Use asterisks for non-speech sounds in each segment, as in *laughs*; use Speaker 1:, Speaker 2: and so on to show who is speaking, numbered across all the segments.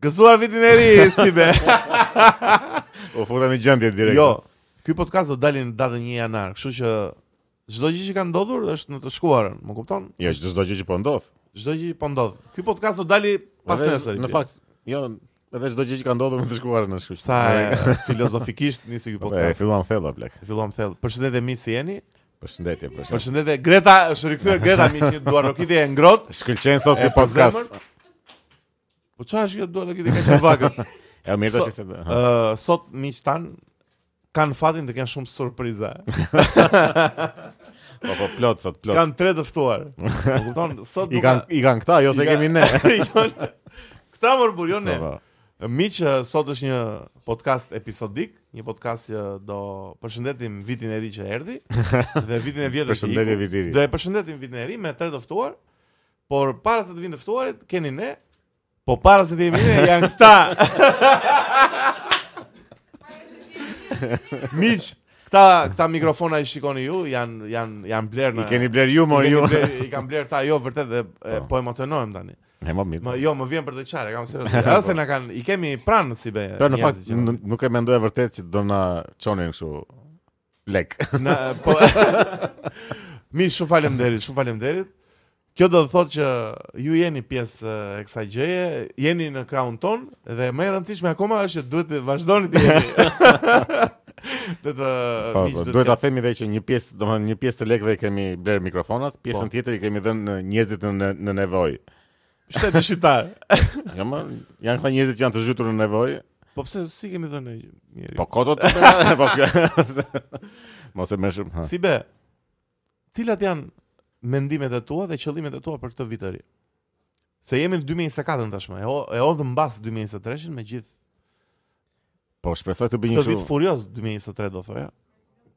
Speaker 1: Gëzuar vitin e
Speaker 2: *laughs*
Speaker 1: ri, si be.
Speaker 2: U futa në gjendje direkt.
Speaker 1: Jo, ky podcast do dalin datën 1 janar, kështu që çdo gjë që ka ndodhur është në të shkuarën, më kupton?
Speaker 2: Jo, që çdo gjë që po ndodh.
Speaker 1: Çdo gjë që po ndodh. Ky podcast do dali pas
Speaker 2: Edhe
Speaker 1: nesër.
Speaker 2: Në fakt, jo, edhe çdo gjë që ka ndodhur më të shkuarën është
Speaker 1: sa
Speaker 2: kështu.
Speaker 1: e *laughs* po filozofikisht nisi ky
Speaker 2: Po, e
Speaker 1: podcast.
Speaker 2: filluam thella blek.
Speaker 1: E filluam thellë. Përshëndetje miq si jeni?
Speaker 2: Përshëndetje, përshëndetje.
Speaker 1: Përshëndetje Greta, është rikthyer Greta miq një duar rokitje e ngrohtë.
Speaker 2: Shkëlqen sot
Speaker 1: e
Speaker 2: ky
Speaker 1: për
Speaker 2: podcast.
Speaker 1: zemër. Po çfarë është kjo duar rokitje ka qenë vakët?
Speaker 2: *laughs* Ja mirë
Speaker 1: So-
Speaker 2: tash se.
Speaker 1: Ë, sot miq tan kanë fatin të kenë shumë surpriza.
Speaker 2: Po po plot sot, plot.
Speaker 1: Kanë tre të ftuar.
Speaker 2: *laughs*
Speaker 1: Po kupton, sot
Speaker 2: I
Speaker 1: duka-
Speaker 2: kanë i kanë këta, jo se
Speaker 1: I ka-
Speaker 2: kemi ne.
Speaker 1: *laughs* Jo, Këta më bujon jo ne.
Speaker 2: Po, po.
Speaker 1: Miq, eh, sot është një podcast episodik, një podcast që do përshëndetim vitin e ri që
Speaker 2: *laughs*
Speaker 1: erdhi dhe vitin e vjetër që
Speaker 2: Përshëndetje
Speaker 1: iku.
Speaker 2: vitiri.
Speaker 1: Do e përshëndetim vitin e ri me tre të ftuar, por para se të vinë të ftuarit keni ne, po para se të jemi ne janë
Speaker 2: *laughs*
Speaker 1: këta. Miq, këta këta mikrofona i shikoni ju, janë janë janë blerë në
Speaker 2: I keni bler ju, mor
Speaker 1: i keni
Speaker 2: ju.
Speaker 1: bler- I kanë bler ta jo vërtet dhe e, po emocionohem tani.
Speaker 2: *laughs* Ne më mirë.
Speaker 1: Më jo, më vjen për të qarë, kam serioz.
Speaker 2: *laughs*
Speaker 1: Edhe se na kanë, i kemi pranë si be.
Speaker 2: Po në
Speaker 1: njerëzit
Speaker 2: fakt
Speaker 1: që-
Speaker 2: n- nuk e mendoj e vërtet që do na çonin kështu
Speaker 1: *laughs*
Speaker 2: lek.
Speaker 1: *laughs* na
Speaker 2: *laughs*
Speaker 1: po Mi shumë faleminderit, shumë faleminderit. Kjo do të thotë që ju jeni pjesë e kësaj gjëje, jeni në kraun ton dhe më e rëndësishme akoma është që duhet të vazhdoni të
Speaker 2: *laughs*
Speaker 1: jeni. *laughs* Do të
Speaker 2: Po,
Speaker 1: miq,
Speaker 2: po,
Speaker 1: do të
Speaker 2: duhet ta
Speaker 1: ketë-
Speaker 2: themi edhe që një pjesë, domethënë një pjesë të lekëve kemi bler mikrofonat,
Speaker 1: Po.
Speaker 2: pjesën tjetër i kemi dhënë në njerëzit në në nevojë.
Speaker 1: shteti shqiptar.
Speaker 2: *laughs* Jo më, janë këta njerëzit që janë të zhytur në nevojë.
Speaker 1: Po pse si kemi dhënë ne njëri?
Speaker 2: Po koto të
Speaker 1: *laughs*
Speaker 2: bëra, po kjo. *laughs* Mos e mëshëm. ha.
Speaker 1: Si be? Cilat janë mendimet e tua dhe qëllimet e tua për këtë vit të ri? Se jemi në 2024 tashmë, e, o- e odhëm mbas 2023-shin me gjithë
Speaker 2: Po shpresoj të bëj një
Speaker 1: Këtë vit
Speaker 2: kështu.
Speaker 1: furios 2023 do thoja.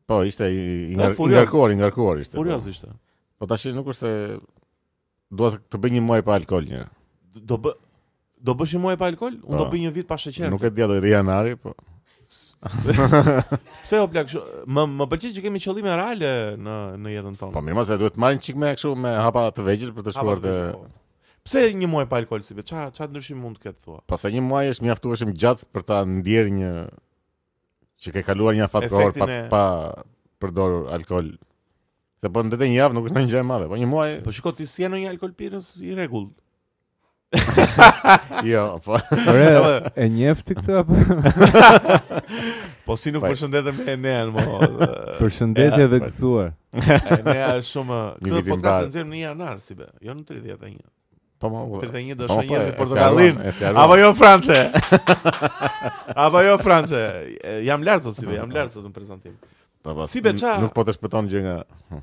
Speaker 2: Po ishte i i- i
Speaker 1: E,
Speaker 2: ngar- i
Speaker 1: furioz.
Speaker 2: ngarkuar, i ngarkuar ishte.
Speaker 1: Furios ishte.
Speaker 2: Po tash nuk është se dua të- të bëj një muaj pa alkool një.
Speaker 1: D- Do bë do bësh një muaj pa alkool? Unë do
Speaker 2: Po.
Speaker 1: bëj një vit pa sheqer.
Speaker 2: Nuk e dia do të janari, po.
Speaker 1: *laughs* Pse o plak, kështu- më më pëlqen që kemi qëllime reale në në jetën tonë.
Speaker 2: Po mirë, mos e duhet të marrin çik me kështu me hapa të vegjël për të
Speaker 1: Ha, po,
Speaker 2: shkuar te
Speaker 1: po. Pse një muaj pa alkool si be? Ça ça ndryshim mund të ketë thua?
Speaker 2: Pastaj Po, një muaj është mjaftueshëm gjatë për ta ndjerë një që ke kaluar një afat kohor pa,
Speaker 1: Efektin e-
Speaker 2: pa përdorur alkool. Se po ndetë një javë nuk është ndonjë gjë e madhe, po një muaj
Speaker 1: Po shiko ti si janë një alkool pirës i rregull.
Speaker 2: jo, po
Speaker 3: Ore, e njefti këtë apo?
Speaker 1: Po si nuk
Speaker 2: Po-
Speaker 1: përshëndetem me Enean,
Speaker 2: *laughs*
Speaker 1: mo.
Speaker 3: Përshëndetje dhe
Speaker 2: po.
Speaker 3: gëzuar.
Speaker 1: Enea është shumë
Speaker 2: *laughs* Një
Speaker 1: këtë
Speaker 2: vit i
Speaker 1: podcast
Speaker 2: mbar.
Speaker 1: e nxjerrim në janar si be, jo në 31.
Speaker 2: po më u.
Speaker 1: 31 do
Speaker 2: Po,
Speaker 1: shoh
Speaker 2: po,
Speaker 1: njerëz
Speaker 2: e
Speaker 1: portokallin.
Speaker 2: fjaruan, e fjaruan.
Speaker 1: Apo jo
Speaker 2: *laughs*
Speaker 1: France. Apo jo France. E, Jam lart sot si be, jam lart sot në prezantim.
Speaker 2: Po, po,
Speaker 1: Si be,
Speaker 2: n-
Speaker 1: qa-
Speaker 2: Nuk po të shpëton gjë nga Hm.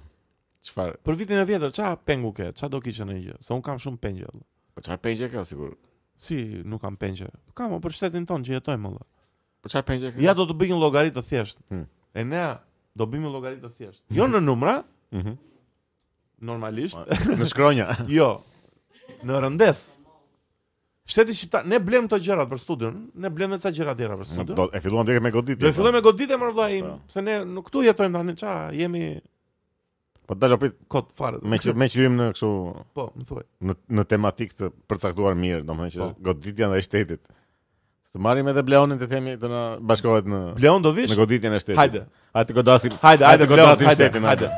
Speaker 2: çfarë?
Speaker 1: Për vitin e vjetër, qa pengu ke? Qa do kishe në gjë? Se unë kam shumë pengje. valla.
Speaker 2: Po çfarë pengje ka sigur?
Speaker 1: Si nuk kam pengje? Kam o për shtetin ton që jetojmë valla.
Speaker 2: Po çfarë pengje ka?
Speaker 1: Ja do të bëj një llogaritë të thjeshtë.
Speaker 2: Hmm.
Speaker 1: E nea do bëjmë një llogaritë të thjeshtë. Jo në numra,
Speaker 2: Mhm. Po,
Speaker 1: normalisht,
Speaker 2: Në shkronja.
Speaker 1: *laughs* jo. Në rëndes. Shteti shqiptar, ne blem këto gjërat për studion, ne blem edhe ca gjëra tjera për studion.
Speaker 2: do e filluam direkt me goditje.
Speaker 1: Do e fillojmë me goditje më vëllai im,
Speaker 2: Po.
Speaker 1: se ne nuk këtu jetojmë tani, ça, jemi
Speaker 2: Po dalo prit
Speaker 1: kot fare.
Speaker 2: me që me që hyjmë në kështu
Speaker 1: po, më thuaj.
Speaker 2: në në tematik të përcaktuar mirë, domethënë që
Speaker 1: Po.
Speaker 2: goditja ndaj shtetit. Të marrim edhe Bleonin të themi të na bashkohet në
Speaker 1: Bleon do vish?
Speaker 2: në goditjen e shtetit.
Speaker 1: Hajde.
Speaker 2: Hajde të godasim.
Speaker 1: Hajde, hajde,
Speaker 2: të
Speaker 1: Bleon,
Speaker 2: godasim
Speaker 1: hajde,
Speaker 2: shtetin.
Speaker 1: hajde.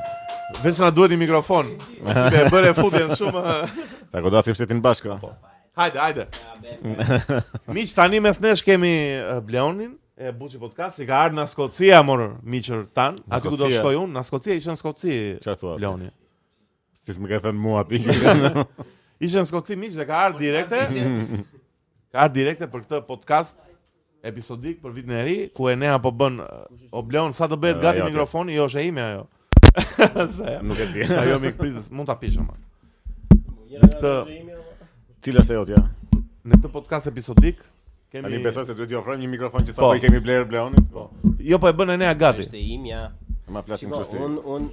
Speaker 1: Veç na duhet një mikrofon. Si e bëre futjen shumë. eh.
Speaker 2: Ta godasim shtetin bashkë.
Speaker 1: Po, Hajde,
Speaker 2: *laughs*
Speaker 1: hajde. Miq tani mes nesh kemi eh, Bleonin e Buçi Podcast, i ka ardhur në Skocia mor miqër tan. Aty ku do
Speaker 2: Skocia.
Speaker 1: shkoj unë, në Skoci ishte në Skoci.
Speaker 2: Çfarë thua?
Speaker 1: Bleoni.
Speaker 2: Siç më ka thënë mua ti.
Speaker 1: *laughs* Ishte në Skoci miq dhe ka ardhur direkte. Ka ardhur direkte për këtë podcast episodik për vitin e ri, ku e nea po bën eh, o Bleon sa të bëhet
Speaker 2: Edhe
Speaker 1: gati
Speaker 2: ajo aty.
Speaker 1: mikrofoni, jo është e ime
Speaker 2: *laughs*
Speaker 1: ajo. Se-
Speaker 2: Nuk e di.
Speaker 1: Sa jo mik pritës, mund ta pish ama. Në këtë
Speaker 4: jo?
Speaker 2: Cila është ajo tja?
Speaker 1: në këtë podcast episodik kemi
Speaker 2: Tani besoj se duhet t'i ofrojmë një mikrofon
Speaker 1: Po.
Speaker 2: që sapo i kemi bler Bleonit. Po.
Speaker 1: Jo po e bën Enea
Speaker 4: Është
Speaker 1: gati.
Speaker 4: e imja.
Speaker 2: Ma flasim
Speaker 4: Shiko,
Speaker 2: kështu si.
Speaker 4: un un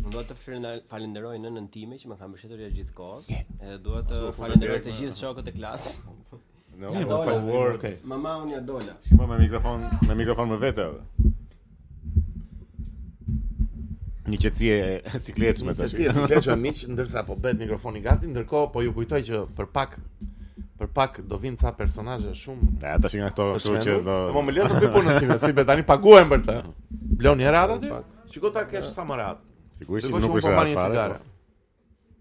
Speaker 4: unë do të firna- falenderoj nënën jo time që më ka mbështetur gjatë gjithë kohës. Edhe dua të falenderoj të gjithë shokët e klasës.
Speaker 2: no,
Speaker 1: Mirë,
Speaker 2: no
Speaker 1: po, falem,
Speaker 2: words.
Speaker 1: okay.
Speaker 4: *laughs* Mama unë ja dola.
Speaker 2: Si më po, me mikrofon, me mikrofon më vete. ore. Një qetësi e sikletshme
Speaker 1: Se
Speaker 2: tash.
Speaker 1: si e sikletshme miq, ndërsa po bëhet mikrofoni gati, ndërkohë po ju kujtoj që për pak për pak do vinë ca personazhe shumë
Speaker 2: Ja, tash nga këto, kështu që do.
Speaker 1: Po më lër të bëj punën time, *laughs* si be tani paguhem për të. Bloni radhë aty? Shiko ta kesh sa më radhë.
Speaker 2: Sigurisht
Speaker 1: Shiko që
Speaker 2: nuk
Speaker 1: unë
Speaker 2: është
Speaker 1: po marr
Speaker 2: rreth
Speaker 1: një
Speaker 2: fare.
Speaker 1: cigare.
Speaker 2: po.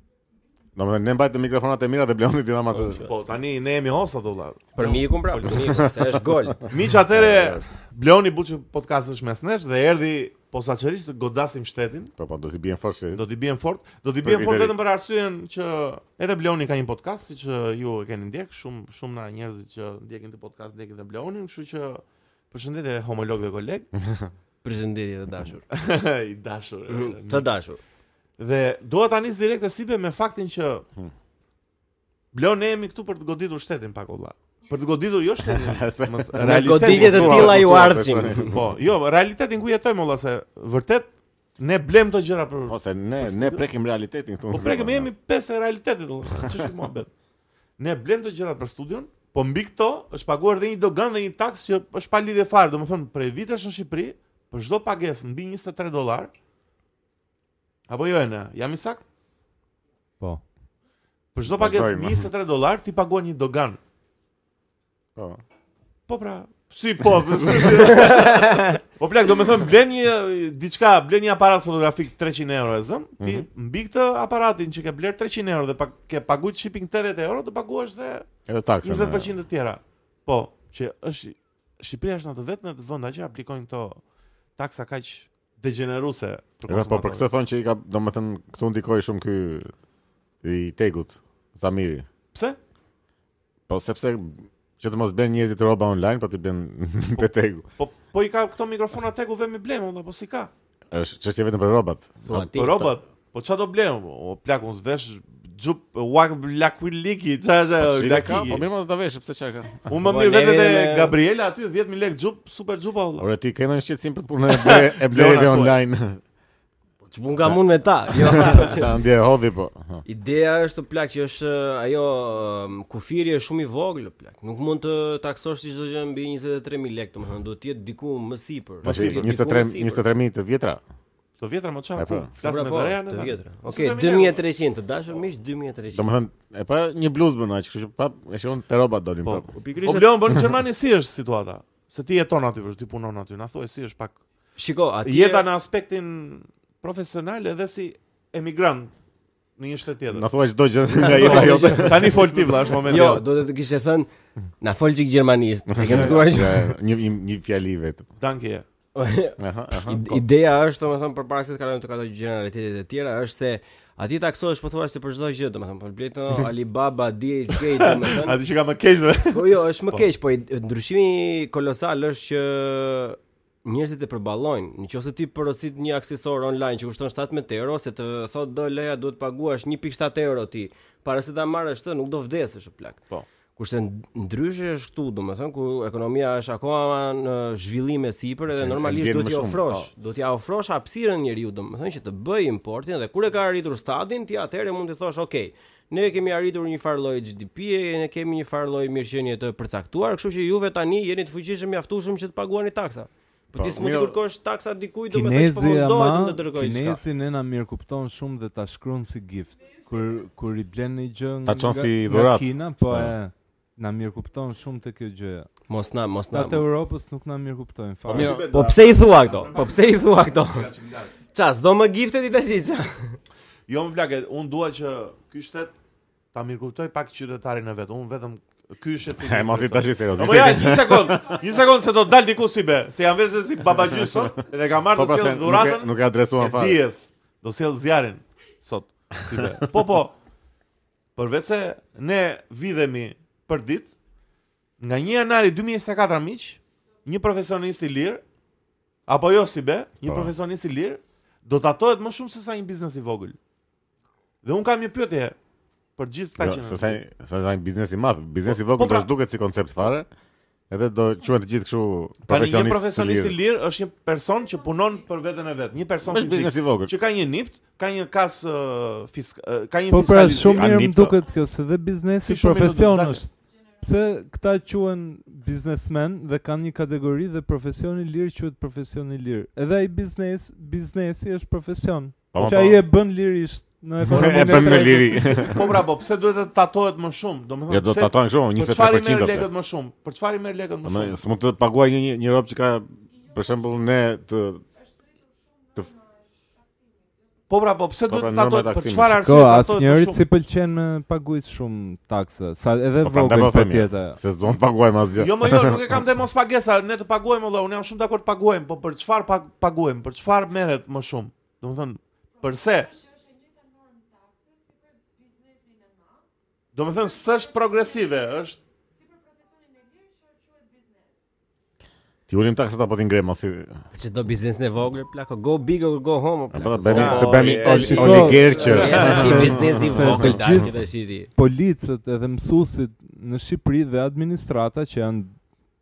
Speaker 2: Domethënë ne mbajmë mikrofonat e mira dhe Bleoni ti ama atë.
Speaker 1: Po tani ne jemi hosta do vëlla.
Speaker 4: Për mikun pra, për mikun, se është gol.
Speaker 1: Miq *laughs* atëre Bloni buçi podcast është mes nesh dhe erdhi posaçërisht të godasim shtetin.
Speaker 2: Po po, do të bien fort se.
Speaker 1: Do t'i bien fort, do t'i
Speaker 2: Për
Speaker 1: bien fort
Speaker 2: kriteri.
Speaker 1: vetëm për arsyen që edhe Bleoni ka një podcast siç uh, ju e keni ndjek, shumë shumë na njerëzit që ndjekin të podcast ndjekin dhe Bleonin, kështu që përshëndetje homolog dhe koleg
Speaker 4: *laughs*
Speaker 1: *laughs*
Speaker 4: Përshëndetje të dashur.
Speaker 1: i dashur.
Speaker 4: *laughs* Të dashur.
Speaker 1: Dhe dua ta nis direkt e sibe me faktin që Bleoni ne jemi këtu për të goditur shtetin pak olla. Për të goditur jo
Speaker 4: *laughs*
Speaker 2: Se-
Speaker 1: shtetin, mos
Speaker 4: Me goditje të
Speaker 2: po,
Speaker 4: tilla
Speaker 2: po,
Speaker 4: ju
Speaker 2: po, po,
Speaker 4: ardhshim.
Speaker 2: po,
Speaker 1: Po, jo, realitetin ku jetojmë olla se vërtet ne blem këto gjëra
Speaker 4: Po,
Speaker 1: për
Speaker 2: Ose po, ne ne prekim realitetin këtu.
Speaker 1: Po prekëm jemi pesë e realitetit, valla. Ç'është kjo muhabet? Ne blem të gjërat për studion, po mbi këto është paguar dhe një dogan dhe një taks që është pa lidhje fare, domethënë prej vitesh në Shqipëri, për çdo pagesë mbi 23 dollar. Apo jo ena, jam i sakt?
Speaker 3: Po.
Speaker 1: Për çdo pagesë
Speaker 2: Vazhdojmë.
Speaker 1: mbi 23 dollar ti paguan një dogan.
Speaker 2: Po.
Speaker 1: Po pra, si
Speaker 2: *laughs*
Speaker 1: po. si- si. po plak, do me thëmë, blen një diçka, blen një aparat fotografik 300 euro e zëm, ti
Speaker 2: Mhm.
Speaker 1: mbi këtë aparatin që ke bler 300 euro dhe pa, ke paguajt shipping 80 euro, do paguash dhe
Speaker 2: Edhe taksa.
Speaker 1: 20% të tjera. Po, që është Shqipëria është në të vetën e të vënda që aplikojnë këto taksa kaq degeneruese për
Speaker 2: Edhe po
Speaker 1: konsumatorët.
Speaker 2: për këtë thonë që i ka, domethënë këtu ndikoi shumë ky i Tegut, Zamiri.
Speaker 1: Pse?
Speaker 2: Po sepse që të mos bën njerëzit roba online, po të bën *laughs* te Tegu.
Speaker 1: Po po i ka këto mikrofona tek uve me blem, valla, po si ka?
Speaker 2: Është çështje vetëm për robat.
Speaker 4: Thua ti.
Speaker 1: Po robat, po çfarë do blem? O plak, unë s'vesh xhup wak lak liki, çfarë
Speaker 2: Çile
Speaker 1: lak
Speaker 2: ka, po mirë, do ta vesh, pse çka ka. *laughs*
Speaker 1: Unë më
Speaker 4: Po,
Speaker 1: mirë vetë
Speaker 4: neve
Speaker 1: te
Speaker 4: ne-
Speaker 1: Gabriela aty 10000 lekë xhup, super xhupa valla.
Speaker 2: Ore ti ke ndonjë shqetësim për punën e ble, e *laughs* blerjeve
Speaker 1: Leona, thuaj.
Speaker 2: online.
Speaker 4: Ç'bun nga mund me ta? *laughs* Jo.
Speaker 2: Ta ndje hodhi po. Ha.
Speaker 4: Ideja është plak që është ajo um, kufiri është shumë i vogël plak. Nuk mund të taksosh çdo gjë mbi 23000 lekë, domethënë duhet të jetë diku më sipër.
Speaker 2: Tash
Speaker 4: Duhet të jetë diku
Speaker 2: 23
Speaker 4: më sipër.
Speaker 2: 23 të vjetra.
Speaker 1: Të vjetra më çfarë?
Speaker 2: E, po.
Speaker 1: ku? Flasim me
Speaker 4: Po,
Speaker 1: të
Speaker 4: po,
Speaker 1: reja
Speaker 4: të
Speaker 1: ne.
Speaker 4: vjetra.
Speaker 1: Ose
Speaker 4: Okej,
Speaker 1: të mia,
Speaker 4: 2300 të dashur miq, 2300.
Speaker 2: Domethënë, e pa një bluzë bën aq, kështu që pa e shon te robat dolin
Speaker 1: Po.
Speaker 2: prapë.
Speaker 4: Po
Speaker 1: Po
Speaker 4: pikërisht.
Speaker 1: bleu bën në Gjermani si është situata? Se ti jeton aty, për ty punon aty, na thuaj si është pak
Speaker 4: Shiko,
Speaker 1: jeta
Speaker 4: atje
Speaker 1: në aspektin profesional edhe si emigrant në një shtet tjetër.
Speaker 2: Na Jo, thua çdo *laughs* gjë nga jeta jote.
Speaker 1: Tani fol ti vlla, është momenti.
Speaker 4: Jo,
Speaker 1: Jo,
Speaker 4: do të kishte thënë na fol çik gjermanisht. E ke mësuar
Speaker 1: *laughs*
Speaker 4: që
Speaker 2: Ja, *laughs* Një një- një fjali vetëm.
Speaker 1: danke.
Speaker 2: Aha, aha.
Speaker 4: Ide- Ideja është, domethënë, përpara se të kalojmë tek ato generalitetet e tjera, është se aty taksohesh pothuajse për çdo gjë, domethënë, po bletë
Speaker 1: *laughs*
Speaker 4: Alibaba, DHgate, domethënë.
Speaker 1: Atë që ka më keq.
Speaker 4: *laughs* Po jo, është më keq, po i- ndryshimi kolosal është që njerëzit e përballojnë. Nëse ti porosit një aksesor online që kushton 17 euro, se të thotë do leja duhet paguash 1.7 euro ti, para se ta marrësh të, nuk do vdesësh o plak.
Speaker 1: Po.
Speaker 4: Kurse n- ndryshe është këtu, domethënë ku ekonomia është akoma në zhvillim e sipër edhe
Speaker 2: Që
Speaker 4: normalisht
Speaker 2: ndjen
Speaker 4: duhet
Speaker 2: më
Speaker 4: t'i
Speaker 2: shumë, po.
Speaker 4: ofrosh, duhet t'i ofrosh hapësirën njeriu, domethënë që të bëj importin dhe kur e ka arritur stadin, ti atëherë mund të thosh, "Ok, ne kemi arritur një farë lloj GDP, ne kemi një farë lloj mirëqenie të përcaktuar, kështu që juve tani jeni të fuqishëm mjaftueshëm që të paguani taksa." Po
Speaker 2: Po,
Speaker 4: ti s'mund të
Speaker 2: mirë-
Speaker 4: kërkosh taksa dikujt, domethënë që po
Speaker 3: Kinezi
Speaker 4: mundohet
Speaker 3: ama,
Speaker 4: të dërgoj diçka.
Speaker 3: kinezi ne na mirë kupton shumë dhe ta shkruan si gift. Kur kur i blen një gjë
Speaker 2: Ta
Speaker 3: nga,
Speaker 2: çon si
Speaker 3: nga
Speaker 2: dhurat.
Speaker 3: Kina, po e na mirë kupton shumë të kjo gjë.
Speaker 4: Mos na, mos na.
Speaker 3: Ata të Europës nuk na mirë kuptojnë fare.
Speaker 4: Po pse i thua këto? Po pse i thua këto? Ça, s'do më giftet i tash ça?
Speaker 1: Jo më plakë, unë dua që ky shtet ta mirëkuptoj pak qytetarin e vet. Unë vetëm ky shtet si.
Speaker 2: E mos i tash serioz.
Speaker 1: Po ja,
Speaker 2: *laughs*
Speaker 1: një sekond. Një sekond se do të dal diku si be, se jam vërtet si babagjy
Speaker 2: *laughs*
Speaker 1: sot dhe ka
Speaker 2: Po
Speaker 1: marrë
Speaker 2: pra
Speaker 1: të
Speaker 2: se
Speaker 1: sjell
Speaker 2: nuk e-
Speaker 1: dhuratën
Speaker 2: nuk e adresuan
Speaker 1: e
Speaker 2: fare.
Speaker 1: dijes. Do sjell zjarrin sot si be. Po po. Përveç se ne vidhemi për ditë nga 1 janari 2024 miq, një profesionist i lirë apo jo si be, një
Speaker 2: Po.
Speaker 1: profesionist i lirë do tatohet më shumë se sa një biznes i vogël. Dhe un kam një pyetje për gjithë këta
Speaker 2: Jo,
Speaker 1: që.
Speaker 2: Se
Speaker 1: në-
Speaker 2: sa se sa një biznes i madh, biznesi i
Speaker 1: Po, po,
Speaker 2: vogël do
Speaker 1: pra.
Speaker 2: të duket si koncept fare. Edhe do quhen të gjithë kështu
Speaker 1: Tani një
Speaker 2: profesionistë.
Speaker 1: profesionist i lirë është një person që punon për veten e vet, një person
Speaker 2: Është biznes
Speaker 1: fizik
Speaker 2: i vogël.
Speaker 1: që ka një nipt, ka një kas uh, fisk, uh, ka një
Speaker 3: Po pra
Speaker 1: fiskalitet.
Speaker 3: shumë mirë
Speaker 2: Ani
Speaker 3: më
Speaker 2: to.
Speaker 3: duket kjo se dhe biznesi
Speaker 1: Si shumë mirë do të
Speaker 3: profesion
Speaker 1: dalë.
Speaker 3: është. pse këta quhen biznesmen dhe kanë një kategori dhe profesioni lirë quhet profesioni lirë. Edhe ai biznes, biznesi është profesion.
Speaker 2: Po, po,
Speaker 3: Që ai e bën lirisht në
Speaker 2: E
Speaker 3: ekonominë
Speaker 2: bën me
Speaker 3: tregut.
Speaker 2: liri.
Speaker 1: Po pra, po pse duhet të tatohet më shumë? Domethënë,
Speaker 2: Ja do të
Speaker 1: pse-
Speaker 2: tatojnë kështu,
Speaker 1: Për çfarë i merr
Speaker 2: 23%.
Speaker 1: lekët më shumë? Për çfarë i merr lekët më
Speaker 2: Më
Speaker 1: shumë?
Speaker 2: s'mund të paguaj një një- një rob që ka për shembull ne të
Speaker 1: Po pra, po pse
Speaker 2: Po
Speaker 1: duhet
Speaker 2: pra,
Speaker 1: të
Speaker 2: norma e
Speaker 1: tatohet? Për
Speaker 2: taksimit.
Speaker 3: Ko,
Speaker 1: çfarë arsye tatohet më
Speaker 3: asnjërit
Speaker 1: shumë?
Speaker 3: si pëlqen me paguajt shumë taksa, sa edhe
Speaker 2: Po, pra, ndaj
Speaker 3: vogël
Speaker 2: po themi,
Speaker 3: patjetër.
Speaker 2: se s'duan të paguajmë asgjë.
Speaker 1: Jo, më jo, nuk e kam të mos pagesa, ne të paguajmë valla, unë jam shumë dakord paguajmë, po për çfarë pag paguajmë? Për çfarë merret më shumë? Domethënë, përse? Domethënë, s'është progresive, është
Speaker 2: Ti ulim taksat apo ti ngre mos i.
Speaker 4: Po Që do biznesin e vogël, plako, go big or go home,
Speaker 2: Apo
Speaker 4: plako.
Speaker 2: të bëni
Speaker 1: s'ka-
Speaker 2: të bëni
Speaker 1: Oj,
Speaker 2: oli-
Speaker 3: shiko.
Speaker 2: oligarkë. që-
Speaker 4: Ja, tash i biznesi i
Speaker 3: Se
Speaker 4: vogël,
Speaker 3: të
Speaker 4: tash
Speaker 3: gjithë-
Speaker 4: tash i ti.
Speaker 3: policët edhe mësuesit në Shqipëri dhe administrata që janë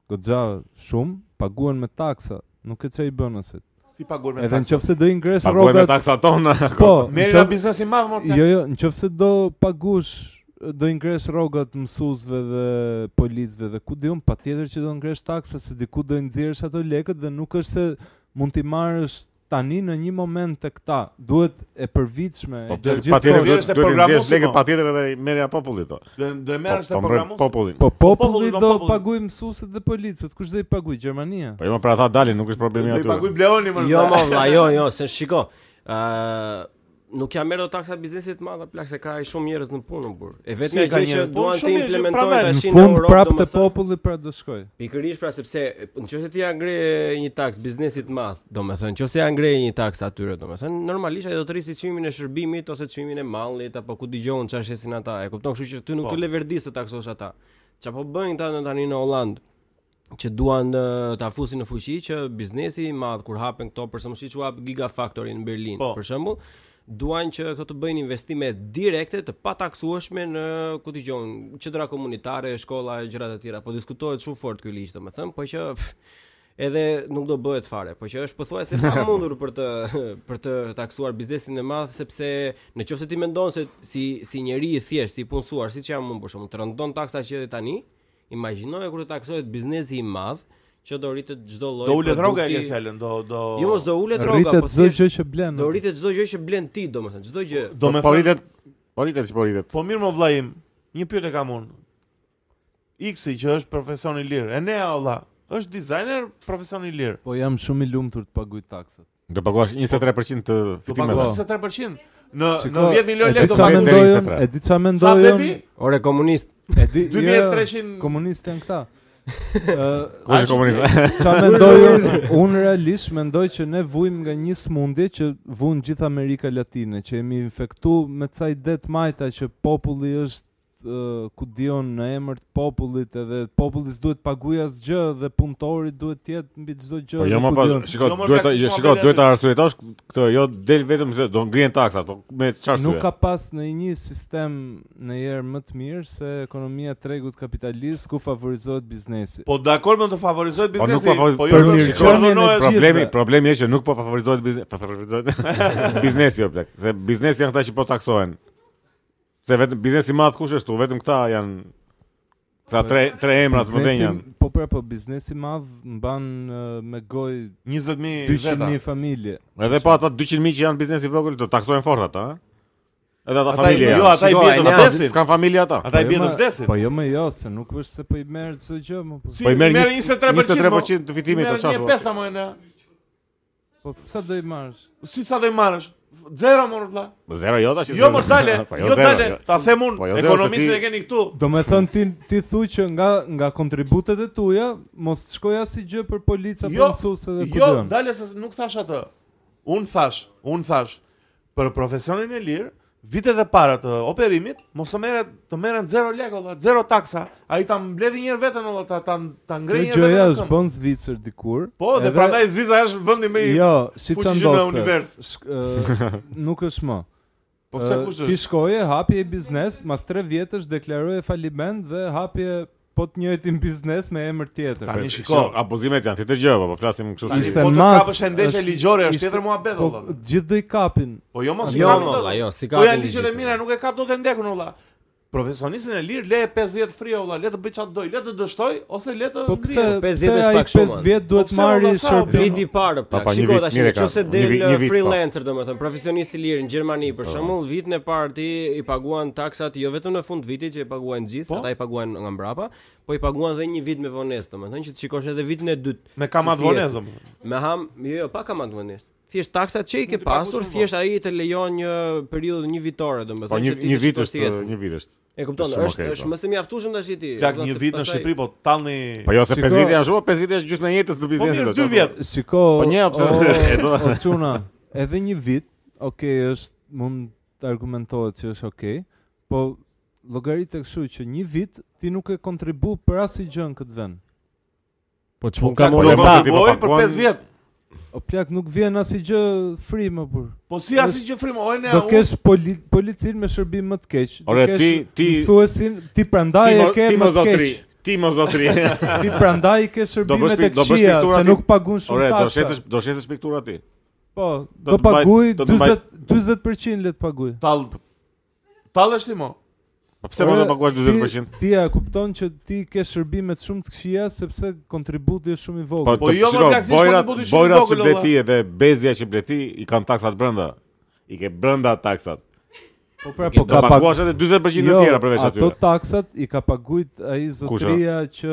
Speaker 3: goxha shumë paguhen me taksa, nuk e çaj bonuset.
Speaker 1: si paguajmë
Speaker 3: Edhe
Speaker 1: taksa.
Speaker 3: nëse do i ngresh
Speaker 2: Paguajmë
Speaker 3: rrogat,
Speaker 2: taksat tona.
Speaker 3: po,
Speaker 1: Merr nga
Speaker 3: nëqof-
Speaker 1: biznesi i madh
Speaker 3: jo
Speaker 1: më
Speaker 3: jo, nëse do pagush do i ngresh rrogat mësuesve dhe policëve dhe ku diun, patjetër që do ngresh taksa se diku do i nxjerrësh ato lekët dhe nuk është se mund t'i marrësh tani në një moment të këta. Duhet e përvitshme.
Speaker 2: Po
Speaker 3: e do gjithë
Speaker 2: patjetër
Speaker 1: kohë.
Speaker 2: duhet
Speaker 1: Është e
Speaker 2: duhet të ndjesh
Speaker 1: programuar,
Speaker 2: lekët
Speaker 1: po.
Speaker 2: patjetër edhe i merrja popullit. to.
Speaker 1: Do do e
Speaker 2: Po,
Speaker 1: merresh te
Speaker 2: po, merr
Speaker 1: programuesi.
Speaker 2: Popullin.
Speaker 3: Po populli
Speaker 1: populli do
Speaker 3: do
Speaker 1: populli.
Speaker 3: paguaj mësuesit dhe policët, kush do i paguaj Gjermania?
Speaker 2: Po jo, pra ata dalin, nuk është
Speaker 1: Do
Speaker 2: problemi
Speaker 1: i
Speaker 2: aty.
Speaker 1: paguajmë Bleoni më.
Speaker 4: Jo, mo, vlla, jo, jo, se shiko. Ë, nuk jam merë do taksa biznesit madh, plak se ka ai shumë njerëz në punë në burr. E vetmja
Speaker 1: Si ka
Speaker 4: gjë që
Speaker 1: njerëz? Po,
Speaker 4: duan
Speaker 1: shumë njerëz
Speaker 4: të
Speaker 1: që
Speaker 4: implementojnë
Speaker 1: prandaj-
Speaker 3: Në
Speaker 4: tash në
Speaker 3: fund
Speaker 4: Europë,
Speaker 3: prapë të
Speaker 4: domethënë-
Speaker 3: populli pra do shkoj.
Speaker 4: Pikërisht pra sepse nëse ti ja ngre një taks biznesit madh, domethënë nëse ja ngre një taks atyre, domethënë normalisht ai do të rrisi çmimin e shërbimit ose çmimin e mallit apo ku dëgjon çfarë shesin ata. E kupton, kështu që ty nuk
Speaker 1: Po.
Speaker 4: të leverdis të taksosh ata. Çfarë po bëjnë ta në tani në Holland? që duan eh, ta fusin në fuqi që biznesi i madh kur hapen këto për shembull siç u hap Gigafactory në Berlin,
Speaker 1: Po.
Speaker 4: për shembull, duan që këto të bëjnë investime direkte të pataksueshme në ku dëgjon qendra komunitare, shkolla e gjëra të tjera. Po diskutohet shumë fort ky ligj, domethënë, po që pff, edhe nuk do bëhet fare, po që është pothuajse pa mundur për të për të taksuar biznesin e madh sepse në qoftë se ti mendon se si si njeri i thjesht, si punësuar, siç jam unë për shkakun, të rëndon taksa që jeti tani, imagjinoje kur të taksohet biznesi i madh që do rritet çdo lloj
Speaker 1: Do ulet rroga e
Speaker 4: produkti-
Speaker 1: ke fjalën, do do
Speaker 4: Jo mos do ulet rroga,
Speaker 3: Rritet
Speaker 4: po
Speaker 3: çdo
Speaker 4: thjesht
Speaker 3: gjë që blen.
Speaker 4: do rritet çdo gjë që blen ti domethënë, çdo gjë.
Speaker 1: do me
Speaker 2: Po
Speaker 1: thënë-
Speaker 2: ritet, po ritet, që po ritet.
Speaker 1: Po mirë më vlla im, një pyetje kam unë. Iksi që është profesion i lirë. E nea vlla, është dizajner profesion i lirë.
Speaker 3: Po jam shumë i lumtur të paguaj taksat.
Speaker 2: Do paguash 23% të
Speaker 1: Do
Speaker 2: fitimeve.
Speaker 1: paguash 23%.
Speaker 2: Po.
Speaker 1: Në në 10
Speaker 3: e
Speaker 1: milionë
Speaker 3: di
Speaker 1: lekë do
Speaker 3: ça
Speaker 2: paguaj
Speaker 1: paguash.
Speaker 2: mendoj-
Speaker 3: mendojnë,
Speaker 2: 23.
Speaker 3: e di ça
Speaker 1: Sa
Speaker 3: mendojnë,
Speaker 1: bebi?
Speaker 4: Ore komunist.
Speaker 3: e di
Speaker 1: 2300
Speaker 3: jo, komunistë janë këta. Ë,
Speaker 2: Kush e komunizon?
Speaker 3: ça mendojnë? Unë realisht mendoj që ne vujmë nga një smundje që vun gjithë Amerika Latine, që jemi infektu me ca det majta që populli është ë, ku dion në emër të popullit edhe populli s'duhet paguaj asgjë dhe punëtori duhet të jetë mbi çdo gjë.
Speaker 2: Po jo
Speaker 3: dhe
Speaker 2: më
Speaker 3: ku
Speaker 2: po,
Speaker 3: diun.
Speaker 2: shiko,
Speaker 1: Jo, më
Speaker 2: duhet ta
Speaker 1: praktikisht
Speaker 2: jo,
Speaker 1: mua
Speaker 2: shiko,
Speaker 1: bele
Speaker 2: duhet ta
Speaker 1: aty.
Speaker 2: arsyetosh këtë, jo del vetëm se do ngrihen taksat, po me çfarë
Speaker 3: Nuk
Speaker 2: arsye?
Speaker 3: ka pas në një sistem në njerë më të mirë se ekonomia e tregut kapitalist ku favorizohet biznesi.
Speaker 1: Po dakor më të favorizohet
Speaker 2: Po nuk
Speaker 1: biznesi.
Speaker 2: po
Speaker 1: Po
Speaker 2: favorizohet.
Speaker 1: jo
Speaker 3: Për mirë,
Speaker 1: shiko,
Speaker 3: qëndjen e
Speaker 1: dhunohet-
Speaker 3: gjithë.
Speaker 2: Problemi, problemi është që nuk po favorizohet biznesi, po favorizohet *laughs* biznesi o plak, se biznesi janë këta që po taksohen. Se vetëm biznesi i madh kush është tu, vetëm këta janë këta tre tre emrat më dhënë janë.
Speaker 3: Biznesi- Po pra, po biznesi madh mban eh, me gojë
Speaker 1: 20000 veta.
Speaker 3: 200.000 familje.
Speaker 2: Edhe po ata 200.000 që janë biznesi i vogël do taksohen fort ata, ëh? Edhe ata
Speaker 1: Ata i-
Speaker 2: familje.
Speaker 1: jo,
Speaker 2: janë.
Speaker 1: ata i
Speaker 4: Shiko,
Speaker 1: bie të
Speaker 4: e nea,
Speaker 1: vdesin.
Speaker 2: s'kan familje ata.
Speaker 1: Ata
Speaker 3: Po
Speaker 1: i
Speaker 3: jo,
Speaker 1: bie të
Speaker 3: ma-
Speaker 1: vdesin.
Speaker 3: Po jo më jo, se nuk është se po i merr çdo gjë, më po.
Speaker 1: Si,
Speaker 2: Po i merr
Speaker 1: merr
Speaker 2: një-
Speaker 1: 23%.
Speaker 2: 23% të fitimit,
Speaker 1: të
Speaker 2: o çfarë
Speaker 1: çfarë?
Speaker 2: thua?
Speaker 1: 5 më ne.
Speaker 3: Po sa do i marrësh?
Speaker 1: Si sa do i marrësh? Zero më vlla.
Speaker 2: Zero jo tash.
Speaker 1: Jo më dale,
Speaker 2: *laughs* Po
Speaker 1: jo
Speaker 2: zero,
Speaker 1: dale. Ta them unë,
Speaker 2: Po jo, zero, se
Speaker 1: ekonomistën
Speaker 2: ti-
Speaker 1: e keni këtu.
Speaker 3: Do me thënë ti, ti thuj që nga, nga kontributet e tuja, mos të shkoj asnjë gjë për polica, për mësuse dhe ku
Speaker 1: jo,
Speaker 3: dion.
Speaker 1: dale se nuk thash atë. Un thash, un thash për profesionin e lirë, vitet e para të operimit, mos të merret të merren 0 lekë, valla, 0 taksa. Ai ta mbledhi një herë veten, valla, ta ta, ta
Speaker 3: Kjo
Speaker 1: ngrejë një herë
Speaker 3: gjëja
Speaker 1: veten. në
Speaker 3: është
Speaker 1: këmbë.
Speaker 3: bën Zvicër dikur.
Speaker 1: Po, dhe
Speaker 3: edhe-
Speaker 1: prandaj Zvizra është vendi më i
Speaker 3: Jo, si që
Speaker 1: fuqishëm në
Speaker 3: ndodhte.
Speaker 1: univers.
Speaker 3: Shk- ë, Nuk është më.
Speaker 1: Po pse
Speaker 3: Ë,
Speaker 1: kush
Speaker 3: Ti
Speaker 1: është?
Speaker 3: shkoje, hapje i biznes, mas 3 vjetësh deklaroje faliment dhe hapje po të njëjtin biznes me emër tjetër.
Speaker 1: Tani
Speaker 2: Po,
Speaker 1: shiko.
Speaker 2: abuzimet janë tjetër gjë, po po flasim kështu
Speaker 1: Tani
Speaker 2: si.
Speaker 3: ishte
Speaker 1: po të
Speaker 3: mas,
Speaker 1: kapësh e ndeshje
Speaker 3: është-
Speaker 1: ligjore, është
Speaker 3: ishte-
Speaker 1: tjetër muhabet
Speaker 3: Po
Speaker 1: valla.
Speaker 3: gjithë do i kapin.
Speaker 1: Po jo mos i
Speaker 4: Jo,
Speaker 1: kapin
Speaker 4: mo,
Speaker 1: dot.
Speaker 4: valla, jo, si
Speaker 1: Po
Speaker 4: kapin
Speaker 1: janë ligjet e
Speaker 4: ligjit,
Speaker 1: mira, nuk e kap dot e ndekun valla. Profesionistin e lirë le 50 free valla, le të bëj çfarë doj, le të dështoj ose le të
Speaker 3: Po pse
Speaker 1: ngrihet.
Speaker 4: 50
Speaker 3: pse
Speaker 4: është
Speaker 3: ai
Speaker 4: pak shumë,
Speaker 3: 5 vjet
Speaker 1: Po
Speaker 3: duhet
Speaker 1: pse
Speaker 3: marrë
Speaker 1: valla, sa,
Speaker 3: shërbim?
Speaker 4: Viti i parë
Speaker 2: Pa, pa,
Speaker 4: plak.
Speaker 2: një
Speaker 4: Shiko
Speaker 2: vit
Speaker 4: tash
Speaker 2: mirë e ka.
Speaker 4: nëse
Speaker 2: Një
Speaker 4: del
Speaker 2: vit- një
Speaker 4: uh,
Speaker 2: vit, po.
Speaker 4: freelancer domethënë, profesionist i lirë në Gjermani për shembull, vitin e parë ti i paguan taksat jo vetëm në fund vitit që i paguajnë gjithë,
Speaker 1: Po.
Speaker 4: ata i paguajnë nga mbrapa, po i paguan edhe një vit me vonesë domethënë që të shikosh edhe vitin e dytë.
Speaker 1: Me kamat
Speaker 4: Se si
Speaker 1: vonesë
Speaker 4: jesh.
Speaker 1: domethënë.
Speaker 4: Me ham, jo, jo, pa kamat vonesë. Thjesht taksat që i ke
Speaker 1: Ti paguash
Speaker 4: pasur,
Speaker 1: shumë, po.
Speaker 4: thjesht ai të lejon një periudhë një vitore domethënë.
Speaker 2: Po një
Speaker 4: që ti
Speaker 2: një
Speaker 4: të
Speaker 2: vit
Speaker 4: shikosh si
Speaker 2: është,
Speaker 4: ecën.
Speaker 2: një vit është.
Speaker 4: E kupton,
Speaker 2: shumë
Speaker 4: është
Speaker 2: okay,
Speaker 4: është
Speaker 2: po.
Speaker 4: më se mjaftueshëm tash i ti.
Speaker 1: Plak
Speaker 4: kupton,
Speaker 1: një
Speaker 4: se
Speaker 1: vit në
Speaker 4: pastaj-
Speaker 1: Shqipëri, po tallni.
Speaker 2: Po jo se
Speaker 3: Shiko-
Speaker 2: 5 vite janë shumë, 5 vite është gjysmë e jetës të
Speaker 1: Po
Speaker 2: biznesit.
Speaker 1: mirë
Speaker 2: do
Speaker 1: 2
Speaker 2: qoftë.
Speaker 1: vjet.
Speaker 3: Shiko.
Speaker 2: Po një
Speaker 3: o-
Speaker 1: *laughs*
Speaker 2: pse e do.
Speaker 3: o çuna, edhe një vit, okay, është mund të argumentohet që është okay, po llogaritë e kështu që një vit ti nuk e kontribu për asnjë gjë në këtë vend.
Speaker 5: Po çmon
Speaker 1: Ka
Speaker 5: kam
Speaker 2: po,
Speaker 1: mund
Speaker 5: unë
Speaker 1: të
Speaker 2: po,
Speaker 5: pa.
Speaker 2: po,
Speaker 1: bëj
Speaker 2: po,
Speaker 1: për
Speaker 2: po,
Speaker 1: 5 vjet.
Speaker 3: O plak nuk vjen asnjë gjë free më burr.
Speaker 1: Po si asnjë gjë frimë, ojnë
Speaker 3: Do kesh poli, policin me shërbim më të keq. Do
Speaker 2: Ore,
Speaker 3: kesh
Speaker 2: ti- ti-
Speaker 3: mësuesin, ti prandaj
Speaker 2: Ti
Speaker 3: e
Speaker 2: mo-
Speaker 3: ke
Speaker 2: ti
Speaker 3: më
Speaker 2: mo
Speaker 3: të
Speaker 2: zotri.
Speaker 3: keq.
Speaker 2: Ti mo zotri.
Speaker 3: Ti prandaj i ke
Speaker 2: bësh
Speaker 3: shërbimet e
Speaker 2: pi- *laughs* do bësh
Speaker 3: këqija
Speaker 2: piktura
Speaker 3: se
Speaker 2: ti-
Speaker 3: nuk pagun shumë
Speaker 2: *laughs* Ore,
Speaker 3: taksa.
Speaker 2: do shesësh do shesësh piktura ti.
Speaker 3: Po,
Speaker 2: do
Speaker 3: do
Speaker 2: të mbaj-
Speaker 3: paguj
Speaker 2: do të mbaj-
Speaker 3: 40 40% le të paguj.
Speaker 1: Tall Tall është ti mo.
Speaker 2: Po pse mund të
Speaker 3: Ore,
Speaker 2: paguash
Speaker 3: ti-
Speaker 2: 40%?
Speaker 3: Ti e kupton që ti ke shërbimet shumë të këqija sepse kontributi është shumë i
Speaker 2: Po
Speaker 3: vogël.
Speaker 1: Po
Speaker 2: të-
Speaker 1: jo,
Speaker 2: shiko,
Speaker 1: më plak, si
Speaker 2: bojrat,
Speaker 1: shkon në Budishë
Speaker 2: bojrat që
Speaker 1: i vogël,
Speaker 2: bleti edhe bezja që bleti i kanë taksat brenda. I ke brenda taksat.
Speaker 3: Po pra
Speaker 2: Do paguash edhe 40% të tjera përveç
Speaker 3: Ato
Speaker 2: atyre.
Speaker 3: taksat i ka paguajt ai zotëria që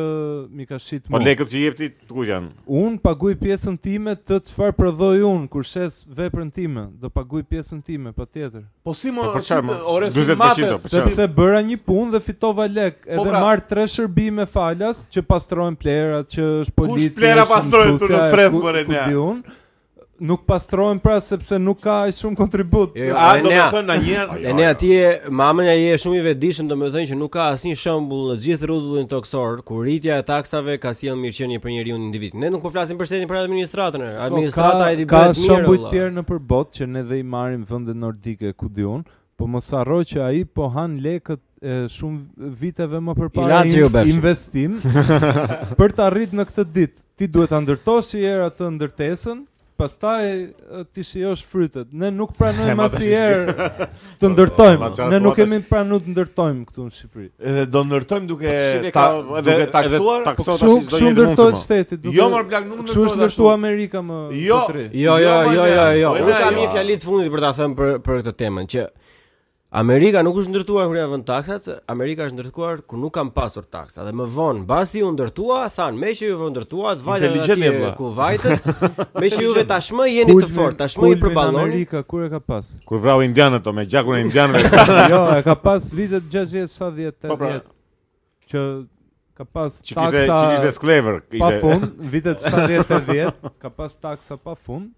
Speaker 3: mi ka shit
Speaker 2: Po
Speaker 3: mua.
Speaker 2: lekët që jep ti ku janë?
Speaker 3: Un paguaj pjesën time të çfarë prodhoj un kur shes veprën time, do paguaj pjesën time patjetër.
Speaker 1: Po si mo,
Speaker 2: Po për
Speaker 1: si
Speaker 2: çfarë,
Speaker 1: të-
Speaker 2: mo?
Speaker 1: ore si
Speaker 2: 40%
Speaker 1: mate,
Speaker 2: po
Speaker 1: si-
Speaker 2: çfarë?
Speaker 3: Sepse bëra një punë dhe fitova lek, edhe
Speaker 1: pra-
Speaker 3: marr tre shërbime falas që pastrojnë plerat, që është policia.
Speaker 1: plera
Speaker 3: është
Speaker 1: pastrojnë këtu
Speaker 3: mësuesja,
Speaker 1: në
Speaker 3: e
Speaker 1: Fresë,
Speaker 3: ku-
Speaker 1: more,
Speaker 3: ku
Speaker 1: nea?
Speaker 3: di unë, nuk pastrojnë pra sepse nuk ka ai shumë kontribut.
Speaker 4: Jo, jo,
Speaker 1: A
Speaker 4: e
Speaker 1: do të
Speaker 4: nea.
Speaker 1: thënë na një herë.
Speaker 4: E ne atje mamën ai e shumë i vetëdijshëm domethënë që nuk ka asnjë shembull në gjithë rrezullin toksor ku rritja e taksave ka sjell mirëqenie për njeriu në individ. Ne nuk po flasim për shtetin për administratën. e.
Speaker 3: Po,
Speaker 4: Administrata e di
Speaker 3: ka
Speaker 4: bëhet mirë.
Speaker 3: shembuj të
Speaker 4: valla.
Speaker 3: tjerë në përbot që ne dhe i marrim vendet nordike ku di unë, po mos harro që ai po han lekët e shumë viteve më përpara
Speaker 5: Ilaçi ju
Speaker 4: *laughs*
Speaker 5: befshi.
Speaker 3: investim për të arrit në këtë ditë. Ti duhet ta ndërtosh si herë atë ndërtesën, pastaj e, ti shijosh frytet. Ne nuk pranojmë
Speaker 2: *laughs* Ma tash
Speaker 3: asnjëherë
Speaker 2: *laughs*
Speaker 3: të
Speaker 2: Ma
Speaker 3: ndërtojmë.
Speaker 2: qartë,
Speaker 3: Ne
Speaker 2: ma
Speaker 3: nuk
Speaker 2: tash-
Speaker 3: kemi pranuar të ndërtojmë këtu në Shqipëri.
Speaker 1: Edhe do ndërtojmë duke
Speaker 2: Shqipëria
Speaker 1: ta,
Speaker 2: Po ka- edhe-
Speaker 1: duke
Speaker 2: edhe
Speaker 1: taksuar.
Speaker 2: tak-
Speaker 3: Po
Speaker 2: Sot
Speaker 3: kështu
Speaker 2: tash çdo
Speaker 3: kështu
Speaker 2: njeri mund të
Speaker 3: ndërtohet
Speaker 2: mo.
Speaker 3: shteti. duke-
Speaker 1: Jo, mor plak, nuk
Speaker 3: Kështu është
Speaker 1: ndërtohet ashtu.
Speaker 3: ndërtua Amerika më
Speaker 1: Jo.
Speaker 3: së tri.
Speaker 4: Jo, jo,
Speaker 1: Jo,
Speaker 4: jo,
Speaker 1: ma,
Speaker 4: jo,
Speaker 1: ne.
Speaker 4: jo.
Speaker 1: Po,
Speaker 4: Unë
Speaker 1: ne,
Speaker 4: kam
Speaker 1: jo.
Speaker 4: një fjalë të fundit për ta thënë për për këtë temën që Amerika nuk është ndërtuar kur ja vën taksat, Amerika është ndërtuar kur nuk kanë pasur taksa. Dhe më vonë, mbasi u ndërtua, than, me që ju vë ndërtua, të vajtet
Speaker 1: Inteligjent je,
Speaker 4: atje
Speaker 1: vlla.
Speaker 4: ku vajtet, me që
Speaker 2: *laughs*
Speaker 4: juve tashmë jeni të
Speaker 3: Kulmin-
Speaker 4: fortë, tashmë i
Speaker 3: kulmin
Speaker 4: përballoni.
Speaker 3: Amerika kur e ka pas? *laughs*
Speaker 2: Kur vrau indianët to me gjakun e indianëve.
Speaker 3: jo, e ka pas vitet 60, 70, 80
Speaker 2: Po pra.
Speaker 3: që ka pas
Speaker 2: Që kishte
Speaker 3: taksa
Speaker 2: që kishte sklever,
Speaker 3: pa
Speaker 2: kishte. *laughs*
Speaker 3: fund, vitet 70, 80 ka pas taksa pa fund,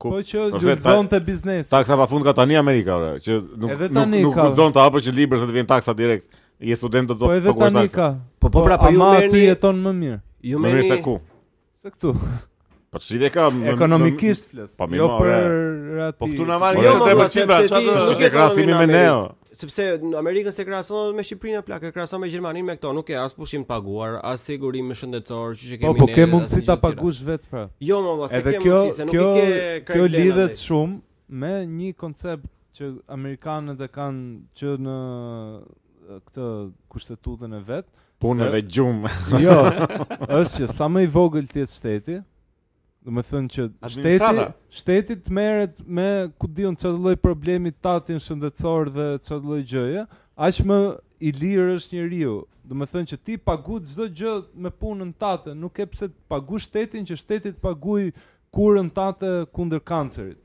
Speaker 2: Ku-
Speaker 3: po që
Speaker 2: Po pse
Speaker 3: lulëzonte biznesi.
Speaker 2: Taksa pa fund ka tani Amerika, ore, që nuk
Speaker 3: Edhe
Speaker 2: nuk
Speaker 3: tani
Speaker 2: nuk
Speaker 3: ka.
Speaker 2: guxon të hapësh që libër se të vjen taksa direkt. Je student do të
Speaker 3: Po edhe
Speaker 2: paguash
Speaker 3: tani
Speaker 2: taksa.
Speaker 3: ka.
Speaker 4: Po, po, pra, po ju
Speaker 3: ama aty
Speaker 4: merrni-
Speaker 3: jeton më mirë.
Speaker 4: Ju
Speaker 2: Më mirë se
Speaker 4: merrni
Speaker 2: ku.
Speaker 3: Se këtu,
Speaker 2: Po çile ka më- më-
Speaker 3: ekonomikisht flas.
Speaker 2: Po, mi
Speaker 3: Jo
Speaker 2: more.
Speaker 3: për ati.
Speaker 1: Po këtu na marrin
Speaker 2: Ore,
Speaker 1: jo më
Speaker 2: se te
Speaker 1: pra
Speaker 4: sepse
Speaker 1: pra,
Speaker 4: ti-
Speaker 1: çfarë
Speaker 2: Nuk
Speaker 1: do-
Speaker 2: e krahasimi me neo.
Speaker 4: sepse në Amerikën se krahason me Shqipërinë plak, e krahason me Gjermaninë me këto, nuk e as pushim të paguar, as sigurime shëndetësor, që që kemi
Speaker 3: Po, po
Speaker 4: ne,
Speaker 3: ke
Speaker 4: as
Speaker 3: mundësi
Speaker 4: gjë
Speaker 3: ta
Speaker 4: tjera.
Speaker 3: pagush vetë pra.
Speaker 4: Jo, më valla, se
Speaker 3: Edhe
Speaker 4: ke
Speaker 3: kjo
Speaker 4: mundësi, se nuk
Speaker 3: kjo
Speaker 4: i ke
Speaker 3: kjo
Speaker 4: krejt lena,
Speaker 3: lidhet
Speaker 4: ne.
Speaker 3: shumë me një koncept që amerikanët e kanë që në e, këtë kushtetutën e vet.
Speaker 2: Punë dhe gjumë.
Speaker 3: *laughs* Jo, është që sa më i vogël të jetë shteti, do të thënë që shteti
Speaker 1: Administrata.
Speaker 3: shteti të merret me ku diun çfarë lloj problemi tatin shëndetësor dhe çfarë lloj gjëje, aq më i lirë është njeriu. Do të thënë që ti pagu çdo gjë me punën tate, nuk e pse të pagu shtetin që shteti të paguaj kurën tate kundër kancerit.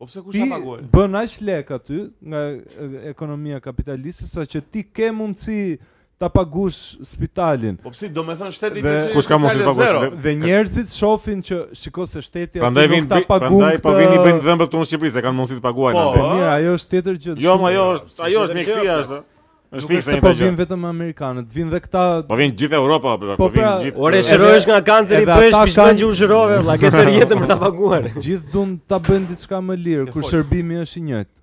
Speaker 1: Po pse kush
Speaker 3: Ti
Speaker 1: ta paguaj?
Speaker 3: bën aq lek aty nga e, ekonomia kapitaliste sa që ti ke mundësi ta pagush spitalin.
Speaker 1: Po pse do me thënë shteti
Speaker 3: Dhe-
Speaker 1: që-
Speaker 2: Kush ka mundësi të paguaj?
Speaker 1: zero.
Speaker 3: Dhe njerëzit shohin që shiko se shteti aty
Speaker 2: *laughs* Prandaj vin
Speaker 3: nuk ta pagun.
Speaker 2: prandaj po
Speaker 3: këtë-
Speaker 2: vini bëjnë dhëmbët tonë në Shqipëri se kanë mundësi të paguajnë.
Speaker 1: Po.
Speaker 2: atë.
Speaker 3: Po mirë, ajo është tjetër gjë.
Speaker 2: Jo,
Speaker 3: shumë-
Speaker 2: ma jo, është- ajo është
Speaker 4: Nuk është
Speaker 2: mjekësia
Speaker 4: se
Speaker 2: është. Është
Speaker 3: Nuk
Speaker 2: fikse
Speaker 3: është se
Speaker 2: një
Speaker 3: po
Speaker 2: gjë.
Speaker 3: vin vetëm amerikanët, vin dhe këta
Speaker 2: Po vin gjithë Europa, po
Speaker 3: Po
Speaker 2: po vin
Speaker 3: pra,
Speaker 2: gjithë.
Speaker 4: Ore
Speaker 2: Edhe-
Speaker 4: shërohesh nga kanceri
Speaker 3: edhe
Speaker 4: bësh
Speaker 3: ata
Speaker 4: pishmën
Speaker 3: kanë-
Speaker 4: që u shërove vëlla, ke tërë jetën për ta paguar.
Speaker 3: gjithë duan ta bëjnë diçka më lirë kur
Speaker 1: fol.
Speaker 3: shërbimi është i njëjtë.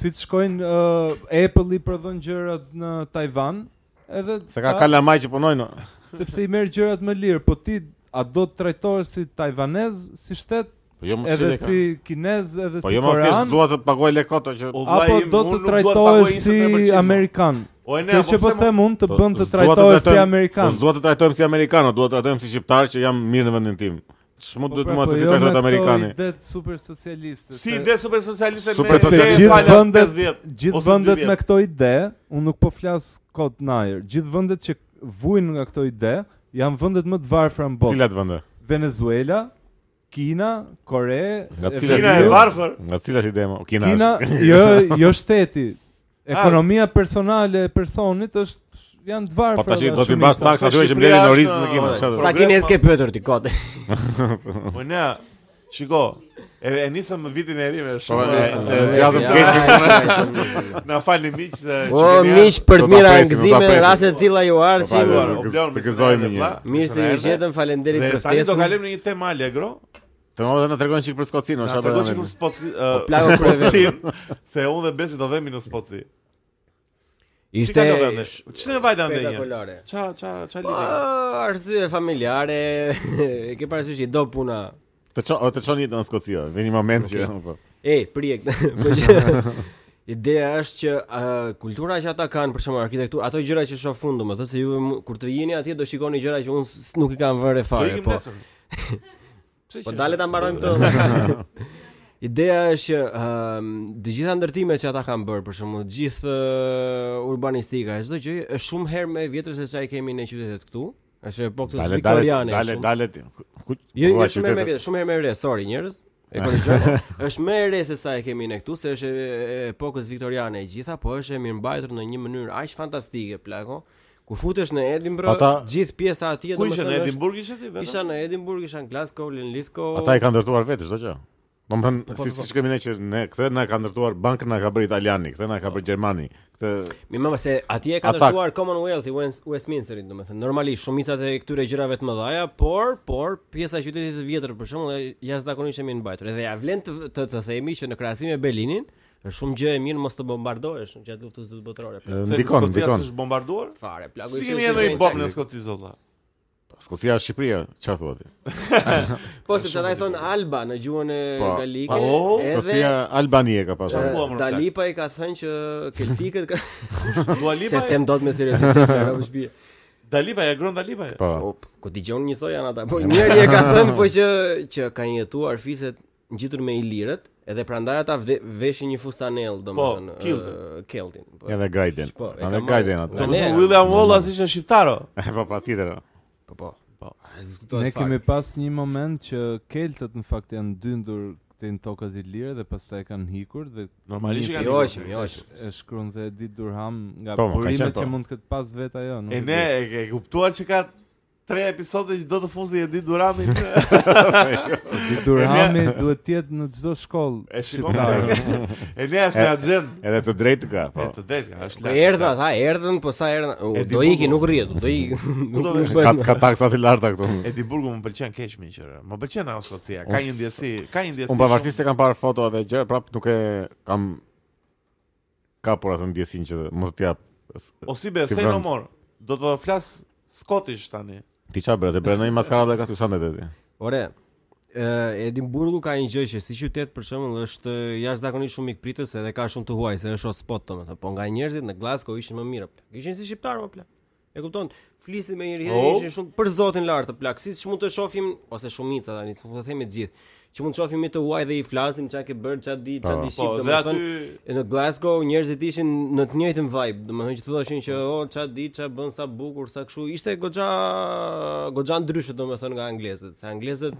Speaker 3: Si të shkojnë uh, Apple i prodhon gjërat në Taiwan, edhe
Speaker 2: Se ka
Speaker 3: ta-
Speaker 2: kalamaj që punojnë.
Speaker 3: sepse i merr gjërat më lirë, po ti a do të trajtohesh si taiwanez, si shtet?
Speaker 2: Po jo më si
Speaker 3: Edhe
Speaker 2: leka.
Speaker 3: si kinez, edhe
Speaker 2: Po
Speaker 3: si
Speaker 2: jo më thjesht
Speaker 3: korean,
Speaker 2: dua të paguaj lekota që
Speaker 1: O, vllai
Speaker 3: apo
Speaker 1: im,
Speaker 3: do
Speaker 1: unë
Speaker 3: të
Speaker 1: nuk dua paguaj
Speaker 3: trajtohesh
Speaker 1: 23%.
Speaker 3: si amerikan.
Speaker 1: O e ne,
Speaker 3: Kjo
Speaker 1: apo
Speaker 3: që po
Speaker 1: pse mo-
Speaker 3: them unë të
Speaker 2: Po,
Speaker 3: bën të
Speaker 2: s'dua
Speaker 3: trajtohesh si
Speaker 2: trajtojmë-
Speaker 3: amerikan.
Speaker 2: Po s'dua të trajtojmë si amerikan, o, dua të trajtojmë si shqiptar që jam mirë në vendin tim. Ç'më
Speaker 3: Po
Speaker 2: duhet
Speaker 3: pra,
Speaker 2: mua se si trajtohet amerikani?
Speaker 3: jo, Ide super socialiste.
Speaker 1: Si ide super socialiste
Speaker 2: Super
Speaker 1: me
Speaker 2: socialiste.
Speaker 1: gjithë
Speaker 3: gjithë vendet,
Speaker 1: 50.
Speaker 3: gjithë
Speaker 1: ose
Speaker 3: vendet
Speaker 1: 200.
Speaker 3: me këto ide, unë nuk po flas kot najer. Gjithë vendet që vujnë nga këto ide janë vendet më të varfra në botë.
Speaker 2: Cilat vende?
Speaker 3: Venezuela, Kina, Kore,
Speaker 2: Nga
Speaker 3: e
Speaker 2: cilat
Speaker 1: Kina
Speaker 3: Vietnam.
Speaker 1: e varfër.
Speaker 2: Nga cilat ide më? O, Kina.
Speaker 3: Kina,
Speaker 2: është.
Speaker 3: jo,
Speaker 2: *laughs*
Speaker 3: jo shteti.
Speaker 1: *laughs* Ah.
Speaker 3: Ekonomia personale e personit është janë të varfra.
Speaker 2: Po tash
Speaker 3: dhe
Speaker 2: do t'i
Speaker 3: shumica.
Speaker 2: bash taksa aty që
Speaker 1: Shqipëria
Speaker 2: mbledhin
Speaker 1: është,
Speaker 2: orizën në Kinë.
Speaker 1: ore,
Speaker 2: çfarë do?
Speaker 1: sa-
Speaker 4: Sa
Speaker 1: Progres
Speaker 4: kinez ke
Speaker 1: pas-
Speaker 4: pyetur ti kote?
Speaker 1: Po ne, shiko, e, e nisëm në vitin e ri
Speaker 4: Po,
Speaker 1: me shumë. e,
Speaker 2: e, e, zjatëm keq me
Speaker 4: *laughs*
Speaker 1: Na falni miq se
Speaker 4: O
Speaker 1: që keni
Speaker 4: Po, miq për
Speaker 2: Do
Speaker 4: të
Speaker 2: ta
Speaker 4: mira
Speaker 2: presim, do ta
Speaker 4: angëzime në
Speaker 2: presim.
Speaker 4: raste të tilla ju
Speaker 2: Po,
Speaker 4: arsim.
Speaker 2: po,
Speaker 1: ardhur. O,
Speaker 2: po,
Speaker 1: bleu,
Speaker 2: të
Speaker 1: më
Speaker 2: gëzojmë
Speaker 1: se ne
Speaker 2: një.
Speaker 1: vlla,
Speaker 4: Mirë
Speaker 1: se
Speaker 4: se
Speaker 1: ne
Speaker 4: ju
Speaker 1: erdhe.
Speaker 4: gjetëm, falenderit
Speaker 1: Dhe
Speaker 4: për
Speaker 1: tani do
Speaker 4: ftesën.
Speaker 1: kalojmë në një temë allegro.
Speaker 2: Të mos na tregon çik për Skocinë,
Speaker 1: Na
Speaker 4: Po,
Speaker 2: çfarë
Speaker 1: tregoj
Speaker 2: bënë.
Speaker 1: sikur spot
Speaker 4: plago
Speaker 1: *laughs*
Speaker 4: për e
Speaker 1: se unë dhe Besi do vemi në spotsi. Si
Speaker 4: Ishte
Speaker 1: ka vende? Ç'ne vajta ndonjë?
Speaker 4: spektakolare.
Speaker 1: Ça ça ça
Speaker 4: Po,
Speaker 1: lidhje?
Speaker 4: arsye familjare, *laughs* e ke parasysh që i do puna.
Speaker 2: Të çon të çon jetën jo, në Skoci, o, vjen një moment që po.
Speaker 4: E, prijek. *laughs* po
Speaker 1: *laughs*
Speaker 4: që- Ideja është që ë, kultura që ata kanë, për shembull arkitekturë, ato gjëra që shoh fund, domethënë se ju mu- kur të jeni atje do shikoni gjëra që unë s- nuk i kam vënë
Speaker 1: Do
Speaker 4: fare,
Speaker 1: ikim
Speaker 4: po. *laughs*
Speaker 1: nesër. Pse
Speaker 4: Po
Speaker 1: që-
Speaker 4: dale ta mbarojmë këtë. *laughs* Ideja është që ëm të gjitha ndërtimet që ata kanë bërë, për shembull, gjithë ë, urbanistika, çdo gjë është shumë herë më e vjetër se çfarë kemi në qytetet këtu. Është epoka
Speaker 2: Dale, dale,
Speaker 4: viktoriane.
Speaker 2: dale,
Speaker 4: shumë-
Speaker 2: dale. Ku?
Speaker 4: Jo,
Speaker 2: ku
Speaker 4: jo,
Speaker 2: ka
Speaker 4: shumë herë më e
Speaker 2: qytetet?
Speaker 4: vjetër, shumë herë më e re, sorry njerëz. E korrigjoj. është më e re se sa e kemi ne këtu, se është e e epokës viktoriane e gjitha, po është e mirëmbajtur në një mënyrë aq fantastike, plako. Kur futesh në Edinburgh,
Speaker 2: Ata-
Speaker 4: gjithë pjesa atje
Speaker 1: Ku ishe në
Speaker 4: domethënë është-
Speaker 1: Edinburgh ishe ti vetëm?
Speaker 4: Isha në Edinburgh, isha në Glasgow, në Lithgow.
Speaker 2: Ata i kanë ndërtuar vetë çdo gjë. Do më thënë, si si shkemi ne që ne, këtë na ka ndërtuar, bankën na ka bërë italiani, këtë na ka bërë gjermani, këtë...
Speaker 4: Mi mama se atje e ka
Speaker 2: Ata-
Speaker 4: ndërtuar Commonwealth i West- Westminsterit, domethënë. Normalisht shumicat e këtyre gjërave të mëdha, por por pjesa e qytetit të vjetër për shembull e jashtëzakonisht e mirë mbajtur. Edhe ja vlen të, të, të themi që në krahasim me Berlinin është shumë gjë e mirë mos të bombardohesh gjatë luftës së dytë botërore.
Speaker 2: e,
Speaker 4: Plak,
Speaker 1: Se
Speaker 2: Ndikon,
Speaker 1: Skocia
Speaker 2: ndikon.
Speaker 1: s'është bombarduar?
Speaker 4: Fare, plagu
Speaker 1: Si
Speaker 4: ishte-
Speaker 1: kemi
Speaker 4: ishte
Speaker 1: edhe i
Speaker 4: shenjtë.
Speaker 1: bob në Skoci zolla.
Speaker 2: Skocia është Shqipëria, çfarë thua ti?
Speaker 4: Po sepse ata i thon Alba në gjuhën e
Speaker 2: Po,
Speaker 4: galike.
Speaker 2: pa,
Speaker 1: o,
Speaker 2: Skocia
Speaker 4: Edhe
Speaker 2: Albani e ka
Speaker 1: Qa
Speaker 2: pasur.
Speaker 1: thua? Po, më, plak?
Speaker 4: Dalipa i ka thënë që keltikët ka
Speaker 1: Dua
Speaker 4: se
Speaker 1: Lipa.
Speaker 4: them dot me seriozitet, *laughs* apo shpije.
Speaker 1: Dalipa e gron Dalipa. e?
Speaker 2: Po,
Speaker 4: Op, ku dëgjon njësoj janë ata.
Speaker 3: *laughs*
Speaker 4: Po njëri e ka thënë po që që kanë jetuar fiset ngjitur me ilirët, edhe prandaj ata vde- veshin një fustanell, domethënë,
Speaker 1: Po, kiltin.
Speaker 4: ë, keltin. Po.
Speaker 2: edhe Gajden.
Speaker 4: Po, e ka
Speaker 2: Edhe
Speaker 4: marrë-
Speaker 2: Gajden
Speaker 1: Do
Speaker 2: atë.
Speaker 1: të
Speaker 4: Ne-
Speaker 1: thonë William Wallace ishte shqiptaro.
Speaker 2: *laughs* Po, pa tjetër.
Speaker 4: Po po. Po. a, Diskutohet
Speaker 3: Ne
Speaker 4: fakt.
Speaker 3: kemi pas një moment që keltët në fakt janë dyndur këtë në tokat i lirë dhe pastaj kanë hikur dhe
Speaker 1: Normalisht e kanë
Speaker 4: Jo,
Speaker 1: ikur.
Speaker 4: jo, jo.
Speaker 3: e shkruan dhe Edith Durham nga
Speaker 2: Po, mo, ka qenë,
Speaker 3: burimet
Speaker 2: po.
Speaker 3: që mund të këtë pas vetë ajo. nuk
Speaker 1: E
Speaker 3: e
Speaker 1: ne
Speaker 3: di.
Speaker 1: e ke kuptuar që ka tre episode që do të fuzi e ditë Duramin.
Speaker 2: *laughs*
Speaker 3: Edith Durhami duhet të jetë në çdo shkollë
Speaker 1: E shikon.
Speaker 3: shqiptare.
Speaker 2: Po,
Speaker 1: E ne është me agjend.
Speaker 2: Edhe të drejtë ka,
Speaker 1: E
Speaker 2: po.
Speaker 1: të drejtë, ka, është
Speaker 4: Po
Speaker 1: lart.
Speaker 4: erdhën ata, erdhën, po sa erdhën, u, do
Speaker 1: Edinburghu.
Speaker 4: ikin, nuk rrjetu, do ikin. Nuk
Speaker 1: do
Speaker 4: nuk
Speaker 1: vesh?
Speaker 2: Ka,
Speaker 4: bëhet.
Speaker 2: ka taksa të larta këtu.
Speaker 1: Edinburgu më pëlqen keq më qëra. Më pëlqen ajo Skocia. Ka një ndjesi, ka një ndjesi.
Speaker 2: Unë pavarësisht se kam parë foto dhe gjë, prap nuk e kam kapur atë ndjesinë që mos t'jap.
Speaker 1: shumë- O si be,
Speaker 2: si
Speaker 1: se no
Speaker 2: vend.
Speaker 1: more. Do të flas Scottish tani.
Speaker 2: Ti çfarë bëre? Të bëre ndonjë maskaradë ka ty sa ndetë ti.
Speaker 4: Ore, ë, Edinburgu ka një gjë që si qytet për shembull është ë, jashtëzakonisht shumë mikpritës edhe ka shumë të huaj, se është hotspot domethënë, po nga njerëzit në Glasgow ishin më mirë plak. Ishin si shqiptarë më plak. E kupton? Flisin me njëri
Speaker 1: Oh.
Speaker 4: oh. ishin shumë për zotin lart të plak. Siç mund të shohim ose shumica tani, s'u po themi të gjithë, që mund të shohim të huaj dhe i flasim çka ke bër, çka di, çka
Speaker 2: Po.
Speaker 4: di
Speaker 1: Po,
Speaker 4: shqip
Speaker 1: dhe aty
Speaker 4: E Në Glasgow njerëzit ishin në të njëjtin vibe, domethënë që thoshin që o ça di, ça bën sa bukur, sa kështu. Ishte goxha goxha ndryshe domethënë nga anglezët. Se anglezët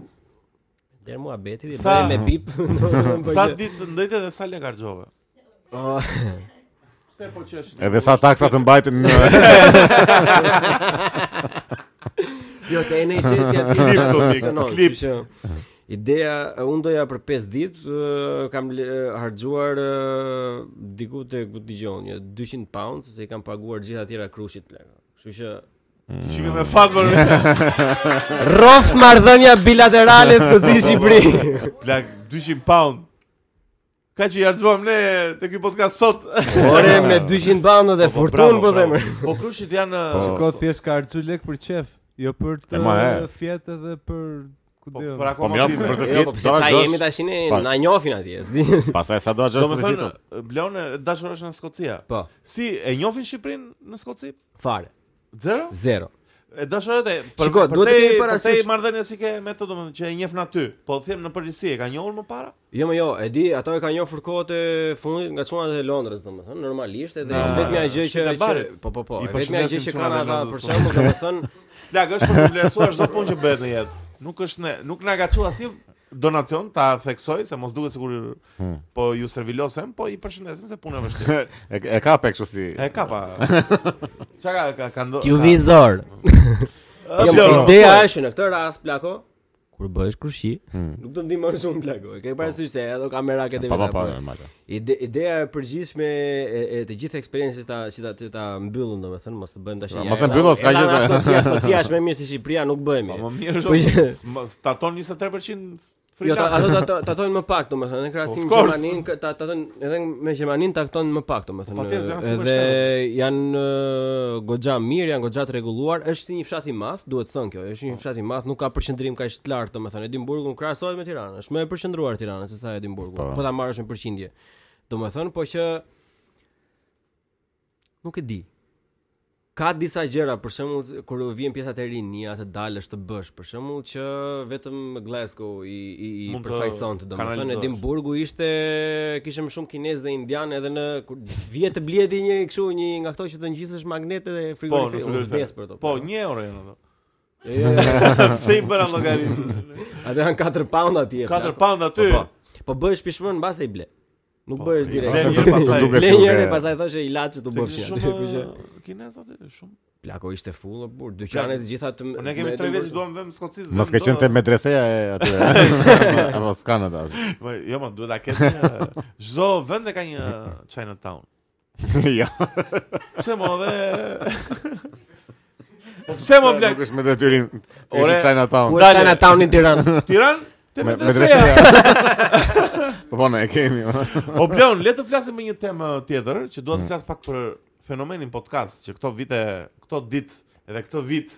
Speaker 4: der mua beti dhe
Speaker 1: Sa-
Speaker 4: bëhen me
Speaker 1: *laughs*
Speaker 4: pip. *laughs* domethënë, po
Speaker 1: sa
Speaker 4: që-
Speaker 1: ditë ndëjtë dhe sa lekë harxove.
Speaker 4: O,
Speaker 1: Se po qesh.
Speaker 2: Edhe sa taksa të mbajtin në
Speaker 4: Jo se e ne qesi
Speaker 1: *laughs*
Speaker 4: aty
Speaker 1: Klip do
Speaker 4: aty
Speaker 1: vik,
Speaker 4: funksionon,
Speaker 1: klip.
Speaker 4: kështu që Ideja, unë doja për 5 ditë, ë, kam le- ë, harxuar ë, diku te ku dëgjon, një 200 pounds, se i kam paguar gjithë atyra krushit plak. Kështu që
Speaker 1: Shikoj me Fatmën. *laughs*
Speaker 4: Roft marrëdhënia bilaterale Skoci Shqipëri.
Speaker 1: Plak 200 pound. Ka që i harxuam ne te ky podcast sot.
Speaker 2: Po,
Speaker 4: Ore me 200 bando dhe
Speaker 1: bravo,
Speaker 4: fortun po
Speaker 1: bravo.
Speaker 4: them.
Speaker 1: Po krushit janë
Speaker 2: Po.
Speaker 3: Shiko thjesht ka arxu lek për qef, jo për
Speaker 2: E, ma,
Speaker 3: të
Speaker 2: e.
Speaker 3: fjetë edhe për ku
Speaker 1: Po,
Speaker 3: diun.
Speaker 1: për
Speaker 2: Po
Speaker 1: akoma
Speaker 2: *laughs* mira,
Speaker 1: motive.
Speaker 2: për të
Speaker 4: Jo, po
Speaker 2: fitë,
Speaker 4: pse
Speaker 2: do
Speaker 4: çaj jemi
Speaker 2: të
Speaker 4: tash ne
Speaker 2: Pa.
Speaker 4: na njohin atje, s'di.
Speaker 2: *laughs* Pastaj sa do
Speaker 1: Do
Speaker 2: të gjosh
Speaker 1: më
Speaker 2: për
Speaker 1: thënë,
Speaker 2: fitën.
Speaker 1: Blon e dashur është në Skocia.
Speaker 4: Po,
Speaker 1: Si e njohin Shqipërinë në Skoci?
Speaker 4: fare.
Speaker 1: Zero?
Speaker 4: Zero.
Speaker 1: E dashurët e për
Speaker 4: Shiko,
Speaker 1: për
Speaker 4: duhet
Speaker 1: te
Speaker 4: të kemi
Speaker 1: për te
Speaker 4: parasysh-
Speaker 1: marrëdhënia si ke me të domethënë që e njeh në aty, po them në përgjithësi e ka njohur më para?
Speaker 4: Jo, më jo, e di, ato e kanë njohur kohët e fundit nga çunat e Londrës, domethënë, normalisht, edhe
Speaker 1: Na,
Speaker 4: vetmja gjë që,
Speaker 1: shpite
Speaker 4: që
Speaker 1: bare.
Speaker 4: po po po,
Speaker 1: I
Speaker 4: e vetmja gjë
Speaker 1: përshëndesim
Speaker 4: që
Speaker 1: çunat e
Speaker 4: kanë ata
Speaker 1: Londrës,
Speaker 4: për
Speaker 1: po.
Speaker 4: shembull, domethënë,
Speaker 1: Plak është për të vlerësuar çdo punë që bëhet në jetë. Nuk është ne, nuk na ka çu asnjë donacion, ta theksoj se mos duket sikur
Speaker 2: Hmm.
Speaker 1: po ju servilosem, po i përshëndesim se puna është vështirë.
Speaker 2: *laughs* E, e ka pe kështu si.
Speaker 1: E kapa.
Speaker 2: *laughs*
Speaker 1: Çka ka ka ka ndo.
Speaker 4: vizor.
Speaker 1: Ka- Jo,
Speaker 4: Jo, po,
Speaker 1: jo,
Speaker 4: ideja
Speaker 1: po.
Speaker 4: është në këtë rast plako kur bëhesh kurshi, nuk do ndihmon shumë plako. E ke parasysh se ato kamera këtë
Speaker 2: Hmm. Pa pa pa, normal.
Speaker 4: Ide, ideja e përgjithshme e, e të gjithë eksperiencës ta që ta të ta mbyllën domethënë mos të bëjmë tash.
Speaker 2: Mos e mbyllë, s'ka gjë
Speaker 1: *laughs*
Speaker 2: se-
Speaker 4: Skocia, Skocia është më mirë se Shqipëria nuk
Speaker 1: Po
Speaker 4: bëhemi.
Speaker 1: më mirë
Speaker 4: Po,
Speaker 1: është. s- Staton 23%
Speaker 4: Jo, ta-
Speaker 1: frikë.
Speaker 4: ato ta- ta- tatojnë më pak domethënë, në krahasim
Speaker 1: Of
Speaker 4: me
Speaker 1: course.
Speaker 4: Gjermaninë, kë- ta- tatojnë edhe me Gjermaninë taktojnë më pak domethënë.
Speaker 1: Po, patjetër, janë super
Speaker 4: Edhe janë eh, goxha mirë, janë goxha të rregulluar, është si një fshat i madh, duhet thënë kjo, është një
Speaker 1: Po.
Speaker 4: fshat i madh, nuk ka përqendrim kaq të lartë domethënë. Edimburgu krahasohet me Tiranën, është më e përqendruar Tirana se sa Edimburgu.
Speaker 2: Po.
Speaker 4: Po ta marrësh me përqindje. Domethënë, po që nuk e di. Ka disa gjëra, për shembull, kur vjen pjesat e rinia, të dalësh të bësh, për shembull që vetëm Glasgow i i, i
Speaker 1: Mund të
Speaker 4: përfaqësonte, domethënë
Speaker 1: kanalizohesh.
Speaker 4: Edimburgu ishte kishte më shumë kinez dhe indian edhe në kur vije të bleti një kështu një nga ato që të ngjisesh magnete dhe
Speaker 1: Po, në
Speaker 4: frigorifer, u
Speaker 1: frigorifer.
Speaker 4: vdes për to. pra.
Speaker 1: Po, 1 euro janë ato.
Speaker 4: *laughs* Jo, jo, jo.
Speaker 1: Pse i bëra llogarit?
Speaker 4: *laughs* atë janë 4 pound atje.
Speaker 1: 4
Speaker 4: plako.
Speaker 1: pound aty.
Speaker 4: Po, po. po bëhesh pishmën mbase i ble. Nuk bëhesh
Speaker 1: blen
Speaker 4: *laughs* direkt.
Speaker 1: Po, një herë pastaj.
Speaker 2: Duket
Speaker 4: Ble një herë
Speaker 2: duke-
Speaker 4: pastaj thoshe ilaçe të
Speaker 1: Se
Speaker 4: bësh. *laughs*
Speaker 1: kishin
Speaker 4: janë. Kështu që-
Speaker 1: Shumë kinez aty, shumë.
Speaker 4: Plako ishte full, o burr, dyqanet të gjitha të
Speaker 1: Po ne kemi 3 vjet që duam vëmë Skocis. vëmë
Speaker 2: Mos ka
Speaker 1: do-
Speaker 2: qenë te medreseja e aty. *laughs* Apo s'kan ata.
Speaker 1: Po, Jo, më duhet ta kesh. një- Çdo vend e ka një Chinatown.
Speaker 2: *laughs* Jo.
Speaker 1: Pse mo dhe Po pse mo blek?
Speaker 2: Nuk është me detyrim.
Speaker 1: Ore,
Speaker 2: Është Chinatown.
Speaker 4: Ku
Speaker 1: Dale.
Speaker 4: është ana towni Tiranë?
Speaker 1: Tiran? Te
Speaker 2: Me
Speaker 1: medreseja.
Speaker 2: *laughs* Po po, ne e kemi.
Speaker 1: O Blon, le të flasim për një temë tjetër që
Speaker 2: Mm.
Speaker 1: dua të flas pak për fenomenin podcast që këto vite, këto ditë edhe këto vit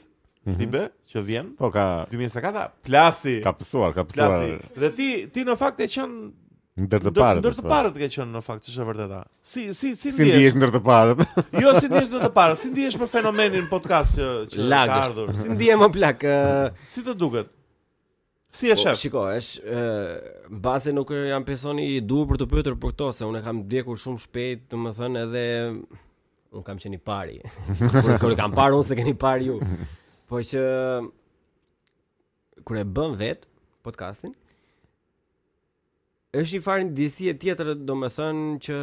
Speaker 1: si be që vjen
Speaker 2: Po ka
Speaker 1: 2024 plasi.
Speaker 2: Mhm. ka pësuar, ka
Speaker 1: Plasi.
Speaker 2: pësuar.
Speaker 1: Dhe ti ti në fakt e qen
Speaker 2: Ndër të
Speaker 1: ndër-
Speaker 2: parët.
Speaker 1: ndër të
Speaker 2: po.
Speaker 1: parët ke qen në fakt, ç'është e vërteta. Si si si
Speaker 2: Si ndihesh ndër të parët?
Speaker 1: Jo, si ndihesh në të parë, si ndihesh për fenomenin podcast që që ka
Speaker 4: Lagësht.
Speaker 1: ardhur.
Speaker 4: Si ndihem më plak? ë,
Speaker 1: Si të duket? Si e
Speaker 4: po,
Speaker 1: shef?
Speaker 4: Shiko, është ë, mbase nuk jam personi i duhur për të pyetur për këto se unë e kam ndjekur shumë shpejt, domethënë edhe un kam qenë i pari. Kur kur e kam parë unë se keni parë ju. Po që kur e bën vet podcastin është një farë ndjesie tjetër, domethënë që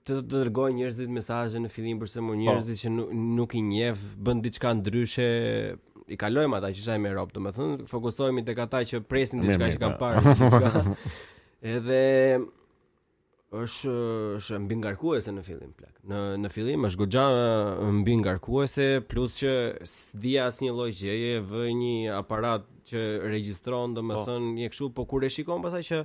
Speaker 4: të të dërgojnë njerëzit mesazhe në fillim përse
Speaker 2: Po.
Speaker 4: më njerëzit që nuk, nuk i njeh bën diçka ndryshe i kalojmë ata që shajmë në Europë, domethënë fokusohemi tek ata që presin
Speaker 2: Mirë,
Speaker 4: diçka
Speaker 2: mirë,
Speaker 4: që kanë
Speaker 2: po.
Speaker 4: parë. diçka.
Speaker 2: *laughs*
Speaker 4: Edhe është është mbi ngarkuese në fillim plak. Në në fillim është goxha ë, mbi ngarkuese plus që s'di asnjë lloj gjëje, vë një aparat që regjistron domethënë një kështu, po kur e shikon pastaj që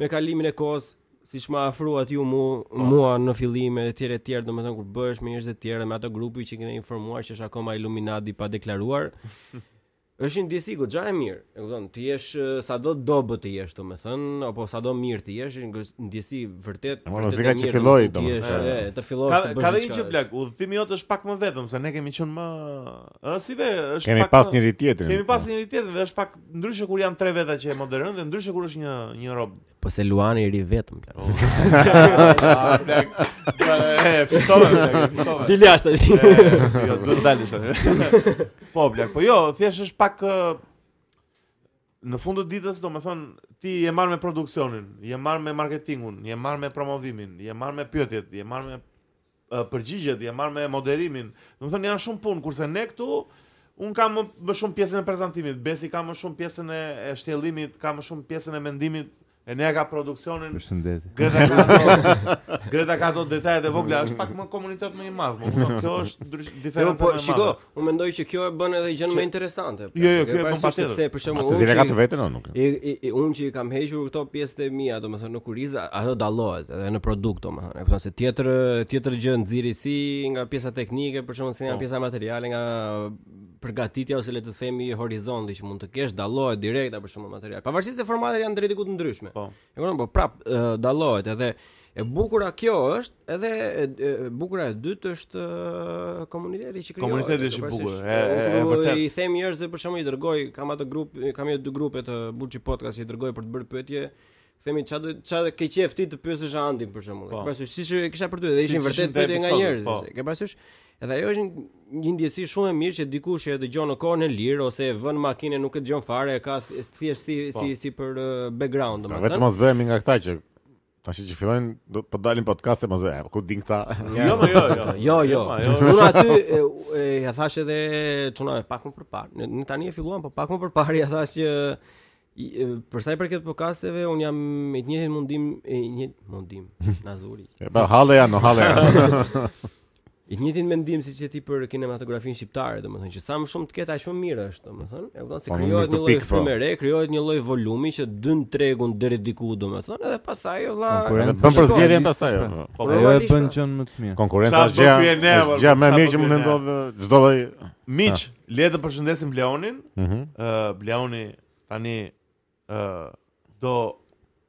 Speaker 4: me kalimin e kohës siç më afruat ju mu, mua në fillim e tjerë e tjerë, domethënë kur bëhesh me njerëz të tjerë, me ato grupi që kene informuar që është akoma Illuminati pa deklaruar, është një ndjesi goxha e mirë. E kupton, ti jesh eh, sado dobët të jesh, domethënë, apo sado mirë të jesh, është një gos- ndjesi vërtet
Speaker 2: Po,
Speaker 4: vërtet e
Speaker 2: muzika që
Speaker 4: mirë,
Speaker 2: filloi,
Speaker 4: domethënë, ti
Speaker 2: domethënë.
Speaker 4: jesh, e, të fillosh
Speaker 1: Ka
Speaker 4: të bësh.
Speaker 1: ka dhe një
Speaker 4: diçka,
Speaker 1: gjë blak, udhëtimi jot është pak më vetëm se ne kemi qenë më ë si be, është
Speaker 2: Kemi
Speaker 1: pak
Speaker 2: pas
Speaker 1: më-
Speaker 2: njëri tjetrin.
Speaker 1: Kemi pas njëri tjetrin dhe është pak ndryshe kur janë tre veta që e moderojnë dhe ndryshe kur është një një *laughs* rob.
Speaker 4: Po se Luani i ri vetëm. plak.
Speaker 1: Oh.
Speaker 4: *laughs*
Speaker 1: Ah, blak. E fitove, blak, e fitove.
Speaker 4: Dili jashtë.
Speaker 1: *laughs* E, Jo, duhet dalësh atë. Po, blak, po jo, thjesht është pak ë, në fund të ditës, domethënë ti je marr me produksionin, je marr me marketingun, je marr me promovimin, je marr me pyetjet, je marr me ë, përgjigjet, je marr me moderimin. Domethënë janë shumë punë, kurse ne këtu Un kam më- më shumë pjesën e prezantimit, Besi ka më shumë pjesën e, e shtjellimit, ka më shumë pjesën e mendimit, e ne ka produksionin
Speaker 3: Përshëndetje.
Speaker 1: Greta ka ato Greta ka ato detajet e vogla, është pak më komunitet më i madh, më kupton, kjo është ndrysh
Speaker 4: Jo,
Speaker 1: diferenca
Speaker 4: po
Speaker 1: më e madhe.
Speaker 4: shiko, unë mendoj që kjo e bën edhe gjën më interesante.
Speaker 1: Jo, jo, kjo e
Speaker 4: Ke
Speaker 1: bën
Speaker 4: parasysh
Speaker 1: patjetër.
Speaker 4: sepse, për shembull,
Speaker 2: Po, Se
Speaker 4: unë
Speaker 2: zile ka
Speaker 4: që-
Speaker 2: të vetën o nuk?
Speaker 4: I, i, i unë që i kam hequr këto pjesët e mia, domethënë në kuriza, ato dallohet edhe në produkt, domethënë. E kupton se tjetër tjetër gjë nxirri si nga pjesa teknike, për shembull, si nga pjesa materiale, nga përgatitja ose le të themi horizonti që mund të kesh, dallohet direkt apo për shembull material. Pavarësisht se formatet janë drejt diku të ndryshme.
Speaker 1: Po.
Speaker 4: E kupton, po prap ë, dallohet edhe e bukura kjo është, edhe e, e bukura e dytë është ë, komuniteti që krijohet.
Speaker 1: Komuniteti është i
Speaker 4: përparasysh.
Speaker 1: bukur, e- e- e
Speaker 4: Unë kur
Speaker 1: vërtet.
Speaker 4: I them njerëzve për shembull i dërgoj, kam atë grup, kam jo dy grupe të Bulçi Podcast që i dërgoj për të bërë pyetje. Themi ç'a do ç'a ke qejf ti të pyesësh Andin për shembull.
Speaker 1: Po.
Speaker 4: Ke parasysh siç e kisha për ty, dhe
Speaker 1: Si-
Speaker 4: ishin
Speaker 1: si
Speaker 4: vërtet
Speaker 1: ishin te
Speaker 4: pyetje nga
Speaker 1: episodet,
Speaker 4: njerëz.
Speaker 1: po.
Speaker 4: se- Ke parasysh? Edhe ajo është një- një ndjesi shumë e mirë që dikush që e dëgjon në kohën e lirë ose e vën makinën nuk e dëgjon fare, e ka th- thjesht si
Speaker 1: Po.
Speaker 4: si si për ë, background domethënë.
Speaker 2: Vetëm mos bëhemi nga këta që tash që fillojnë do po dalin podcaste mos bëhem. Ku din këta?
Speaker 1: *laughs* Jo, më jo, jo.
Speaker 4: Jo, jo.
Speaker 1: ma,
Speaker 4: *laughs* Unë aty e, e, ja thash edhe çuna pak më përpara. Në- Në tani e filluam, po pak më përpara ja thash që i- e, për sa i përket podcasteve, un jam me të njëjtin mundim, e një mundim, nazuri.
Speaker 2: E, Po halle janë, o, halle janë.
Speaker 4: I të njëjtin mendim siç e ti për kinematografinë shqiptare, domethënë që sa më shumë të ketë aq më mirë është, domethënë. E kupton se
Speaker 2: Po, më mirë
Speaker 4: krijohet
Speaker 2: të
Speaker 4: një lloj
Speaker 2: pikë, po.
Speaker 4: frymë e re, krijohet një lloj volumi që dyn tregun deri diku, domethënë, edhe pastaj o vlla.
Speaker 3: Konkurenca.
Speaker 2: Bën po, për
Speaker 3: Shiko,
Speaker 2: zgjedhjen
Speaker 3: nisë-
Speaker 2: pastaj. o.
Speaker 3: Po.
Speaker 1: Po,
Speaker 3: Ajo e
Speaker 4: normalisht,
Speaker 3: bën
Speaker 4: pra.
Speaker 3: gjën më të mirë.
Speaker 2: Konkurenca
Speaker 1: Sa
Speaker 2: është gjëja.
Speaker 1: do ky e ne,
Speaker 2: është Gjëja
Speaker 1: po,
Speaker 2: më
Speaker 1: sa
Speaker 2: mirë
Speaker 1: do
Speaker 2: që
Speaker 1: ky e
Speaker 2: mund të
Speaker 1: ne.
Speaker 2: ndodhë çdo lloj.
Speaker 1: Miq, le të përshëndesim Bleonin.
Speaker 2: Mhm.
Speaker 1: Ë Bleoni tani ë do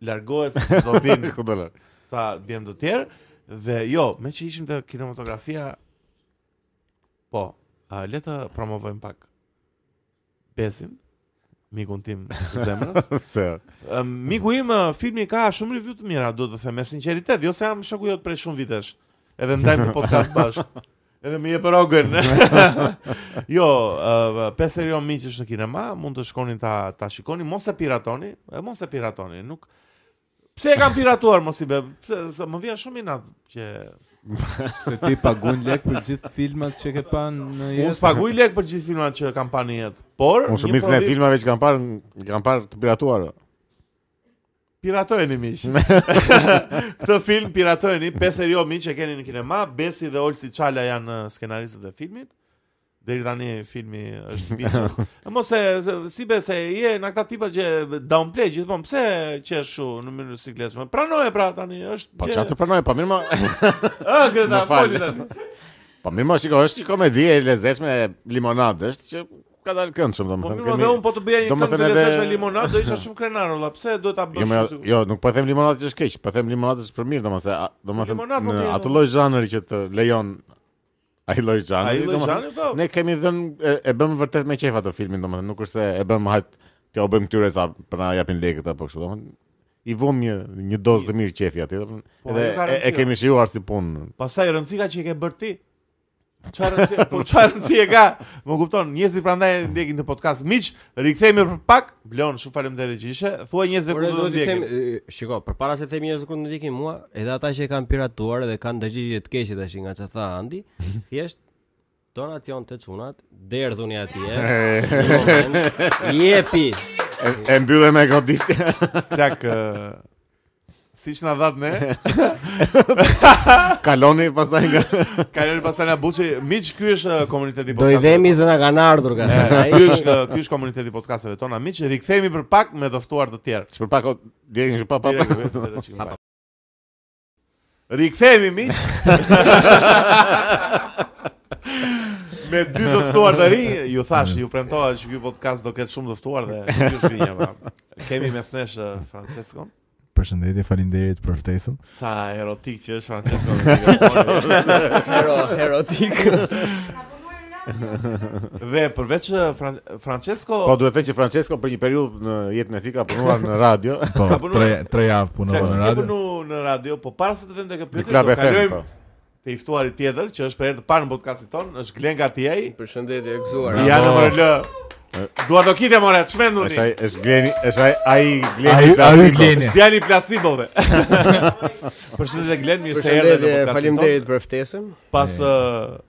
Speaker 1: largohet se do
Speaker 4: *laughs*
Speaker 1: vinë
Speaker 2: Ku do lë? *laughs*
Speaker 1: ca djem të tjerë dhe jo, me që ishim te kinematografia po, ë, le të promovojmë pak Besin, mikun tim të zemrës.
Speaker 2: Pse?
Speaker 1: Ëm, Miku im, ë, filmi ka shumë review të mira, do të them me sinqeritet, jo se jam shoku jot prej shumë vitesh. Edhe ndajmë të podcast bashkë. Edhe më jep rogën. *laughs* jo, uh, Peserion miq është në kinema, mund të shkoni ta ta shikoni, mos e piratoni, e mos e piratoni, nuk Pse e kam piratuar mos i be? Pse se më vjen shumë inat që
Speaker 3: Se ti pagun lek për gjithë filmat që ke pa në
Speaker 1: unë
Speaker 3: jetë.
Speaker 1: spaguj lek për gjithë filmat që kam parë në jetë. Por
Speaker 2: Unë
Speaker 1: një
Speaker 2: shumicën e
Speaker 1: prodhim-
Speaker 2: filmave që kam parë, kam parë të piratuar. o.
Speaker 1: Piratojeni
Speaker 2: *laughs*
Speaker 1: miq. Këtë film piratojeni, pesë jo miq e keni në kinema, Besi dhe Olsi Çala janë ë, skenaristët e filmit. Deri tani filmi është
Speaker 2: *laughs*
Speaker 1: mbiqur. Mos e se- si be se je në këta tipa që downplay gjithmonë, pse që është shu në mënyrë sikletshme. Pranoje pra tani, është
Speaker 2: Po çfarë të pranoj, pa mirë më
Speaker 1: Ë, Greta
Speaker 2: Më fal.
Speaker 1: foli tani.
Speaker 2: Po mirë më shiko, është një komedi e lezetshme e limonadë, është që ka dalë këndshëm shumë
Speaker 1: Po
Speaker 2: domethënë.
Speaker 1: mirë,
Speaker 2: kemi-
Speaker 1: dhe unë po të bëja një
Speaker 2: Do më
Speaker 1: këngë të
Speaker 2: thënë
Speaker 1: lezesh
Speaker 2: edhe-
Speaker 1: me limonadë, do isha shumë krenar, olla. Pse do ta
Speaker 2: Jo,
Speaker 1: bësh?
Speaker 2: më,
Speaker 1: shumë sikur-
Speaker 2: jo, nuk po them limonadë që është keq, po them limonadë që është për mirë, domethënë, a- domethënë
Speaker 1: Limonadë më
Speaker 2: në
Speaker 1: mirë,
Speaker 2: atë
Speaker 1: po.
Speaker 2: lloj zhanri që të lejon ai lloj
Speaker 1: Ai
Speaker 2: zhanri,
Speaker 1: lloj zhanri, po.
Speaker 2: Ne kemi dhënë e, e bëm vërtet me qefa të filmin, domethënë, nuk është se e bëm hajt t'ja u bëjmë këtyre sa për na japin lekët apo kështu, domethënë i vëm një një dozë të mirë qefi aty, domethënë,
Speaker 1: Po,
Speaker 2: edhe
Speaker 1: ajo ka
Speaker 2: e, e
Speaker 1: rëndësi,
Speaker 2: kemi shijuar si punë.
Speaker 1: Pastaj rëndësika që i ke bërë ti. Çfarë rëndësi? Po çfarë rëndësi e ka? Më kupton, njerëzit prandaj e ndjekin të podcast. Miq, rikthehemi për pak. Blon, shumë faleminderit që ishe. Thuaj njerëzve ku
Speaker 4: Por
Speaker 1: do të
Speaker 4: do të them,
Speaker 1: ndjekin.
Speaker 4: e, shiko, përpara se të them njerëz ku do të ndjekin mua, edhe ata që e kanë piratuar dhe kanë dëgjigje të keqe tash nga çfarë tha Andi,
Speaker 6: *laughs*
Speaker 4: thjesht donacion të çunat, derdhuni
Speaker 6: *laughs*
Speaker 4: atje. Jepi.
Speaker 2: E, e mbyllem me godit.
Speaker 1: Plak ë, siç na dhat ne,
Speaker 2: *laughs* Kaloni pastaj nga
Speaker 1: kalori pastaj na buçi. Miq, ky është ë, komuniteti i
Speaker 4: Do i
Speaker 1: podcasteve.
Speaker 4: vemi se na kanë ardhur
Speaker 6: *laughs*
Speaker 4: ka. thënë ai.
Speaker 1: Ky është ë, ky është komuniteti i podcasteve tona. Miq, rikthehemi për pak me të ftuar të tjerë.
Speaker 2: Që për pak o- djegin që pa pa pa.
Speaker 1: Direkt, vetë, vetë, çikim pak. Rikthehemi miq. Me dy të ftuar të ri, ju thash, ju premtova që ky podcast do ketë shumë të ftuar dhe ky është vinja pra. Kemi mes nesh eh, Franceskon.
Speaker 5: Përshëndetje, faleminderit për ftesën.
Speaker 1: Sa erotik që është *laughs* Franceskon.
Speaker 4: Hero, erotik.
Speaker 6: *laughs*
Speaker 1: dhe përveç eh, Fran Francesco
Speaker 2: *laughs* Po duhet të thënë që Francesco për një periudhë në jetën e tij ka punuar në radio.
Speaker 5: Po,
Speaker 1: Ka punuar-
Speaker 5: tre tre javë punova
Speaker 1: Francesco
Speaker 5: në
Speaker 1: ke
Speaker 5: radio.
Speaker 1: punu në radio, po para se të vëmë tek
Speaker 2: Në
Speaker 1: pyetje,
Speaker 2: klub
Speaker 1: do
Speaker 2: e them.
Speaker 1: kalojmë
Speaker 2: po.
Speaker 1: te i ftuari tjetër që është për herë të parë në podcastin ton, është Glen Gatiaj.
Speaker 4: Përshëndetje e gëzuar.
Speaker 1: Ja në mërlë. Dua do kite more, të shmenduni.
Speaker 2: Është ai është Gleni, është ai ai Gleni. po.
Speaker 5: Ai-
Speaker 2: Plastikos.
Speaker 5: ai Gleni.
Speaker 1: Djali i placebove. *laughs* Përshëndetje Glen, mirë se erdhe. në
Speaker 6: Përshëndetje,
Speaker 1: podcastin
Speaker 6: faleminderit për
Speaker 1: ton.
Speaker 6: ftesën.
Speaker 1: Pas uh,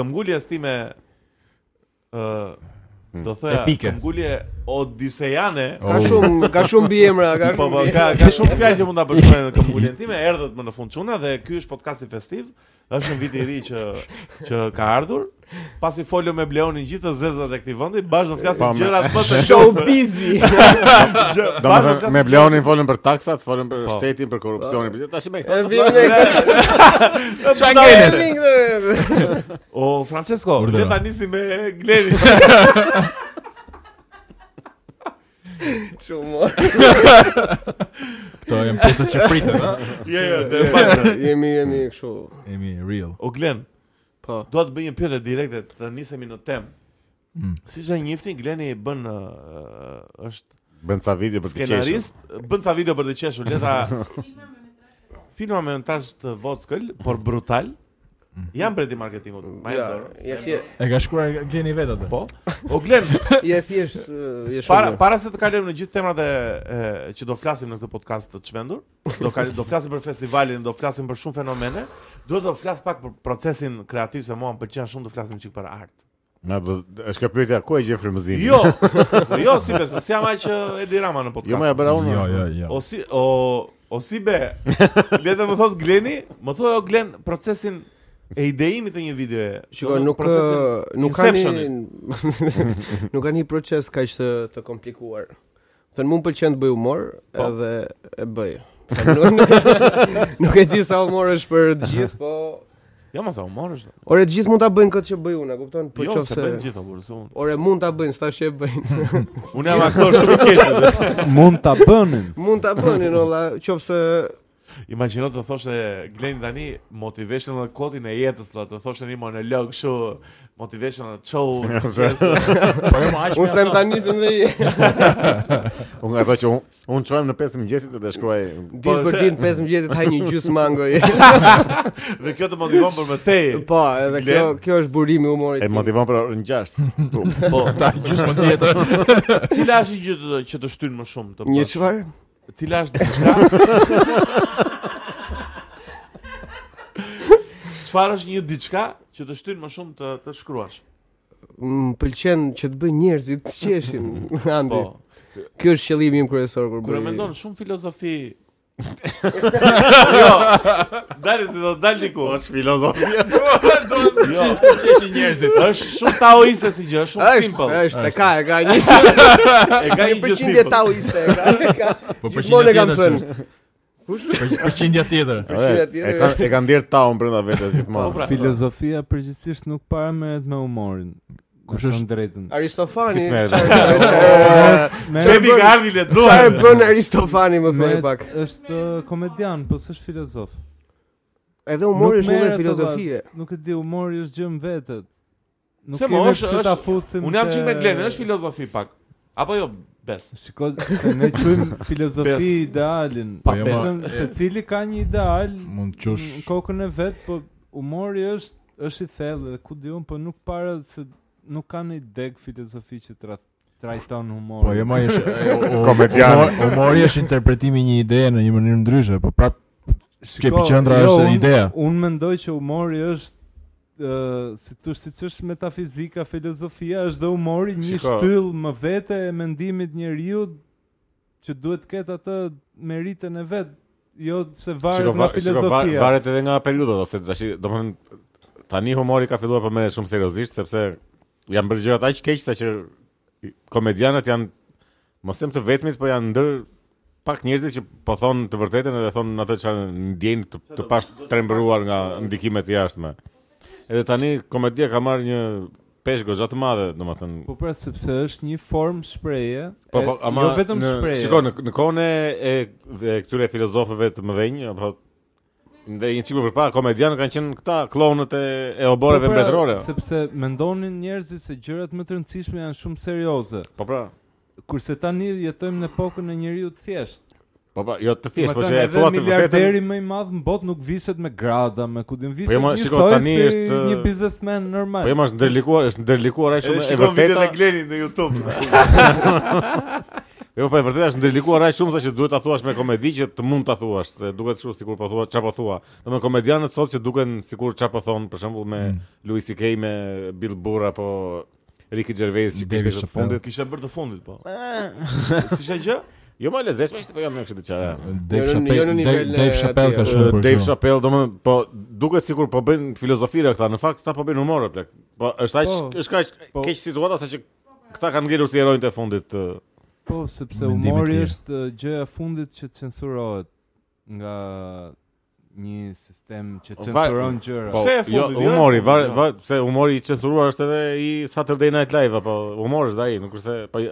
Speaker 1: këmbguljes time ë do thoya
Speaker 5: Epike.
Speaker 1: këmbgulje odisejane.
Speaker 5: Oh.
Speaker 6: Ka shumë, ka shumë biemra,
Speaker 4: *laughs*
Speaker 6: ka
Speaker 1: Po po
Speaker 6: shumë.
Speaker 1: ka ka shumë fjalë që mund ta përshkruajnë në këmbguljen time, erdhët më në fund çuna dhe ky është podcasti festiv. Është një vit i ri që që ka ardhur. Pasi folëm me Bleonin gjithë të zezat e këtij vendi, bashkë do
Speaker 2: Pa,
Speaker 1: flasim
Speaker 2: me-
Speaker 1: gjërat më të
Speaker 6: Show busy.
Speaker 1: gjë- bashkë
Speaker 2: Do me
Speaker 1: flasim
Speaker 2: thënë, me Bleonin folën për taksat, folën për
Speaker 1: Po.
Speaker 2: shtetin, për korrupsionin, për tash me
Speaker 6: E
Speaker 2: këta.
Speaker 6: vim ne
Speaker 4: *laughs*
Speaker 1: gjërat më të-
Speaker 6: Çangelet.
Speaker 1: O Francesco,
Speaker 5: Urdhëro.
Speaker 1: le ta nisi me Gleni.
Speaker 6: Çumo.
Speaker 5: Këto janë pjesët që pritën, ha?
Speaker 1: Jo, jo, dhe pa-
Speaker 6: Jemi jemi kështu.
Speaker 5: Jemi real.
Speaker 1: O Glen,
Speaker 6: Po.
Speaker 1: dua të bëj një pyetje direkte, të nisemi në temë.
Speaker 5: Mm.
Speaker 1: Siç e njihni, Gleni bën ë, është
Speaker 2: Bën ca video për të qeshur.
Speaker 1: skenarist, bën ca video për të qeshur, le
Speaker 2: *laughs*
Speaker 1: ta filma me metrazh të vockël, por brutal.
Speaker 2: Mm.
Speaker 1: Jam breti marketingut. Ma
Speaker 6: Ja,
Speaker 1: jam.
Speaker 6: je thjesht,
Speaker 5: E ka shkruar Gleni vetë atë.
Speaker 1: Po. O Glen,
Speaker 6: *laughs* je thjesht, eh, je shumë.
Speaker 1: para
Speaker 6: mirë.
Speaker 1: para se të kalojmë në gjithë temrat e, e që do flasim në këtë podcast të çmendur, do kal, do flasim për festivalin, do flasim për shumë fenomene, duhet të flas pak për procesin kreativ se mua më pëlqen shumë të flasim çik për art.
Speaker 2: Na do është kjo pyetja ku e gjen frymëzimin?
Speaker 1: Jo. po jo si besoj, si jam aq e Edi Rama në podcast.
Speaker 2: Jo më ja
Speaker 6: pra
Speaker 2: bëra unë.
Speaker 5: Jo, jo,
Speaker 1: *laughs*
Speaker 5: jo.
Speaker 1: O si o o si be. Le të më thot Gleni, më thoj o Glen procesin e ideimit të një videoje.
Speaker 6: Shiko,
Speaker 1: Do
Speaker 6: nuk
Speaker 1: procesin
Speaker 6: eh, nuk ka
Speaker 1: Inceptionit.
Speaker 6: një *laughs* nuk ka një proces kaq të të komplikuar. Thënë mu më pëlqen të bëj humor
Speaker 1: Po.
Speaker 6: edhe e bëj. Thënë, nuk, *laughs* nuk e di sa humor është për të gjithë, po
Speaker 1: Jo, mos sa humorësh.
Speaker 6: Ore të gjithë mund ta bëjnë këtë që bëj unë, e kupton? Po
Speaker 1: Po jo, se
Speaker 6: qofse
Speaker 1: bën gjithë apo unë.
Speaker 6: Ore mund ta bëjnë, s'ta që e bëjnë. *laughs*
Speaker 1: Unë jam aktor shumë i keq.
Speaker 3: Mund ta bënin.
Speaker 6: mund ta bënin olla, qofse
Speaker 1: Imagjino të thoshte Gleni tani motivational kotin e jetës, la, të thoshte një monolog kështu motivational
Speaker 6: *laughs*
Speaker 1: show.
Speaker 5: Po jo, aq.
Speaker 6: unë them ta nisim dhe
Speaker 1: *laughs*
Speaker 6: i-
Speaker 2: Unë nga thotë që unë- unë çojmë në 5 mëngjesit dhe të shkruaj.
Speaker 6: *laughs* ditë për
Speaker 1: Po, se-
Speaker 6: ditë 5 mëngjesit haj një gjysmë mangoj.
Speaker 1: *laughs* dhe kjo të motivon për më tej.
Speaker 6: po, edhe kjo kjo është burimi i humorit.
Speaker 2: E
Speaker 6: tim.
Speaker 2: motivon për orën
Speaker 1: *laughs*
Speaker 2: 6.
Speaker 1: Po,
Speaker 5: *laughs* Ta gjysmë tjetër.
Speaker 1: *laughs* cila është gjë të- që të shtyn më shumë të
Speaker 6: Një
Speaker 1: bësh?
Speaker 6: çfarë?
Speaker 1: Cila
Speaker 6: *laughs*
Speaker 1: është diçka? Çfarë është një diçka që të shtyn më shumë të të shkruash?
Speaker 6: Më pëlqen që të bëj njerëzit të qeshin,
Speaker 1: *laughs*
Speaker 6: Andi.
Speaker 1: Po.
Speaker 6: Kjo është qëllimi im kryesor kur bëj.
Speaker 1: Kur e mendon shumë
Speaker 6: *laughs*
Speaker 1: filozofi. *laughs* jo. Dali si do dal diku.
Speaker 2: Po, është filozofia.
Speaker 1: Jo,
Speaker 5: Çeshin njerëzit.
Speaker 1: është shumë taoiste si gjë, është shumë
Speaker 6: Është,
Speaker 1: simple.
Speaker 6: është, e ka,
Speaker 1: *laughs*
Speaker 6: e ka një
Speaker 1: E ka një gjë
Speaker 6: 100%
Speaker 1: simple.
Speaker 6: taoiste,
Speaker 1: *laughs*
Speaker 6: e ka. e ka.
Speaker 5: Po
Speaker 6: Gjithmonë e kam thënë.
Speaker 5: Kush? Përqindja tjetër.
Speaker 6: *laughs* Përshtypja
Speaker 2: E
Speaker 6: tjetër.
Speaker 2: kanë e kanë ndier taun brenda vetes
Speaker 1: Po, *laughs*
Speaker 2: gjithmonë.
Speaker 1: pra.
Speaker 3: Filozofia përgjithsisht nuk para merret me humorin.
Speaker 5: Kush
Speaker 3: Me
Speaker 5: është-
Speaker 3: thënë drejtën?
Speaker 6: Aristofani.
Speaker 2: Si
Speaker 1: *laughs*
Speaker 2: s'merret.
Speaker 6: çfarë- çfarë-
Speaker 3: Merret-
Speaker 1: Çebi ka ardhi lexuar.
Speaker 6: Çfarë bën Aristofani më thuaj
Speaker 3: merret-
Speaker 6: pak?
Speaker 3: Është komedian, po s'është filozof.
Speaker 6: Edhe
Speaker 3: Nuk
Speaker 6: humori është një
Speaker 3: merret,
Speaker 6: lloj filozofie.
Speaker 3: Nuk e di, humori është gjë në vetë. Nuk
Speaker 1: Se mo,
Speaker 3: kemi
Speaker 1: është-
Speaker 3: pse ta
Speaker 1: është-
Speaker 3: fusim.
Speaker 1: Unë jam
Speaker 3: te-
Speaker 1: çik me Glenën, është filozofi pak. Apo jo, bes.
Speaker 3: Shiko, se ne quajmë
Speaker 5: *laughs*
Speaker 3: filozofi
Speaker 1: Pes.
Speaker 3: idealin.
Speaker 5: Pa
Speaker 3: Po,
Speaker 5: pes.
Speaker 3: vetëm
Speaker 5: jo, E-
Speaker 3: Secili ka një ideal
Speaker 5: Mund të
Speaker 3: në
Speaker 6: Mm,
Speaker 5: qush
Speaker 3: kokën e vet, po humori është është i thellë dhe ku diun, po nuk para se nuk kanë i deg filozofi që tra, trajton humorin.
Speaker 5: Po jo më është o- o-
Speaker 2: Komedian.
Speaker 5: humor- Humori është interpretimi i një ideje në një mënyrë ndryshe, po prap që epiqendra është
Speaker 3: jo, unë-
Speaker 5: ideja.
Speaker 3: Unë mendoj që humori është ë si tu siç është metafizika, filozofia, është dhe humori një
Speaker 2: Shiko.
Speaker 3: shtyllë më vete e mendimit njeriu që duhet të ketë atë meritën e vet, jo se varet nga
Speaker 2: va- va-
Speaker 3: filozofia.
Speaker 2: varet edhe nga periudha ose tash, domethënë tani humori ka filluar për merret shumë seriozisht sepse janë bërë gjërat aq keq sa që komedianët janë mos them të vetmit, po janë ndër pak njerëzit që po thonë të vërtetën edhe thonë atë çfarë ndjejnë të, të pash trembëruar nga ndikimet e jashtme. Edhe tani komedia ka marrë një peshë goxha të madhe, domethënë
Speaker 3: Po pra sepse është një formë shpreje,
Speaker 2: Po,
Speaker 3: e-
Speaker 2: po, ama
Speaker 3: jo vetëm
Speaker 2: në,
Speaker 3: shpreje.
Speaker 2: Shiko, në, në kohën e, e- e këtyre filozofëve të mëdhenj, apo ndë një çimë përpara komedianë kanë qenë këta klonët e, e
Speaker 3: Po
Speaker 2: oboreve
Speaker 3: pra,
Speaker 2: mbretërore.
Speaker 3: Sepse mendonin njerëzit se gjërat më të rëndësishme janë shumë serioze,
Speaker 2: Po pra,
Speaker 3: kurse tani jetojmë në epokën e njeriu të thjeshtë.
Speaker 2: po pra, jo të thjesht,
Speaker 3: Po
Speaker 2: po
Speaker 3: thënë,
Speaker 2: që e
Speaker 3: edhe
Speaker 2: thua të
Speaker 3: miliarderi
Speaker 2: vërtetën.
Speaker 3: më i madh në botë nuk viset me grada, me ku din viset.
Speaker 2: Po jo, ma,
Speaker 3: njësoj
Speaker 2: shiko, tani
Speaker 3: si
Speaker 2: është-
Speaker 3: një biznesmen normal.
Speaker 2: Po jema është ndërlikuar, është ndërlikuar ai
Speaker 1: Edhe
Speaker 2: shumë e
Speaker 1: shikon videot
Speaker 2: vërteta.
Speaker 1: e Glenit në
Speaker 6: *laughs*
Speaker 1: YouTube.
Speaker 2: Jo, po e vërteta është ndërlikuar ai shumë sa që duhet ta thuash me komedi që të mund ta thuash, se duket kështu sikur po thua çfarë po thua. Domethënë komedianët
Speaker 3: Mm.
Speaker 2: sot që duken sikur çfarë po thon, për shembull me Louis CK, me Bill Burr apo Ricky Gervais që kishte
Speaker 5: David
Speaker 2: këtë të
Speaker 5: Chappelle.
Speaker 2: fundit.
Speaker 1: Kishte bërë të fundit po.
Speaker 6: Eh.
Speaker 1: Si ishte
Speaker 6: *laughs*
Speaker 1: gjë?
Speaker 2: Jo më lezeshme ishte po jam në kështu diçka.
Speaker 5: Dave
Speaker 6: Jo, në- jo
Speaker 5: Chappelle, Dave,
Speaker 6: në nivel,
Speaker 5: Dave
Speaker 6: e,
Speaker 5: Chappelle ka
Speaker 6: atje,
Speaker 5: shumë për
Speaker 2: Dave
Speaker 5: kështu.
Speaker 2: Chappelle domethënë po duket sikur po bëjnë filozofira këta, në fakt këta po bëjnë humor o plak. Po është aq
Speaker 3: Po,
Speaker 2: është kaq
Speaker 3: po.
Speaker 2: keq situata sa që këta kanë ngelur si heronjtë e fundit. ë.
Speaker 3: Po, sepse
Speaker 5: Mendimi
Speaker 3: humori
Speaker 5: tjerë.
Speaker 3: është uh, gjëja e fundit që censurohet nga një sistem që
Speaker 2: Va-
Speaker 3: censuron gjëra.
Speaker 2: Po,
Speaker 1: Pse e
Speaker 2: jo,
Speaker 1: fundit, jo e
Speaker 2: humori,
Speaker 1: fundit,
Speaker 2: var,
Speaker 1: jo.
Speaker 2: var, se humori i censuruar është edhe i Saturday Night Live apo humori është ai, nuk është se po I-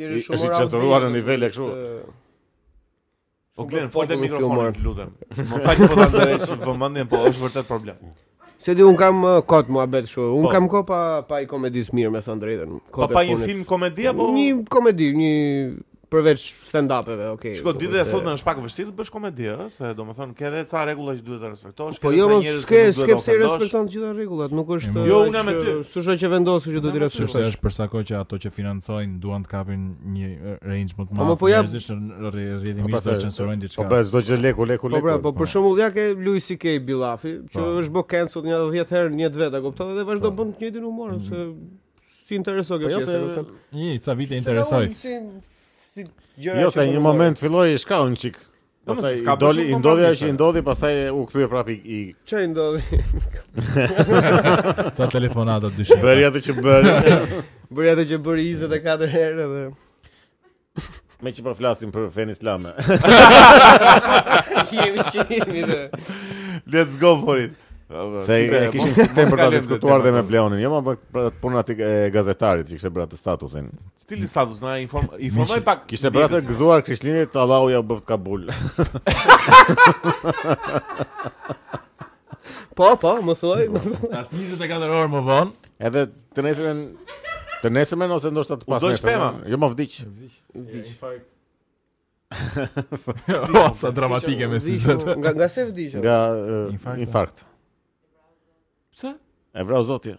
Speaker 2: është i censuruar në nivele kështu.
Speaker 1: Po
Speaker 6: Shumë
Speaker 1: Glen,
Speaker 6: po-
Speaker 1: fol te
Speaker 6: popull si humor.
Speaker 1: mikrofonin, të
Speaker 6: *laughs*
Speaker 1: lutem. Më fal po ta ndërresh vëmendjen, po është vërtet problem.
Speaker 6: Se di un kam uh, kot muhabet kështu. Un
Speaker 1: Po.
Speaker 6: kam ko pa pa i komedis mirë me thënë drejtën.
Speaker 1: Po
Speaker 6: Kohët e
Speaker 1: pa një
Speaker 6: funit.
Speaker 1: film po- komedi apo
Speaker 6: Një komedi, një përveç stand-upeve, okay.
Speaker 1: Shiko,
Speaker 6: domethënë
Speaker 1: ditët e
Speaker 6: se-
Speaker 1: sotme është pak vështirë të bësh komedi, ëh, se domethënë ke edhe ca rregulla që duhet të respektosh,
Speaker 6: Po
Speaker 1: ke
Speaker 6: jo,
Speaker 1: edhe
Speaker 6: më
Speaker 1: ca njerëz që
Speaker 6: s'ke
Speaker 1: nuk duhet të
Speaker 6: s'ke pse i
Speaker 1: ofendosh.
Speaker 6: respekton të gjitha rregullat, nuk është
Speaker 5: Jo,
Speaker 1: Jo,
Speaker 6: aq,
Speaker 1: unë jam me ty.
Speaker 6: uh, S'është që vendosë që do
Speaker 1: Unë
Speaker 6: t'i
Speaker 1: jam me ty.
Speaker 5: Sepse
Speaker 6: respektosh.
Speaker 5: është për sa kohë që ato që financojnë duan të kapin një eh, range më të
Speaker 6: Po,
Speaker 5: madh.
Speaker 6: më po jap-
Speaker 5: njerëzish në rrë-
Speaker 2: Po, pra,
Speaker 5: rrjedhimisht
Speaker 2: se-
Speaker 5: të censurojnë
Speaker 2: Po
Speaker 5: diçka.
Speaker 2: bëhet çdo gjë leku, leku,
Speaker 6: Po
Speaker 2: leku.
Speaker 6: pra, po
Speaker 5: po.
Speaker 6: për shembull ja ke Louis CK Billafi, që
Speaker 5: Po.
Speaker 6: është bë cancel një 10 herë, një 10 vetë, e kupton? Dhe vazhdo bën të njëjtin humor, se si intereso kjo
Speaker 2: Po jo
Speaker 6: pjesë,
Speaker 2: se
Speaker 6: e kupton?
Speaker 5: Një, ca vite
Speaker 6: Se
Speaker 5: interesoj.
Speaker 6: unë Si si gjëra
Speaker 2: jo
Speaker 6: që
Speaker 2: se
Speaker 6: po
Speaker 2: një
Speaker 6: ndodhin.
Speaker 2: moment filloi shkau një çik.
Speaker 1: Jo, mos,
Speaker 2: Pastaj
Speaker 1: s'ka
Speaker 2: i doli,
Speaker 1: bërë
Speaker 2: i
Speaker 1: shumë
Speaker 2: ndodhi ajo
Speaker 1: kompromis,
Speaker 2: që i
Speaker 1: e.
Speaker 2: ndodhi, pastaj u kthye prapë i, i
Speaker 6: Çe ndodhi? *laughs*
Speaker 5: Ca telefonata dyshim.
Speaker 2: bëri atë që bëri.
Speaker 6: Bëri atë që bëri 24 herë edhe
Speaker 2: Me që po flasim për fen islame.
Speaker 6: jemi që jemi dhe.
Speaker 1: Let's go for it.
Speaker 2: Se
Speaker 1: po, Si be,
Speaker 2: e kishin
Speaker 1: mos-
Speaker 2: sistem
Speaker 1: mos ka
Speaker 2: për ta
Speaker 1: lëndë
Speaker 2: diskutuar
Speaker 1: tema
Speaker 2: dhe me
Speaker 1: këtu.
Speaker 2: Bleonin. Jo, më për punën atë e gazetarit që kishte bërë atë statusin.
Speaker 1: *laughs* Cili status na inform informoj pak.
Speaker 2: Kishte bërë atë
Speaker 1: ditës.
Speaker 2: gëzuar Krishtinit, Allahu ja u bëft Kabul.
Speaker 6: Po, po, më thuaj. më thuaj.
Speaker 5: As 24 orë më vonë.
Speaker 2: Edhe të nesërmen të nesërmen ose ndoshta të
Speaker 1: U
Speaker 2: pas
Speaker 1: doj
Speaker 2: nesërmen. Jo, më vdiq.
Speaker 5: *laughs* O, sa dramatike me si
Speaker 6: Vdiqu, Nga nga se vdiqu.
Speaker 2: Nga e,
Speaker 5: Infarkt.
Speaker 2: infarkt.
Speaker 1: Pse?
Speaker 2: E vrau zotja.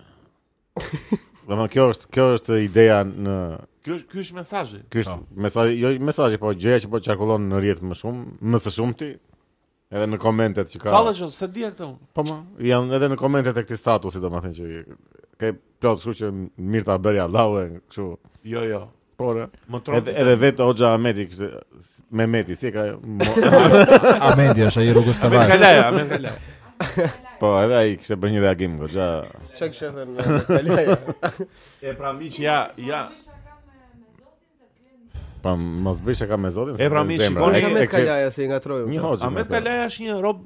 Speaker 2: Domthon kjo është kjo është ideja në
Speaker 1: Ky është ky është mesazhi.
Speaker 2: ky është mesazhi, jo mesazhi, po gjëja që po qarkullon në rrjet më shumë, më së shumti. Edhe në komentet që
Speaker 6: Pra.
Speaker 2: ka.
Speaker 1: Tallësh se di këtë unë.
Speaker 2: Po më, janë edhe në komentet e këtij statusi domethënë që ke plot kështu që mirë ta bëri Allahu e kështu.
Speaker 1: Jo, jo.
Speaker 2: Por e,
Speaker 1: Më tron.
Speaker 2: edhe edhe vetë Hoxha Ahmeti kishte Mehmeti si e ka mo-
Speaker 1: *laughs*
Speaker 5: Amendi është ai rrugës
Speaker 1: Me
Speaker 5: Kavajës.
Speaker 1: kalaja, me kalaja.
Speaker 2: po edhe ai kishte bërë një reagim goxha.
Speaker 6: Çka kishe thënë? e, Kalaja?
Speaker 1: E pra miq, ja, ja.
Speaker 2: Po mos bëj shaka me Zotin.
Speaker 1: E,
Speaker 2: se
Speaker 1: pra,
Speaker 2: me
Speaker 1: mi,
Speaker 2: zemra.
Speaker 1: shikoni
Speaker 2: E-
Speaker 1: që
Speaker 2: e-
Speaker 6: Ahmet
Speaker 2: e-
Speaker 6: Kalaja se i ngatroi.
Speaker 2: Një Hoxha.
Speaker 1: Ahmet Kalaja është një rob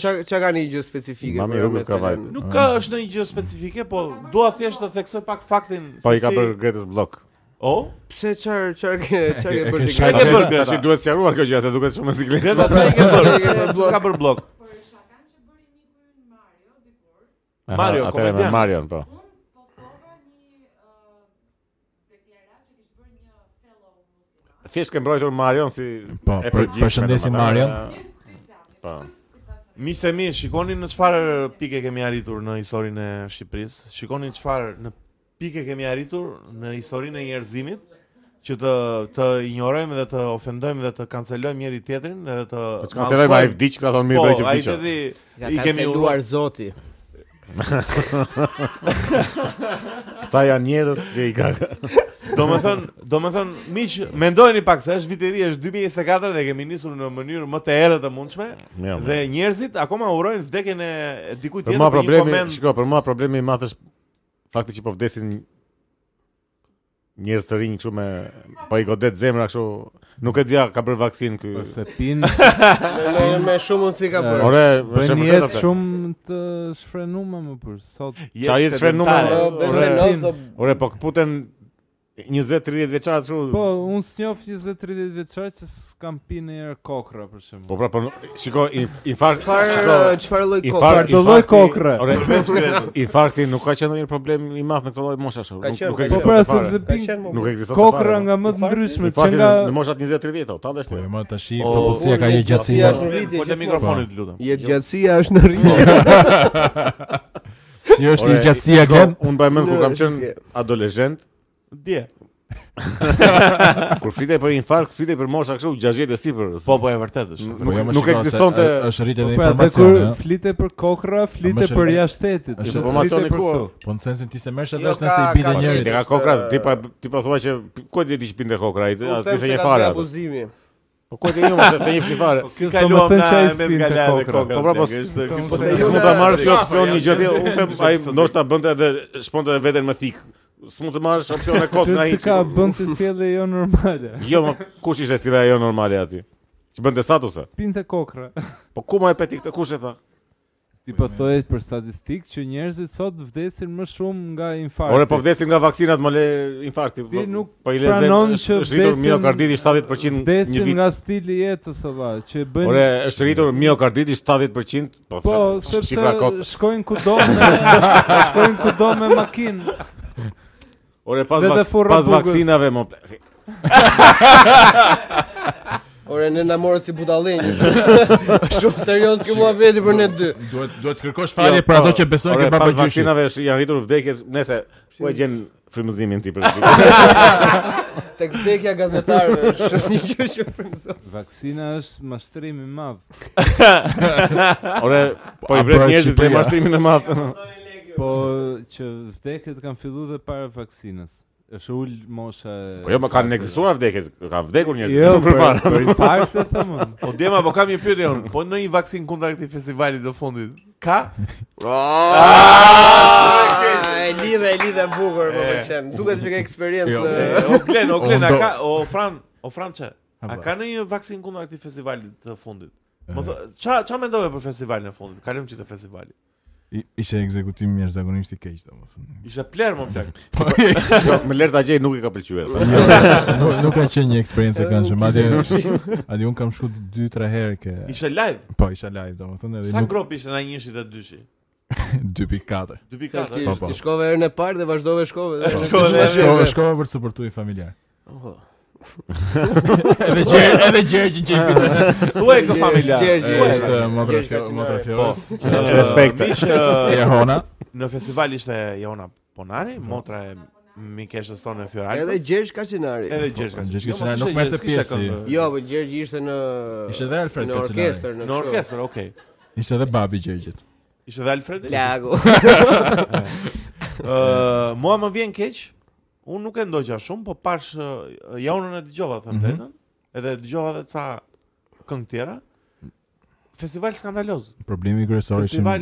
Speaker 6: Çka çka ka një gjë specifike?
Speaker 2: Mami
Speaker 6: për
Speaker 2: Rrugës
Speaker 6: Ahmet
Speaker 2: ka
Speaker 6: Kalajan?
Speaker 2: vajtë.
Speaker 1: Nuk ka është ndonjë gjë specifike, po dua thjesht të theksoj pak faktin
Speaker 2: Po
Speaker 1: se
Speaker 2: i ka
Speaker 1: si-
Speaker 2: bërë Gretës blok.
Speaker 1: O,
Speaker 6: Pse çfar çfar ke
Speaker 2: *laughs*
Speaker 6: çfarë ke
Speaker 5: E ke
Speaker 6: bërë ti?
Speaker 5: shajtë.
Speaker 6: Greta?
Speaker 1: ke bërë, Greta?
Speaker 2: Tash i duhet sqaruar kjo gjë se duket shumë e siklet. *laughs*
Speaker 1: Greta çfarë i ke bërë?
Speaker 6: Ke bërë blok.
Speaker 1: Ka bërë blok.
Speaker 2: Aha,
Speaker 1: Mario,
Speaker 2: atëherë me
Speaker 1: komedian.
Speaker 2: Marion po. Thjesht ke mbrojtur Marion si
Speaker 5: Po,
Speaker 2: e
Speaker 5: për-
Speaker 2: përgjithshme,
Speaker 5: përshëndesim
Speaker 2: domethënë.
Speaker 5: Marion.
Speaker 2: Po.
Speaker 1: Miqtë e mi, shikoni në çfarë pike kemi arritur në historinë e Shqipërisë. Shikoni çfarë në pike kemi arritur në historinë e njerëzimit që të të ignorojmë dhe të ofendojmë dhe të kancelojmë njëri tjetrin edhe të
Speaker 2: Po çka se rrejmë ai vdiq ka thonë mirë bëj që
Speaker 1: po, ai
Speaker 2: vdiq.
Speaker 1: tjetri
Speaker 6: Ja
Speaker 1: i
Speaker 6: ka
Speaker 1: kemi
Speaker 6: celuar
Speaker 1: uar.
Speaker 6: Zoti.
Speaker 2: Këta janë njerëz që i ka.
Speaker 1: Domethën, domethën miq, mendojeni pak se është viti i ri, është 2024 dhe kemi nisur në mënyrë më të errët të mundshme
Speaker 2: Mirë.
Speaker 1: dhe njerëzit akoma urojnë vdekjen e dikujt
Speaker 2: Për
Speaker 1: tjetër
Speaker 2: mua
Speaker 1: për një
Speaker 2: Po, problemi,
Speaker 1: koment.
Speaker 2: shiko, për mua problemi i madh është fakti që po vdesin njerëz të rinj kështu me po i godet zemra kështu. Nuk e dia ka bërë vaksin ky.
Speaker 3: Po se
Speaker 2: *laughs*
Speaker 3: pin
Speaker 6: Me- Me shumë si ka bërë.
Speaker 2: Ore,
Speaker 3: bën
Speaker 2: është
Speaker 3: një
Speaker 2: vërtet.
Speaker 3: jetë
Speaker 2: Po, atë.
Speaker 3: shumë të shfrenume më për sot.
Speaker 2: Qa jetë shfrenume,
Speaker 1: sedentare.
Speaker 2: o,
Speaker 6: Po, Besoj
Speaker 2: Ore.
Speaker 6: në do
Speaker 2: Ore, po kputen 20-30 vjeçar kështu.
Speaker 3: Po, unë s'njoh 20-30 vjeçar që s'kam pinë ndonjëherë kokra për
Speaker 2: Po
Speaker 3: shembull.
Speaker 2: pra, po shiko, i- infarkt, shiko.
Speaker 6: çfarë çfarë lloj kohë?
Speaker 3: Çfarë
Speaker 2: Infarkt,
Speaker 3: do lloj
Speaker 2: infarkti-
Speaker 3: kokre?
Speaker 2: Ore,
Speaker 1: Përveç Gretës.
Speaker 2: infarkti nuk ka qenë ndonjë problem i madh në këtë lloj moshash.
Speaker 6: Ka
Speaker 2: Nuk
Speaker 6: qenë,
Speaker 2: nuk
Speaker 6: ka
Speaker 3: Po
Speaker 2: ekziston.
Speaker 6: qenë.
Speaker 3: pra
Speaker 2: e fare.
Speaker 3: sepse
Speaker 6: Ka
Speaker 3: pin
Speaker 6: qenë më
Speaker 2: Nuk ekziston. e
Speaker 3: kokra
Speaker 2: fare.
Speaker 3: nga më të
Speaker 6: Infarkti-
Speaker 3: ndryshme që
Speaker 2: Infarkti
Speaker 3: nga
Speaker 2: në moshat 20-30 tau, ta ndesh
Speaker 5: Po,
Speaker 2: ti.
Speaker 5: më tash i
Speaker 1: O,
Speaker 5: popullsia ka një gjatësi.
Speaker 6: popullsia është-
Speaker 1: Fol te mikrofoni, të lutem.
Speaker 6: Jetë gjatësia është në rritë.
Speaker 5: Si është një
Speaker 2: Ore,
Speaker 5: gjatësia
Speaker 2: shiko,
Speaker 5: glen?
Speaker 2: Unë bëj mend kur kam
Speaker 6: Në-
Speaker 2: qenë adoleshent,
Speaker 1: Dje.
Speaker 2: Kur flitej për infarkt, flitej për mosha kështu 60 e sipër.
Speaker 1: Po, po e vërtetë është.
Speaker 5: jo,
Speaker 2: Nuk- nuk ekzistonte
Speaker 5: është rritje dhe
Speaker 3: Po pra, dhe kur
Speaker 5: informacioni. ë.
Speaker 3: flite për kokra, flite
Speaker 5: është-
Speaker 3: për jashtetit.
Speaker 5: është
Speaker 3: flite
Speaker 2: informacioni
Speaker 3: për
Speaker 2: ku,
Speaker 3: këtu.
Speaker 5: Po në sensin ti se merresh
Speaker 6: Jo,
Speaker 5: vesh nëse i
Speaker 6: ka-
Speaker 5: bide
Speaker 6: ka
Speaker 2: Po, si
Speaker 5: njëri.
Speaker 2: te ka
Speaker 6: është-
Speaker 2: kokra, ti pa ti po thua që ku e di ti që pinte kokra, ai
Speaker 6: *laughs*
Speaker 2: as Po, ti se një fare. atë.
Speaker 6: Abuzimi.
Speaker 2: Po ku e di unë mos se një fare.
Speaker 1: Si
Speaker 3: s'do më thënë që ai spinte kokra.
Speaker 2: Po pra po. Po se ju
Speaker 6: ju
Speaker 2: mund
Speaker 6: na-
Speaker 2: ta marrësh si
Speaker 6: Ja,
Speaker 2: opsion
Speaker 1: po, jam-
Speaker 2: një gjë tjetër,
Speaker 1: jam-
Speaker 2: unë
Speaker 1: jam-
Speaker 2: them ai
Speaker 1: jam-
Speaker 2: ndoshta bënte edhe shponte edhe veten me thik. S'mund të marrësh opsion e kot
Speaker 3: Që
Speaker 2: nga ai.
Speaker 3: se ka bën të sjellje jo normale. *laughs*
Speaker 2: Jo, më kush ishte si ajo normale aty? Që bënte statuse.
Speaker 3: Pinte kokra.
Speaker 2: Po ku më e peti këtë kush e tha?
Speaker 3: Ti po thoje për statistikë që njerëzit sot vdesin më shumë nga infarkti.
Speaker 2: Ore po vdesin nga vaksinat mo le infarkti.
Speaker 3: Ti
Speaker 2: po-
Speaker 3: nuk
Speaker 2: po i lezem,
Speaker 3: pranon
Speaker 2: është-
Speaker 3: që
Speaker 2: është rritur
Speaker 3: vdesin-
Speaker 2: miokarditi 70% një
Speaker 3: vdesin
Speaker 2: vit.
Speaker 3: nga stili i jetës valla, që bën
Speaker 2: Ore, është rritur miokarditi 70%, po,
Speaker 3: Po,
Speaker 2: f-
Speaker 3: sepse
Speaker 2: shifra kot.
Speaker 3: shkojnë kudo me
Speaker 2: *laughs*
Speaker 3: shkojnë kudo me makinë.
Speaker 2: Ore, pas,
Speaker 3: dhe të
Speaker 2: vaks,
Speaker 3: furrë
Speaker 2: pas
Speaker 3: bugës.
Speaker 2: vaksinave, më ple... si,
Speaker 6: Ore, ne na morët si budallin.
Speaker 2: *laughs*
Speaker 6: Shumë serioz kjo muhabeti për ne dy.
Speaker 5: Duhet duhet kërkosh
Speaker 2: jo,
Speaker 5: falje për
Speaker 2: po,
Speaker 5: ato që besojnë
Speaker 2: ore,
Speaker 5: ke baba
Speaker 2: Pas
Speaker 5: gjyshi.
Speaker 2: vaksinave është- janë rritur vdekjes, nese, ku e gjen frymëzimin ti për
Speaker 3: *laughs*
Speaker 6: Tek vdekja
Speaker 2: *laughs*
Speaker 6: gazetarëve është një gjë që frymëzon.
Speaker 3: Vaksina është mashtrim i madh.
Speaker 2: Ore, po
Speaker 5: a
Speaker 2: i vret
Speaker 5: bëhet
Speaker 2: njerëzit me
Speaker 5: Shqipëria?
Speaker 2: mashtrimin e madh.
Speaker 3: Po që vdekjet kanë filluar dhe para vaksinës. Është ul mosha. e-
Speaker 2: Po jo, më kanë ekzistuar vdekjes, kanë vdekur njerëz.
Speaker 3: Jo, për
Speaker 2: përpara. *laughs*
Speaker 3: për infarkte thamon.
Speaker 1: O Dema, *laughs* po kam një pyetje unë. Po në një vaksin kundra këtij festivali të fundit.
Speaker 2: *laughs*
Speaker 1: Ka?
Speaker 2: Ah!
Speaker 6: E lidhe, e lidhe bukur më
Speaker 1: E.
Speaker 6: pëlqen. Duket që ke eksperiencë.
Speaker 5: Jo.
Speaker 1: E,
Speaker 6: në-
Speaker 1: Eh, O Glen, o Glen, a
Speaker 5: Undo.
Speaker 1: ka o Fran, o Françe. A
Speaker 5: ba.
Speaker 1: ka në një vaksin kundra këtij festivali të fundit? Më thë, qa, qa mendove për festivalin e fundit? Kalëm që të festivali.
Speaker 5: I- Ishte ekzekutim jashtëzakonisht i keq *laughs* domethënë.
Speaker 1: Ishte pler më plak.
Speaker 2: Jo, më lërta gjej nuk i ka pëlqyer.
Speaker 3: Jo,
Speaker 2: tha.
Speaker 5: Jo, Nuk nuk ka qenë një eksperiencë e këndshme. *laughs* Madje Adi un kam shku 2-3 herë ke.
Speaker 1: Ishte live.
Speaker 5: Po isha live domethënë
Speaker 1: Sa
Speaker 5: *laughs* edhe nuk
Speaker 1: grop ishte na njëshit e dyshi?
Speaker 5: 2.4.
Speaker 1: 2.4.
Speaker 5: Po,
Speaker 6: Ti-
Speaker 5: po.
Speaker 6: Ti shkove herën e parë dhe vazhdove shkove. dhe-
Speaker 1: Shkove
Speaker 6: Po, dhe-
Speaker 5: Shkova
Speaker 6: dhe-
Speaker 5: shkova për suportu i familjar.
Speaker 6: Oho.
Speaker 5: Edhe gjerë, edhe gjerë që gjerë.
Speaker 1: Thuaj kë familjar.
Speaker 6: Gjergj, Gjergj.
Speaker 5: Ishte motra
Speaker 6: Gjergj
Speaker 5: pra fjo-
Speaker 6: Kaçinari.
Speaker 5: motra
Speaker 1: Po.
Speaker 5: fjoros.
Speaker 1: Ë,
Speaker 2: Respekt.
Speaker 1: miq, ë,
Speaker 5: E hona.
Speaker 1: Në festival ishte Jona Ponari, motra e Mikeshës tonë e
Speaker 6: Edhe
Speaker 1: Fioranit.
Speaker 6: Gjergj Kaçinari.
Speaker 1: Edhe Gjergj
Speaker 5: Po,
Speaker 1: Kaçinari.
Speaker 5: Gjergj
Speaker 1: Jo, mos
Speaker 5: Kaçinari
Speaker 1: ishte
Speaker 5: nuk merrte
Speaker 1: Gjergj, s'kishte
Speaker 5: pjesë.
Speaker 1: këngë.
Speaker 6: Jo, po Gjergj ishte në
Speaker 5: Ishte edhe Alfred
Speaker 6: në
Speaker 5: Kaçinari.
Speaker 6: orkestër, në
Speaker 1: Në
Speaker 6: kështu.
Speaker 1: orkestër, okay.
Speaker 5: Ishte edhe babi Gjergjit.
Speaker 1: Ishte dhe Alfredi?
Speaker 6: Lagu.
Speaker 1: Ë, mua më vjen keq. Unë nuk e ndoqja shumë, po pash ë, Jonën e dëgjova them
Speaker 5: Mhm.
Speaker 1: drejtën, edhe dëgjova edhe ca këngë tjera. Festival skandaloz.
Speaker 5: Problemi kryesor ishin
Speaker 1: Festival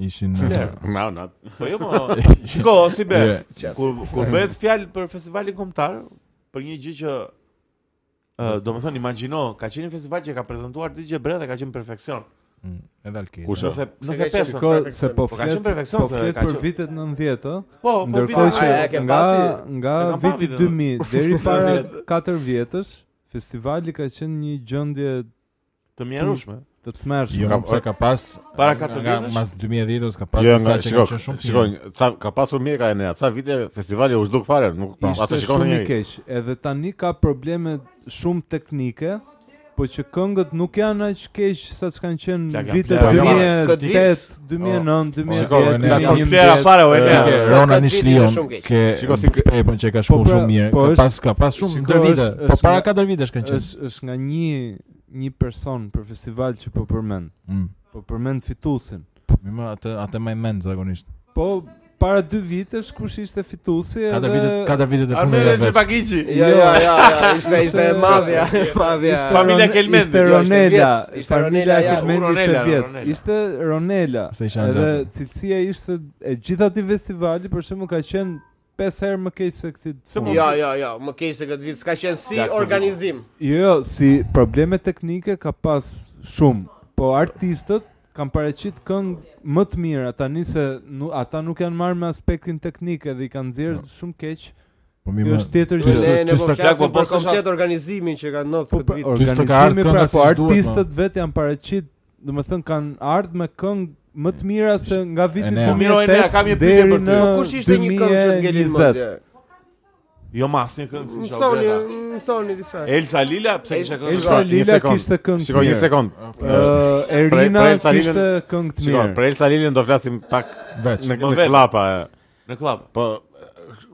Speaker 5: ishin
Speaker 1: Fler.
Speaker 2: Na, na.
Speaker 1: Po jo, po. Shiko, si be.
Speaker 5: Je,
Speaker 1: Kur kur bëhet fjalë për festivalin kombëtar, për një gjë që ë, do më thënë, imagjino, ka qenë një festival që ka prezentuar DJ Bre dhe ka qenë perfeksion.
Speaker 5: mm, edhe alkil.
Speaker 2: Kush?
Speaker 1: Në
Speaker 6: Se ka qenë
Speaker 1: fesën.
Speaker 3: Ko se po
Speaker 1: Po ka
Speaker 3: flet
Speaker 1: qenë perfeksion,
Speaker 3: po
Speaker 1: se
Speaker 3: flet
Speaker 1: ka
Speaker 3: për
Speaker 1: qenë-
Speaker 3: vitet 90, ë.
Speaker 1: Po, po
Speaker 3: Ndërkohë
Speaker 6: A, e
Speaker 3: që
Speaker 6: ke
Speaker 3: nga
Speaker 6: pati?
Speaker 3: nga
Speaker 1: E kam pati,
Speaker 3: viti
Speaker 1: do. *laughs*
Speaker 3: 2000
Speaker 1: po,
Speaker 3: deri para
Speaker 1: Nga vjet.
Speaker 3: 4 vjetësh, festivali ka qenë një gjendje
Speaker 1: të mjerushme.
Speaker 3: të tmerrshme.
Speaker 5: Jo,
Speaker 2: Ka-
Speaker 5: pse ka pas
Speaker 1: Para katër
Speaker 5: nga-
Speaker 1: vjetësh?
Speaker 5: Mas 2010-s
Speaker 3: Pra
Speaker 5: ka pas
Speaker 2: Jo,
Speaker 5: disa
Speaker 2: nga,
Speaker 5: që
Speaker 2: shiko,
Speaker 5: kanë qenë shumë të
Speaker 2: shikoj, ca ka pasur mirë ka Enea, ca vite festivali u zhduk fare, nuk
Speaker 5: po,
Speaker 2: atë
Speaker 3: Ishte
Speaker 2: shikon
Speaker 3: shumë i
Speaker 2: njëri.
Speaker 3: keq. Edhe tani ka probleme shumë teknike, po që këngët nuk janë aq keq sa që kanë
Speaker 1: Pla,
Speaker 3: qenë
Speaker 1: ka
Speaker 3: vitet
Speaker 1: plera.
Speaker 3: 2008, 2009,
Speaker 5: Shiko,
Speaker 3: 2010,
Speaker 1: Ka
Speaker 5: ne- Ka
Speaker 1: të
Speaker 5: 2010.
Speaker 1: plera
Speaker 3: 2011.
Speaker 1: fare o
Speaker 5: Ke-
Speaker 1: Enea.
Speaker 5: ke
Speaker 6: Ja.
Speaker 5: Rona
Speaker 6: Ka të vitin
Speaker 5: Nishlion,
Speaker 6: shumë keq.
Speaker 5: ke
Speaker 2: Shiko, si-
Speaker 5: Pepën që ka shkuar
Speaker 3: Po, pra,
Speaker 5: shumë mirë.
Speaker 3: po
Speaker 5: Ka
Speaker 3: është-
Speaker 5: pas ka pas shumë
Speaker 3: shiko,
Speaker 5: ndër vite.
Speaker 3: është-
Speaker 5: Po
Speaker 3: është
Speaker 5: para
Speaker 3: nga-
Speaker 5: 4 vitesh kanë qenë.
Speaker 3: Është është nga një një person për festival që po përmend.
Speaker 5: Mm.
Speaker 3: Po përmend fituesin.
Speaker 5: Po mi më atë atë më mend zakonisht.
Speaker 3: Po para dy vitesh kush ishte fituesi
Speaker 5: 4
Speaker 3: edhe
Speaker 5: vitet 4 vitet e fundit
Speaker 1: Armele
Speaker 5: e vetë.
Speaker 1: Çepakiçi.
Speaker 6: Jo, jo, jo, jo, ishte ishte e madhja, e madhja.
Speaker 3: Ishte
Speaker 1: Familja
Speaker 3: Ron-
Speaker 1: Kelmendi.
Speaker 3: Ishte
Speaker 6: Jo, ishte
Speaker 3: Ronela,
Speaker 6: vjet, ishte
Speaker 3: familja
Speaker 6: Ronela, ja,
Speaker 3: Kelmendi
Speaker 1: u
Speaker 3: ishte
Speaker 1: Ronela,
Speaker 3: vjet.
Speaker 1: Ronela.
Speaker 3: Ishte Ronela.
Speaker 5: Se isha
Speaker 3: Edhe
Speaker 5: nxehtë.
Speaker 3: cilësia ishte e gjithë aty festivali, për shembull ka qenë 5 herë më keq se këtë.
Speaker 1: Se mos-
Speaker 6: Jo, jo, jo, më keq se këtë vit, s'ka qenë si organizim.
Speaker 3: Jo, si probleme teknike ka pas shumë, po artistët kanë paraqit këngë më të mira tani se nu, ata nuk janë marrë me aspektin teknik edhe i kanë nxjerr shumë keq.
Speaker 5: Po mi
Speaker 3: Kjo
Speaker 5: më
Speaker 3: është tjetër
Speaker 5: Ty
Speaker 3: gjë.
Speaker 5: s'të- ty
Speaker 6: Ne ne po
Speaker 5: s'të-
Speaker 1: Jaku,
Speaker 6: flasim
Speaker 1: po
Speaker 6: për
Speaker 1: s'është
Speaker 6: komplet
Speaker 1: as-
Speaker 6: organizimin që kanë ndodhur
Speaker 3: Po
Speaker 6: këtë vit.
Speaker 5: s'të ka ardhë
Speaker 3: organizimi
Speaker 5: kënga
Speaker 3: pra,
Speaker 5: si
Speaker 3: po
Speaker 5: duhet,
Speaker 3: artistët vetë janë paraqit, domethënë kanë ardhur me këngë më të mira se nga viti
Speaker 5: Enea.
Speaker 3: 2008
Speaker 1: Miro, Enea, kam një pyetje
Speaker 3: deri
Speaker 1: për ty.
Speaker 3: në
Speaker 1: Po
Speaker 6: Kush ishte një këngë që të ngelin
Speaker 3: 2020?
Speaker 6: mendje?
Speaker 1: Jo mas një këngë
Speaker 6: Më
Speaker 1: si
Speaker 6: thoni,
Speaker 1: Shaubera.
Speaker 6: më thoni disa.
Speaker 1: Elsa Lila, pse kishte këngë?
Speaker 6: Elsa-
Speaker 1: Elsa
Speaker 3: Elsa
Speaker 2: Një
Speaker 3: Lila
Speaker 2: sekond.
Speaker 3: kishte këngë.
Speaker 2: Shikoj një
Speaker 3: mirë.
Speaker 2: sekond.
Speaker 3: Ë, Erina
Speaker 2: Pra- pra Elsa Lilën-
Speaker 3: kishte këngë të
Speaker 2: Shikoj,
Speaker 3: mirë.
Speaker 2: për Elsa Lilin do flasim pak
Speaker 5: veç.
Speaker 2: në
Speaker 1: Po
Speaker 2: në
Speaker 1: vetë.
Speaker 2: klapa. e.
Speaker 1: në klub.
Speaker 2: Po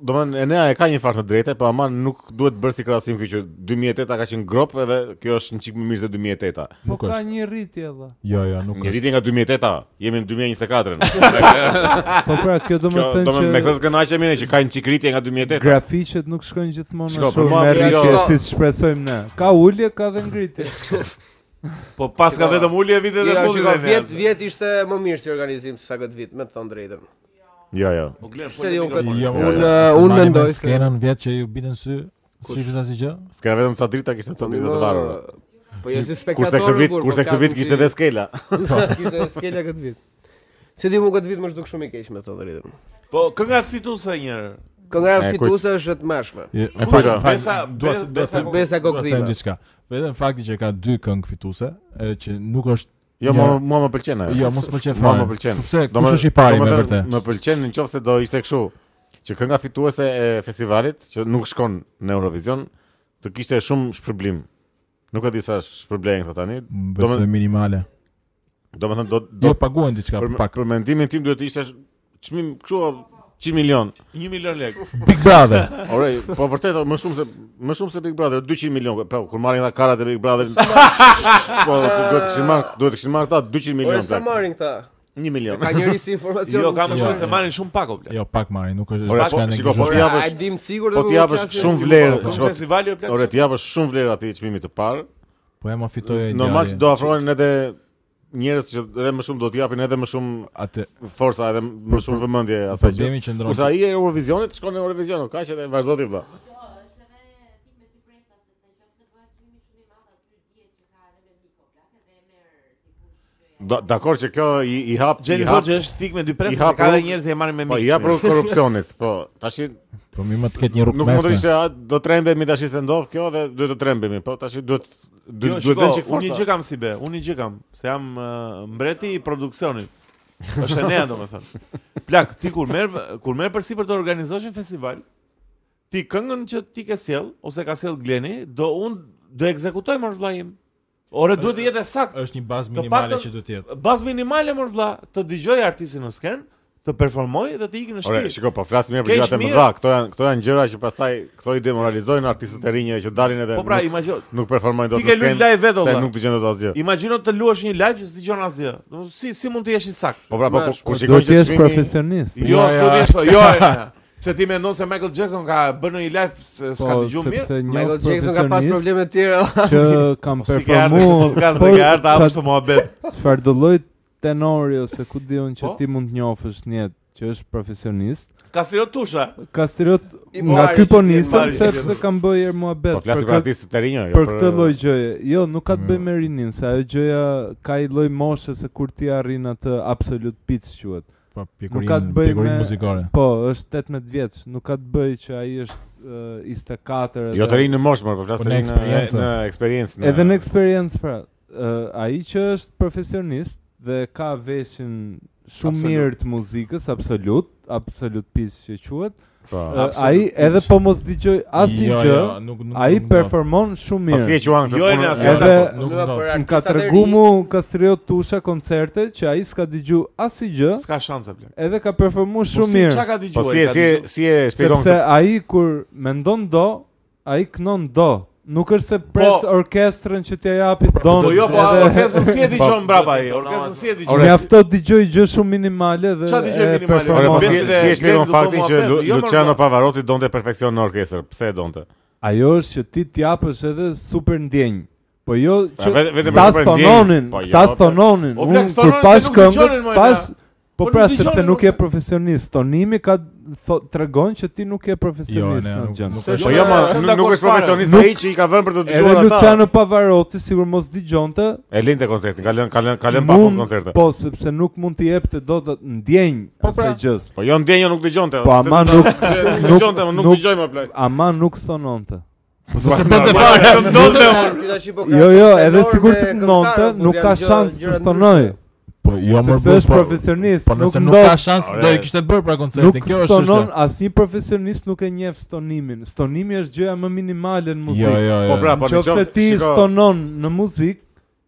Speaker 2: do më thënë Enea e ka një farë të drejtë, po ama nuk duhet bërë si krahasim kjo që 2008-a ka qenë grop edhe kjo është një çik më mirë se 2008-a.
Speaker 3: Po
Speaker 5: Nuk
Speaker 3: ka
Speaker 5: është.
Speaker 3: një rritje edhe.
Speaker 5: Jo, jo, nuk
Speaker 2: Një
Speaker 5: është.
Speaker 2: rritje nga 2008-a, jemi
Speaker 3: *laughs*
Speaker 2: në 2024-ën.
Speaker 3: Po pra, kjo do
Speaker 2: Kjo
Speaker 3: më thënë
Speaker 2: do më me
Speaker 3: që
Speaker 2: këtë të kënaqemi ne që ka një çik rritje nga 2008-a.
Speaker 3: grafiqet nuk shkojnë gjithmonë
Speaker 2: Shiko,
Speaker 3: ashtu
Speaker 2: për mua,
Speaker 3: me
Speaker 2: jo.
Speaker 3: rritje siç shpresojmë ne. Ka ulje, ka dhe ngritje.
Speaker 1: Po pas ka vetëm ulje vitet e
Speaker 6: Ja,
Speaker 1: fundit.
Speaker 6: shiko,
Speaker 1: tani,
Speaker 6: vjet
Speaker 1: atë.
Speaker 6: vjet ishte më mirë si organizim se sa këtë vit, me të thënë drejtën.
Speaker 2: Jo, jo.
Speaker 1: Po glen,
Speaker 6: Se jo,
Speaker 1: mikrofonin.
Speaker 5: Jo,
Speaker 2: Unë-
Speaker 5: se
Speaker 6: unë
Speaker 5: mani me
Speaker 6: mendoj se-
Speaker 5: Skenën vjet që ju bitën sy, shifës asnjë gjë.
Speaker 2: S'ka vetëm ca drita kishte ca drita të varura.
Speaker 6: Po jo si spektator. po
Speaker 2: Kurse këtë vit, kurse
Speaker 3: po
Speaker 2: këtë vit kishte edhe skela.
Speaker 6: *laughs* Kishte skela këtë vit. Se di mu këtë vit më zhduk shumë i keq me të thënë drejtën.
Speaker 1: Po kënga fituese një herë.
Speaker 6: Kënga
Speaker 2: E,
Speaker 6: e
Speaker 2: kujt?
Speaker 6: fituse është e të mëshme.
Speaker 5: Je- e
Speaker 1: Kush?
Speaker 5: fakt- fakt-
Speaker 1: Besa-
Speaker 5: dua të-
Speaker 1: Be-
Speaker 5: dua
Speaker 1: Besa Kokdhiva.
Speaker 5: të them-
Speaker 6: Besa
Speaker 3: Po,
Speaker 5: dua të them
Speaker 6: Kokdhiva.
Speaker 5: diçka. Vetëm fakti që ka dy këngë fituese, e, që nuk është
Speaker 2: Jo,
Speaker 5: Jo.
Speaker 2: mua mua më pëlqen ajo.
Speaker 5: Jo, mos më qe
Speaker 2: Mua
Speaker 5: fare.
Speaker 2: më pëlqen.
Speaker 5: Sepse
Speaker 2: Do më-
Speaker 5: kush është i pari
Speaker 2: do
Speaker 5: me
Speaker 2: thënë,
Speaker 5: vërtet?
Speaker 2: Më pëlqen nëse do ishte kështu, që kënga fituese e festivalit që nuk shkon në Eurovision, të kishte shumë shpërblim. Nuk e di sa shpërblejnë këto tani. Do
Speaker 5: Besoj minimale.
Speaker 2: do të thënë do do
Speaker 5: Jo paguajnë diçka
Speaker 2: për,
Speaker 5: pak.
Speaker 2: për mendimin tim duhet të ishte sh- çmim kështu 100 milion.
Speaker 1: 1 milion lekë.
Speaker 5: Big Brother.
Speaker 2: Ore, po vërtet o, më shumë se më shumë se Big Brother, 200 milion. Po kur marrin ata karat e Big
Speaker 6: *laughs*
Speaker 2: Brother, po duhet të kishin marrë, duhet të kishin marrë ata 200
Speaker 6: Ore
Speaker 2: milion.
Speaker 6: Po, sa
Speaker 2: plak.
Speaker 6: marrin këta?
Speaker 2: 1 milion.
Speaker 6: Ka njerëz si informacion.
Speaker 1: Jo, kam
Speaker 5: Jo,
Speaker 1: shumë
Speaker 5: jo.
Speaker 1: se marrin shumë pak o bler.
Speaker 5: Jo pak marrin, nuk është
Speaker 2: Ore,
Speaker 5: është
Speaker 2: po,
Speaker 5: diçka
Speaker 2: shiko, po, ja-
Speaker 5: neglizhueshme.
Speaker 6: Ja,
Speaker 2: t'japësh-
Speaker 6: ai dim sigurt
Speaker 2: po
Speaker 6: do
Speaker 2: t'japësh shumë vlerë,
Speaker 1: Po
Speaker 2: shiko.
Speaker 1: festivali o bler.
Speaker 2: Ore, ti japësh shumë vlerë atij çmimit të parë.
Speaker 5: Po ja ma fitoi.
Speaker 2: Normal
Speaker 5: djali.
Speaker 2: që do ofrojnë edhe njerëz që edhe më shumë do të japin edhe më shumë
Speaker 5: atë
Speaker 2: forca edhe më shumë vëmendje asaj gjë.
Speaker 5: problemi që ndron.
Speaker 2: Kurse ai e Eurovisionit shkon në Eurovision, kaq edhe vazhdo ti vëlla.
Speaker 7: Po,
Speaker 2: Da- Dakor që kjo i, i hap i
Speaker 1: Gjeni
Speaker 2: hap
Speaker 1: Hoxha është thik me dy
Speaker 2: i
Speaker 1: presë,
Speaker 2: hap
Speaker 1: se ka edhe
Speaker 2: rrugë-
Speaker 1: njerëz që e marrin me
Speaker 2: po
Speaker 1: mikë.
Speaker 2: i hap rrugë korrupsionit, po tash
Speaker 5: Po mi më të ketë një rrugë
Speaker 2: nuk mund të
Speaker 5: mesme.
Speaker 2: ishte a, do trembemi tash se ndodh kjo dhe duhet të trembemi, po tash duhet
Speaker 1: Jo,
Speaker 2: duhet duhet
Speaker 1: shiko,
Speaker 2: të çik
Speaker 1: unë një gjë
Speaker 2: forca.
Speaker 1: kam si be, unë një gjë kam, se jam uh, mbreti i produksionit. Është nea domethënë. Plak, ti kur merr kur merr përsi për të organizosh një festival, ti këngën që ti ke sjell ose ka sjell Gleni, do unë do ekzekutoj mor vllai im. Ore duhet të jetë e saktë.
Speaker 5: Është një bazë
Speaker 1: Të
Speaker 5: minimale
Speaker 1: paktën-
Speaker 5: që duhet të jetë.
Speaker 1: Bazë minimale mor vlla, të dëgjoj artistin në sken, të performoj dhe të ikë në
Speaker 2: Ore,
Speaker 1: shtëpi.
Speaker 2: shiko, po flasim mirë për
Speaker 1: Keq
Speaker 2: gjërat e
Speaker 1: mirë.
Speaker 2: mëdha, këto janë këto janë gjëra që pastaj këto i demoralizojnë artistët e rinj që dalin edhe
Speaker 1: Po pra,
Speaker 2: nuk-
Speaker 1: imagjino,
Speaker 2: Nuk performojnë dot
Speaker 1: Ti ke
Speaker 2: në skenë,
Speaker 1: luajt live vetë,
Speaker 2: Se
Speaker 1: valla.
Speaker 2: nuk dëgjojnë dot asgjë.
Speaker 1: imagjino të luash një live që s'dëgjon asgjë. Do si si mund të jesh i saktë?
Speaker 2: Po pra, po
Speaker 6: Mash,
Speaker 2: kur- kur
Speaker 3: Do
Speaker 2: shikoj
Speaker 3: të
Speaker 2: që
Speaker 3: jesh
Speaker 2: çmimi
Speaker 3: profesionist.
Speaker 1: Jo,
Speaker 5: Ja, ja.
Speaker 1: studish, po, jo. e, Se ti mendon se Michael Jackson ka bërë një live se s'ka
Speaker 3: Po,
Speaker 1: dëgjuar mirë?
Speaker 3: sepse një
Speaker 6: Michael Jackson ka pas
Speaker 3: profesionist
Speaker 6: probleme të tjera.
Speaker 3: që kam
Speaker 1: Po si ka ardhur *laughs* në
Speaker 3: performuar.
Speaker 1: podcast dhe ka ardhur apo të mohabet.
Speaker 3: Çfarë do lloj tenori ose ku diun që
Speaker 1: Po?
Speaker 3: ti mund të njohësh në jetë që është profesionist.
Speaker 1: Ka stirë tusha.
Speaker 3: Ka stirot
Speaker 6: I
Speaker 3: nga
Speaker 6: bari
Speaker 3: ky po
Speaker 6: po, që ti e
Speaker 3: nisëm
Speaker 1: bari.
Speaker 3: sepse kam bërë herë muhabet.
Speaker 2: Po flasim për
Speaker 3: këtë-
Speaker 2: artistët e rinj, jo
Speaker 3: për këtë lloj gjëje. Jo, nuk ka të bëjë me rinin, se ajo gjëja ka i lloj moshe se kur ti arrin atë absolut pitch quhet.
Speaker 5: Po
Speaker 3: Nuk ka
Speaker 5: pjekurin,
Speaker 3: të bëjë
Speaker 5: pjekurin
Speaker 3: me-
Speaker 5: muzikore.
Speaker 3: Po, është 18 vjeç, nuk ka të bëjë që ai është uh, 24
Speaker 2: Jo të rinj në moshë, më, po
Speaker 5: Po
Speaker 2: flasim
Speaker 5: në
Speaker 2: në
Speaker 5: eksperiencë.
Speaker 2: në eksperiencë.
Speaker 3: Edhe në eksperiencë pra, uh, ai që është profesionist dhe ka veshin shumë
Speaker 1: Absolut.
Speaker 3: mirë të muzikës, absolut, absolut pitch që quhet.
Speaker 2: Po.
Speaker 3: Uh, ai edhe po mos dëgjoj asnjë
Speaker 5: Jo,
Speaker 3: gjë,
Speaker 5: jo, nuk nuk.
Speaker 3: ai
Speaker 5: nuk ndodh.
Speaker 3: performon shumë
Speaker 2: Po si
Speaker 3: mirë.
Speaker 2: e quan këtë
Speaker 1: Jo, e
Speaker 2: punë?
Speaker 1: na, se
Speaker 2: Edhe-
Speaker 3: Edhe
Speaker 5: Nuk
Speaker 6: Lua
Speaker 5: ndodh.
Speaker 1: Pra,
Speaker 6: për
Speaker 3: Më ka
Speaker 6: artistat e
Speaker 3: tregu
Speaker 6: ri.
Speaker 3: mu Kastrio Tusha koncerte që ai s'ka dëgju asgjë
Speaker 1: S'ka shanse bler.
Speaker 3: edhe ka performuar
Speaker 1: Po
Speaker 3: shumë
Speaker 1: si,
Speaker 3: mirë.
Speaker 1: Çka ka dëgjuar?
Speaker 2: Po si e
Speaker 1: ka
Speaker 2: si e
Speaker 1: dëgjuar?
Speaker 2: si e shpjegon
Speaker 3: Sepse
Speaker 2: këtë?
Speaker 3: ai kur mendon do, ai kënon do. Nuk është se pret orkestrën që t'ja japi don.
Speaker 1: Po jo, po
Speaker 3: edhe-
Speaker 1: orkestrën si e dëgjon brapa ai? Orkestrën si e dëgjon?
Speaker 3: Mjafto dëgjoj gjë shumë minimale dhe
Speaker 1: Çfarë dëgjoj
Speaker 3: e
Speaker 1: minimale?
Speaker 2: Ore, po
Speaker 3: performon.
Speaker 1: Ore,
Speaker 2: si
Speaker 1: Besi
Speaker 2: si
Speaker 1: dhe
Speaker 2: e shpjegon
Speaker 1: Glenn
Speaker 2: faktin
Speaker 1: do
Speaker 2: që
Speaker 1: mua
Speaker 2: Lu-
Speaker 1: pet, jo,
Speaker 2: Luciano
Speaker 1: Marko.
Speaker 2: Pavarotti donte perfeksion në orkestër. Pse e donte?
Speaker 3: Ajo është që ti t'japësh edhe super ndjenjë. Po jo
Speaker 2: Pa,
Speaker 3: që
Speaker 2: vetë- vetëm
Speaker 3: ta
Speaker 2: Pra, për ndjenjë.
Speaker 3: stononin,
Speaker 2: Po jo,
Speaker 3: ta
Speaker 2: po.
Speaker 3: stononin.
Speaker 1: O, plak,
Speaker 3: Unë kur
Speaker 1: stononin se
Speaker 3: pas
Speaker 1: nuk dëgjonin,
Speaker 3: këngë,
Speaker 1: mojna.
Speaker 3: pas Po
Speaker 1: Po
Speaker 3: pra
Speaker 1: nuk
Speaker 3: sepse
Speaker 1: dëgjonin,
Speaker 3: nuk
Speaker 1: nuk-
Speaker 3: je profesionist, stonimi ka tho- tregon që ti nuk je
Speaker 5: Jo,
Speaker 3: profesionist
Speaker 5: ne
Speaker 3: në
Speaker 5: nuk
Speaker 3: gjë.
Speaker 5: nuk
Speaker 6: Se
Speaker 5: është.
Speaker 2: Po jo, ma,
Speaker 1: Se
Speaker 2: nuk-
Speaker 1: dakord
Speaker 2: nuk është
Speaker 1: fare.
Speaker 2: profesionist
Speaker 3: Nuk-
Speaker 2: ai që i ka vënë për të
Speaker 3: Edhe
Speaker 2: dëgjuar ata.
Speaker 3: Luciano Pavarotti sigur mos dëgjonte,
Speaker 2: E linte koncertin, ka lënë ka lënë ka lënë pa fund
Speaker 3: Mund,
Speaker 2: koncertin.
Speaker 3: po, sepse nuk mund t'i jep të do të ndjenjë po, asaj gjës.
Speaker 2: Po jo ndjenjë nuk dëgjonte.
Speaker 3: Po,
Speaker 2: se-
Speaker 3: ama nuk,
Speaker 2: dëgjonte, ma, nuk
Speaker 3: nuk-
Speaker 2: dëgjoj më plak.
Speaker 3: ama nuk sononte.
Speaker 5: Po se bënte fare.
Speaker 2: Ndonte
Speaker 6: Ti tash i po krahason
Speaker 3: Jo, jo,
Speaker 6: tenor
Speaker 3: edhe
Speaker 6: me
Speaker 3: sigur të
Speaker 6: këngëtar,
Speaker 3: këndonte,
Speaker 6: kur
Speaker 3: nuk
Speaker 6: janë
Speaker 3: ka
Speaker 6: gjë-
Speaker 3: shans
Speaker 6: gjëra
Speaker 3: të stonoj.
Speaker 6: ndryshe.
Speaker 5: Po jo më
Speaker 3: Sepse
Speaker 5: bërë.
Speaker 3: është profesionist,
Speaker 5: Po nëse
Speaker 3: nuk
Speaker 5: nuk ka
Speaker 3: ndodh-
Speaker 5: shans do
Speaker 2: Ore.
Speaker 5: i kishte bërë pra
Speaker 3: Nuk
Speaker 5: koncertin. Kjo është
Speaker 3: stonon
Speaker 5: është.
Speaker 3: asnjë profesionist nuk e njeh stonimin. Stonimi është gjëja më minimale në
Speaker 5: Jo,
Speaker 3: muzikë.
Speaker 5: jo, jo.
Speaker 2: Po pra, po në
Speaker 3: Nëse
Speaker 2: qoftë
Speaker 3: ti
Speaker 2: shiko,
Speaker 3: stonon në muzikë,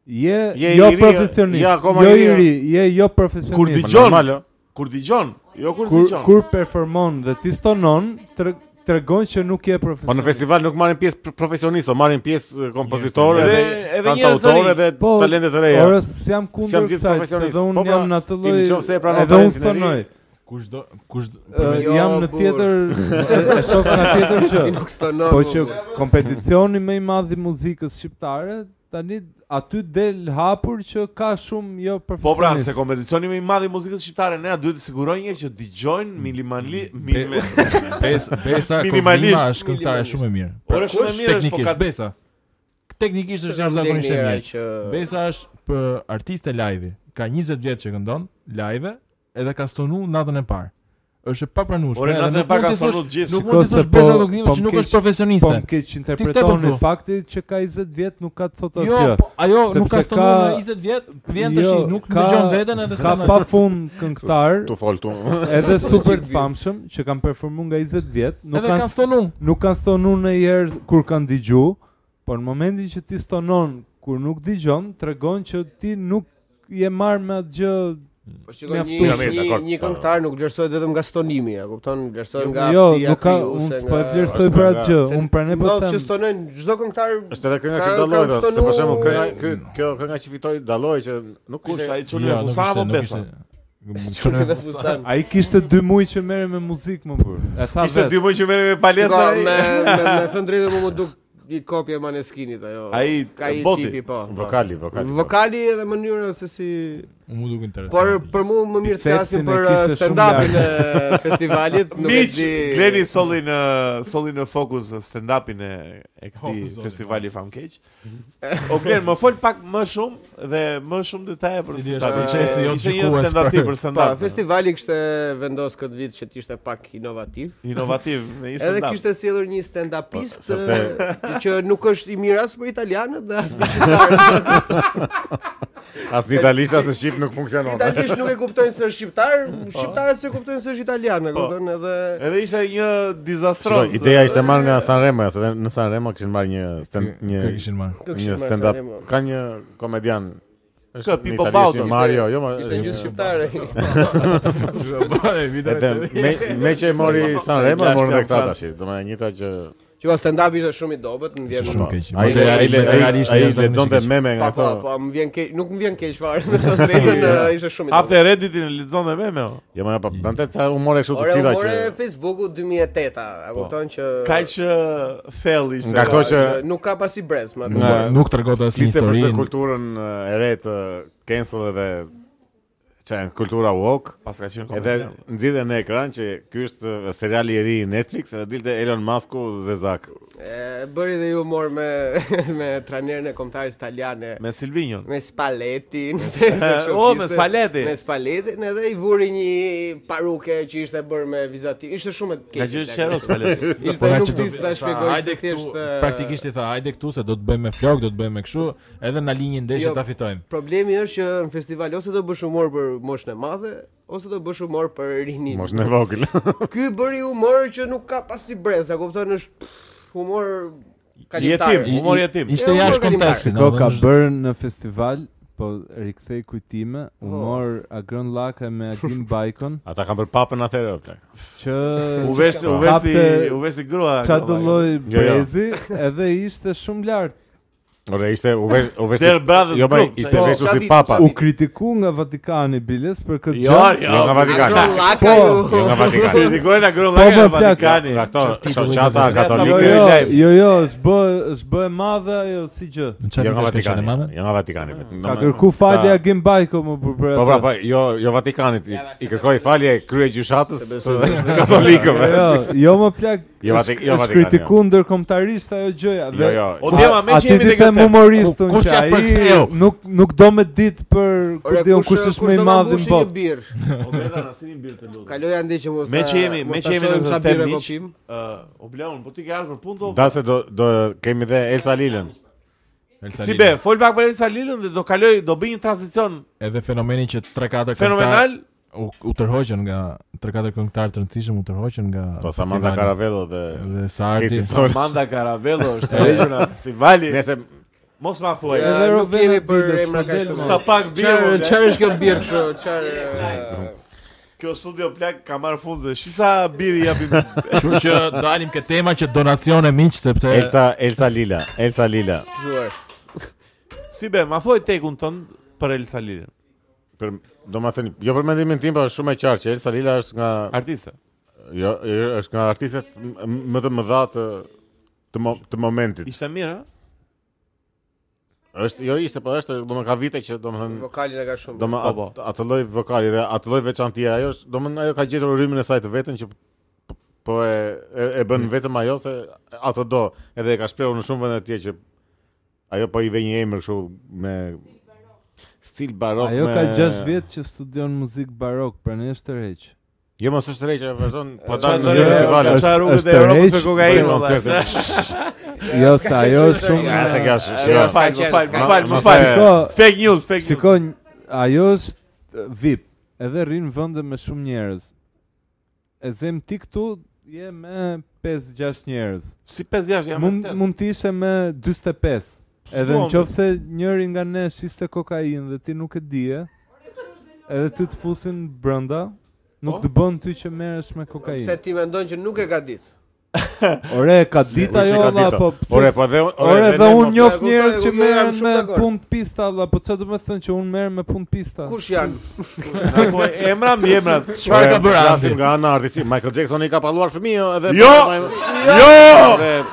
Speaker 3: je
Speaker 2: Je i
Speaker 3: jo
Speaker 2: ri,
Speaker 3: profesionist.
Speaker 2: je akoma
Speaker 3: Jo
Speaker 2: i
Speaker 3: i
Speaker 2: ri.
Speaker 3: ri, je jo
Speaker 1: Kur
Speaker 3: profesionist.
Speaker 2: Po
Speaker 1: dëgjon,
Speaker 2: normal, jo.
Speaker 1: Kur dëgjon, jo kur
Speaker 3: Kur
Speaker 1: dëgjon.
Speaker 3: kur performon dhe ti stonon, tre- tregon që nuk je
Speaker 2: Po në
Speaker 3: profesionist.
Speaker 2: festival nuk marrin pjesë pr- profesionistë, o marrin pjesë e, kompozitore
Speaker 1: Edhe-
Speaker 2: dhe
Speaker 1: edhe
Speaker 2: kantautore
Speaker 1: njerëz
Speaker 2: dhe
Speaker 3: Po,
Speaker 2: talente të reja.
Speaker 3: Ora s'jam
Speaker 2: S'jam
Speaker 3: kundër
Speaker 2: gjithë
Speaker 3: kësaj, se
Speaker 2: profesionist.
Speaker 3: dhe unë
Speaker 2: Po, pra,
Speaker 3: jam në atë
Speaker 2: ti
Speaker 3: lloj.
Speaker 2: në qoftë se e pranon
Speaker 3: Edhe unë
Speaker 2: talentin e ri,
Speaker 3: stonoj.
Speaker 5: Kushdo kushdo
Speaker 3: Ë,
Speaker 6: Jo,
Speaker 3: Jam në
Speaker 6: burr.
Speaker 3: tjetër, e- e shoh nga tjetër që
Speaker 6: Ti *laughs* nuk stonon.
Speaker 3: Po
Speaker 6: mu,
Speaker 3: që
Speaker 6: bre.
Speaker 3: kompeticioni më i madh i muzikës shqiptare, tani aty del hapur që ka shumë jo
Speaker 1: Po pra, se
Speaker 3: profesionistë.
Speaker 1: kompeticioni më i madh i muzikës shqiptare ne duhet të sigurojmë një herë që dëgjojnë minimali minime. *laughs*
Speaker 5: Besa, besa
Speaker 1: Minimalisht,
Speaker 5: Kobrima është këngëtare shumë e mirë.
Speaker 1: Por është shumë e mirë, është po
Speaker 5: Teknikisht
Speaker 1: ka
Speaker 5: Besa. Teknikisht është
Speaker 6: Jam
Speaker 5: jashtëzakonisht e
Speaker 6: legnera
Speaker 5: mirë.
Speaker 6: që
Speaker 5: Besa është për artiste live. Ka 20 vjet që këndon live edhe ka stonu natën e parë. Është e papranueshme.
Speaker 1: Ore,
Speaker 5: edhe
Speaker 1: natën e
Speaker 5: nuk
Speaker 1: parë
Speaker 5: mund
Speaker 1: ka
Speaker 5: t'i thuash-
Speaker 1: sonu të gjithë.
Speaker 5: Nuk mund të
Speaker 3: Shiko se
Speaker 5: thosh
Speaker 3: po-
Speaker 5: Besa Kognima
Speaker 3: po
Speaker 5: që nuk
Speaker 3: m'keq-
Speaker 5: është profesioniste.
Speaker 3: Po më keq
Speaker 5: Ti
Speaker 3: interpreton
Speaker 5: te
Speaker 3: dhe
Speaker 5: përdu.
Speaker 3: fakti që ka 20 vjet nuk ka të thotë
Speaker 5: Jo,
Speaker 3: asgjë.
Speaker 5: po, ajo nuk
Speaker 3: Sepse
Speaker 5: ka stonu
Speaker 3: ka-
Speaker 5: në 20 vjet, vjen
Speaker 3: Jo,
Speaker 5: tash, nuk
Speaker 3: ka-
Speaker 5: dëgjon veten edhe
Speaker 3: Ka
Speaker 5: stonon.
Speaker 3: pa fund këngëtar
Speaker 2: Tu *laughs* fol tu.
Speaker 3: edhe super të famshëm që kanë performuar nga 20 vjet, nuk
Speaker 5: Edhe
Speaker 3: kanë
Speaker 5: ka stonu.
Speaker 3: nuk kanë stonu në herë kur kanë digju, por në momentin që ti stonon kur nuk digjon, tregon që ti nuk je marrë me atë gjë
Speaker 6: Po shikoj një
Speaker 3: Mjaftu.
Speaker 2: Mirë,
Speaker 6: një,
Speaker 2: dakord.
Speaker 6: një këngëtar nuk vlerësohet vetëm nga stonimi, e kupton? Vlerësohet nga
Speaker 3: jo,
Speaker 6: aftësia
Speaker 3: nuk ka,
Speaker 6: krijuese,
Speaker 3: unë
Speaker 6: nga-
Speaker 3: s'po e vlerësoj
Speaker 2: Është
Speaker 3: për
Speaker 2: nga-
Speaker 3: atë gjë,
Speaker 6: Se
Speaker 3: unë pranë po
Speaker 6: ndodh që
Speaker 3: them.
Speaker 6: stonojnë çdo
Speaker 3: *laughs*
Speaker 6: këngëtar.
Speaker 2: Është edhe kënga
Speaker 6: Ka-
Speaker 2: që
Speaker 6: ka
Speaker 2: dalloj, ta, se
Speaker 6: stonu-
Speaker 2: për shembull kënga kë- kjo kënga që fitoi dalloj që nuk
Speaker 1: Kush
Speaker 2: ishte
Speaker 1: ai çuni
Speaker 5: Jo,
Speaker 1: me fusa apo besa?
Speaker 6: Dhe
Speaker 5: Çune
Speaker 3: *laughs*
Speaker 6: fustan.
Speaker 3: Ai kishte 2 muaj që merre me muzikë më burr. E tha
Speaker 1: Kishte
Speaker 3: vetë.
Speaker 1: dy muaj që merrem me
Speaker 6: Shiko,
Speaker 1: palestra.
Speaker 6: me
Speaker 1: ai-
Speaker 6: me me thënë drejtë mu më duk një kopje e Maneskinit ajo.
Speaker 1: Ai,
Speaker 6: ka i
Speaker 1: boti.
Speaker 6: tipi po. po.
Speaker 2: vokali, vokali.
Speaker 6: Vokali edhe mënyra se si
Speaker 5: Mu duk interesant.
Speaker 6: Por për mua më mirë të flasim
Speaker 3: Pepsin e
Speaker 6: për
Speaker 3: kishte
Speaker 6: uh,
Speaker 3: shumë
Speaker 6: stand-upin e
Speaker 3: *laughs*
Speaker 6: festivalit, nuk e
Speaker 1: Miq,
Speaker 6: di.
Speaker 1: Gleni solli në solli në fokus stand-upin e, e
Speaker 3: Po,
Speaker 1: këtij
Speaker 5: Oh, zoti,
Speaker 1: festivali famkeq.
Speaker 3: Mhm.
Speaker 1: O Glen, më fol pak më shumë dhe më shumë detaje për
Speaker 5: Cili është
Speaker 1: stand-upin.
Speaker 5: procesi
Speaker 1: Ishte-
Speaker 3: jo
Speaker 5: jonë
Speaker 1: ishte një
Speaker 5: gjikues
Speaker 1: tentativë
Speaker 5: për-
Speaker 1: për
Speaker 6: Po,
Speaker 1: stand-up.
Speaker 6: festivali kishte vendos këtë vit që t'ishte pak inovativ.
Speaker 1: Inovativ në
Speaker 6: Edhe
Speaker 1: stand-up.
Speaker 6: kishte sjellur një stand-upist
Speaker 2: Po, sepse-
Speaker 6: eh, që nuk është i mirë as për italianët dhe as për shqiptarët.
Speaker 2: As në italisht as në shqip nuk funksionon.
Speaker 6: Italisht nuk e kuptojnë se është shqiptar,
Speaker 2: Po.
Speaker 6: shqiptarët se kuptojnë se është italian, e kupton edhe
Speaker 1: Edhe ishte një
Speaker 2: *laughs* Shiko,
Speaker 1: dizastros.
Speaker 2: Ideja ishte marrë nga Sanremo, se në Sanremo kishin marrë një stand, një
Speaker 5: Kë kishin marrë.
Speaker 6: Kë
Speaker 2: një
Speaker 6: kishin marrë
Speaker 2: stand up.
Speaker 6: Sanremo?
Speaker 2: Ka një komedian
Speaker 1: Kë,
Speaker 2: në
Speaker 1: Pippo
Speaker 2: italisht,
Speaker 1: Baudo.
Speaker 2: Mario, jo, ma-
Speaker 6: ishte gjithë shqiptarë.
Speaker 2: Edhe me me që e mori Sanremo, e morën edhe këta tash. Domethënë njëta që po,
Speaker 6: Që ka stand-up ishte shumë i dobët, më vjen
Speaker 5: Shumë keq.
Speaker 2: ai
Speaker 5: Materiali-
Speaker 2: ai le- ai-
Speaker 5: materialisht
Speaker 2: ai
Speaker 5: jashtë
Speaker 2: lexonte
Speaker 5: zakonisht
Speaker 2: meme nga
Speaker 6: Po, po,
Speaker 2: ato.
Speaker 6: po, më vjen keq, nuk më vjen keq fare, me të drejtën eh, ishte shumë i dobët.
Speaker 1: Hapte Redditin e lexon dhe meme. o.
Speaker 2: Jo, më po, bënte ca umore kështu të
Speaker 6: Ore,
Speaker 2: tilla
Speaker 6: u
Speaker 2: që Po.
Speaker 6: more Facebooku 2008-a, a kupton që
Speaker 1: Kaq ë, thell ishte.
Speaker 2: Nga këto
Speaker 6: që
Speaker 2: që
Speaker 6: nuk ka pasi brez, më
Speaker 2: Nga-
Speaker 5: Nuk tregon asnjë
Speaker 2: Fliste për
Speaker 5: histori.
Speaker 2: të kulturën eh, e re të cancel edhe që janë kultura woke
Speaker 1: Pas ka qenë
Speaker 2: Edhe
Speaker 1: komedian.
Speaker 2: nxitën në ekran që ky është eh, seriali i ri i Netflix, edhe dilte Elon Musku zezak.
Speaker 6: e Eh, bëri dhe ju mor me *laughs* me trajnerin e kombëtarës italiane.
Speaker 1: me Silvinjon.
Speaker 6: me *laughs* spaletin,
Speaker 1: *laughs*
Speaker 6: se se kështu
Speaker 1: o, me
Speaker 6: kishte,
Speaker 1: spaleti.
Speaker 6: Me spaletin edhe i vuri një paruke që ishte bërë me vizativ. Ishte shumë e keq.
Speaker 1: Ka gjë
Speaker 6: plak.
Speaker 1: qero spaleti.
Speaker 3: pra,
Speaker 6: Ishte
Speaker 5: Po, ka
Speaker 6: nuk
Speaker 5: që do-
Speaker 6: di si ta
Speaker 5: tha,
Speaker 6: shpjegoj se
Speaker 5: Pra, hajde këtu,
Speaker 6: thjesht e,
Speaker 5: Praktikisht i tha, hajde këtu se do të bëjmë me flok, do të bëjmë me kështu, edhe na linjë ndeshje
Speaker 6: Jo.
Speaker 5: ta fitojmë.
Speaker 6: Problemi është që në festival ose do bësh humor për moshën e madhe, ose do bësh humor për rinin.
Speaker 2: Mos në vogël.
Speaker 6: Ky bëri humor që nuk ka pasi brez, a kupton është pff, humor
Speaker 1: Jetim.
Speaker 6: kalitar.
Speaker 5: I-
Speaker 1: Humor
Speaker 5: i-
Speaker 1: jetim.
Speaker 5: Ishte
Speaker 6: Jo,
Speaker 5: jashtë
Speaker 6: humor
Speaker 5: kontekstit.
Speaker 3: Ko
Speaker 5: do
Speaker 3: ka
Speaker 5: të thonë,
Speaker 3: bërë në festival, po rikthej kujtime, u mor Agron Laka me Agim Bajkon,
Speaker 2: *laughs* Ata kanë për papën atëherë o plak.
Speaker 3: që
Speaker 1: U versi, u versi, u versi grua.
Speaker 3: Qa do lloj
Speaker 2: Jo, jo.
Speaker 3: brezi edhe ishte shumë lart.
Speaker 2: Ore ishte u vesh u vesh.
Speaker 1: Der Brothers
Speaker 2: Jo, më
Speaker 1: Club,
Speaker 2: ishte
Speaker 1: qa-
Speaker 2: veshur
Speaker 6: qa
Speaker 2: si
Speaker 6: vit-
Speaker 2: papa.
Speaker 6: qa
Speaker 3: U
Speaker 6: vit?
Speaker 3: kritiku nga Vatikani biles për këtë
Speaker 1: Jo,
Speaker 3: gjë.
Speaker 2: Jo nga
Speaker 1: jo.
Speaker 2: Vatikani.
Speaker 6: Laka
Speaker 3: Po.
Speaker 6: ju.
Speaker 2: Jo nga Vatikani.
Speaker 1: Kritikojnë agron
Speaker 3: Po,
Speaker 1: lagën e
Speaker 3: po, plak.
Speaker 1: Vatikani.
Speaker 2: Nga këto
Speaker 5: titulli
Speaker 2: shoqata
Speaker 5: i
Speaker 3: Jo,
Speaker 2: katolike.
Speaker 3: jo,
Speaker 1: live.
Speaker 3: jo, jo, s'bë, s'bë e madhe ajo si gjë.
Speaker 5: çfarë
Speaker 2: Jo nga
Speaker 5: ditë shkaqen e
Speaker 2: Vatikani.
Speaker 5: madhe?
Speaker 2: Jo nga Vatikani vetëm.
Speaker 3: Ka
Speaker 2: Domethënë,
Speaker 3: kërku falje
Speaker 2: ta-
Speaker 3: Agim Bajko më për për
Speaker 2: Po
Speaker 3: atë.
Speaker 2: pra, po, jo, jo Vatikanit, i, i kërkoj falje krye gjyshatës
Speaker 6: besoj.
Speaker 2: së katolikëve.
Speaker 3: Jo, jo më plak.
Speaker 2: Jo, Vati- jo,
Speaker 3: është
Speaker 2: Vatikani,
Speaker 3: kritiku ndërkombëtarisht ajo gjëja.
Speaker 2: Jo, jo.
Speaker 1: O djema me që jemi
Speaker 3: të
Speaker 1: te këtë.
Speaker 3: them humorist
Speaker 5: Ku-
Speaker 3: unë
Speaker 5: kush
Speaker 3: që
Speaker 5: ja
Speaker 3: ai
Speaker 5: përktheu?
Speaker 3: nuk nuk do me ditë për ku
Speaker 6: Ore,
Speaker 3: diun kush është më i
Speaker 6: do ma
Speaker 3: madh në
Speaker 6: mbushi një
Speaker 3: botë.
Speaker 6: birë? Kaloj andi që mos
Speaker 1: Me
Speaker 6: ta-
Speaker 1: që jemi,
Speaker 6: mos
Speaker 1: me
Speaker 6: ta
Speaker 1: që jemi në
Speaker 6: shohim
Speaker 1: këtë
Speaker 6: sa
Speaker 1: temë
Speaker 6: birra po
Speaker 1: miq.
Speaker 6: pim.
Speaker 1: ë, O Bleon, po ti ke ardhur për punë do.
Speaker 2: Da se do, do kemi dhe Elsa Lilën.
Speaker 5: Elsa
Speaker 1: Si
Speaker 5: Lili.
Speaker 1: be, fol pak për Elsa Lilën dhe do kaloj, do bëj një tranzicion
Speaker 5: Edhe fenomeni që 3-4 këngëtar
Speaker 1: fenomenal.
Speaker 5: u, u tërhoqën nga 3-4 këngëtar të rëndësishëm u tërhoqën nga
Speaker 2: Po Samantha
Speaker 5: festivali.
Speaker 2: Caravello dhe
Speaker 5: Dhe Sardi.
Speaker 2: Kesi Sol.
Speaker 1: Amanda Caravello është e regjën e festivalit.
Speaker 2: Nese
Speaker 1: Mos ma thuaj.
Speaker 6: Ja,
Speaker 3: Edhe
Speaker 6: nuk
Speaker 3: Rovena
Speaker 6: jemi për
Speaker 3: Dilës,
Speaker 6: emra
Speaker 3: po
Speaker 6: kaq
Speaker 3: del
Speaker 6: të
Speaker 3: më.
Speaker 1: Sa pak
Speaker 6: Çfarë
Speaker 1: birë.
Speaker 6: çfarë është kjo birë kështu? Çfarë?
Speaker 1: Kjo studio plak ka marr fund se shisa biri japim.
Speaker 5: Kështu që dalim ke tema që donacione miq sepse
Speaker 2: Elsa, Elsa Lila, Elsa Lila.
Speaker 6: Zhuar.
Speaker 1: si be, ma thuaj tekun ton për El Salirin.
Speaker 2: Për, do ma thënë, jo për mendimin tim, por është shumë e qartë që Elsa Lila është nga
Speaker 1: Artiste.
Speaker 2: jo, jo, është nga artistet m- më të mëdha të të, mo, të momentit.
Speaker 1: Ishte mirë, ëh?
Speaker 2: Është jo ishte, po është, do më ka vite që do më thënë
Speaker 6: Vokalin e ka shumë.
Speaker 2: Do më
Speaker 1: Po,
Speaker 2: at,
Speaker 1: po.
Speaker 2: atë lloj vokali dhe atë lloj veçantia ajo është, do më thënë, ajo ka gjetur rrymin e saj të vetën që p- po e e, e
Speaker 3: Mm.
Speaker 2: bën vetëm ajo se atë do, edhe e ka shprehur në shumë vende të tjera që ajo po i vë një emër kështu me stil barok
Speaker 3: Ajo
Speaker 2: me
Speaker 3: ka 6 vjet që studion muzik barok, prandaj është tërheq.
Speaker 2: Jo mos është rreqë, ajo vazhdon po
Speaker 1: Qa
Speaker 2: dal në
Speaker 1: dërre-
Speaker 2: festivale.
Speaker 1: qa
Speaker 3: është-
Speaker 1: rrugët
Speaker 3: është
Speaker 1: e Europës
Speaker 3: tërheq,
Speaker 1: me kokainë.
Speaker 2: bëjmë
Speaker 1: valla.
Speaker 2: koncerte.
Speaker 3: *laughs* Jo, sa ajo është
Speaker 2: Ja,
Speaker 3: shumë.
Speaker 2: se kjo është.
Speaker 1: Ja,
Speaker 2: jo.
Speaker 1: Më fal, më fal, më fal, më
Speaker 2: Mos
Speaker 1: fal.
Speaker 2: e-
Speaker 3: Shiko,
Speaker 1: Fake news, fake news.
Speaker 3: shiko, nj- ajo është eh, VIP, edhe rrin vende me shumë njerëz. E zem ti këtu je me 5-6 njerëz.
Speaker 1: Si 5 jashtë jam.
Speaker 3: Mund mund të ishe me 45. Edhe në qoftë se njëri nga ne shiste kokainë dhe ti nuk e dije, edhe ty të fusin brenda, nuk të
Speaker 1: Po?
Speaker 3: bën ty që merresh me
Speaker 6: Pse
Speaker 3: kokainë.
Speaker 6: ti mendon që nuk e ka ditë?
Speaker 3: Ore, ka dita
Speaker 2: Ujë që
Speaker 3: jo
Speaker 2: ka
Speaker 3: valla,
Speaker 2: dita.
Speaker 3: po pse
Speaker 2: Ore, po dhe
Speaker 3: Ore dhe
Speaker 2: ne
Speaker 3: unë
Speaker 2: nuk-
Speaker 3: njoh
Speaker 6: e kuptoj,
Speaker 3: njerëz
Speaker 6: e
Speaker 3: që
Speaker 6: kuptoj,
Speaker 3: merren
Speaker 6: jam shumë
Speaker 3: me
Speaker 6: dakord.
Speaker 3: punë të pista valla, po çfarë do të thënë që unë merrem me punë të pista?
Speaker 6: Kush janë?
Speaker 1: emra mbi emra.
Speaker 5: çfarë ka
Speaker 2: Ore,
Speaker 5: bërë
Speaker 2: Pra, flasim
Speaker 5: Andi?
Speaker 2: nga ana artistike. Michael Jackson i ka palluar fëmijë edhe po
Speaker 1: Jo! Jo!
Speaker 2: Dhe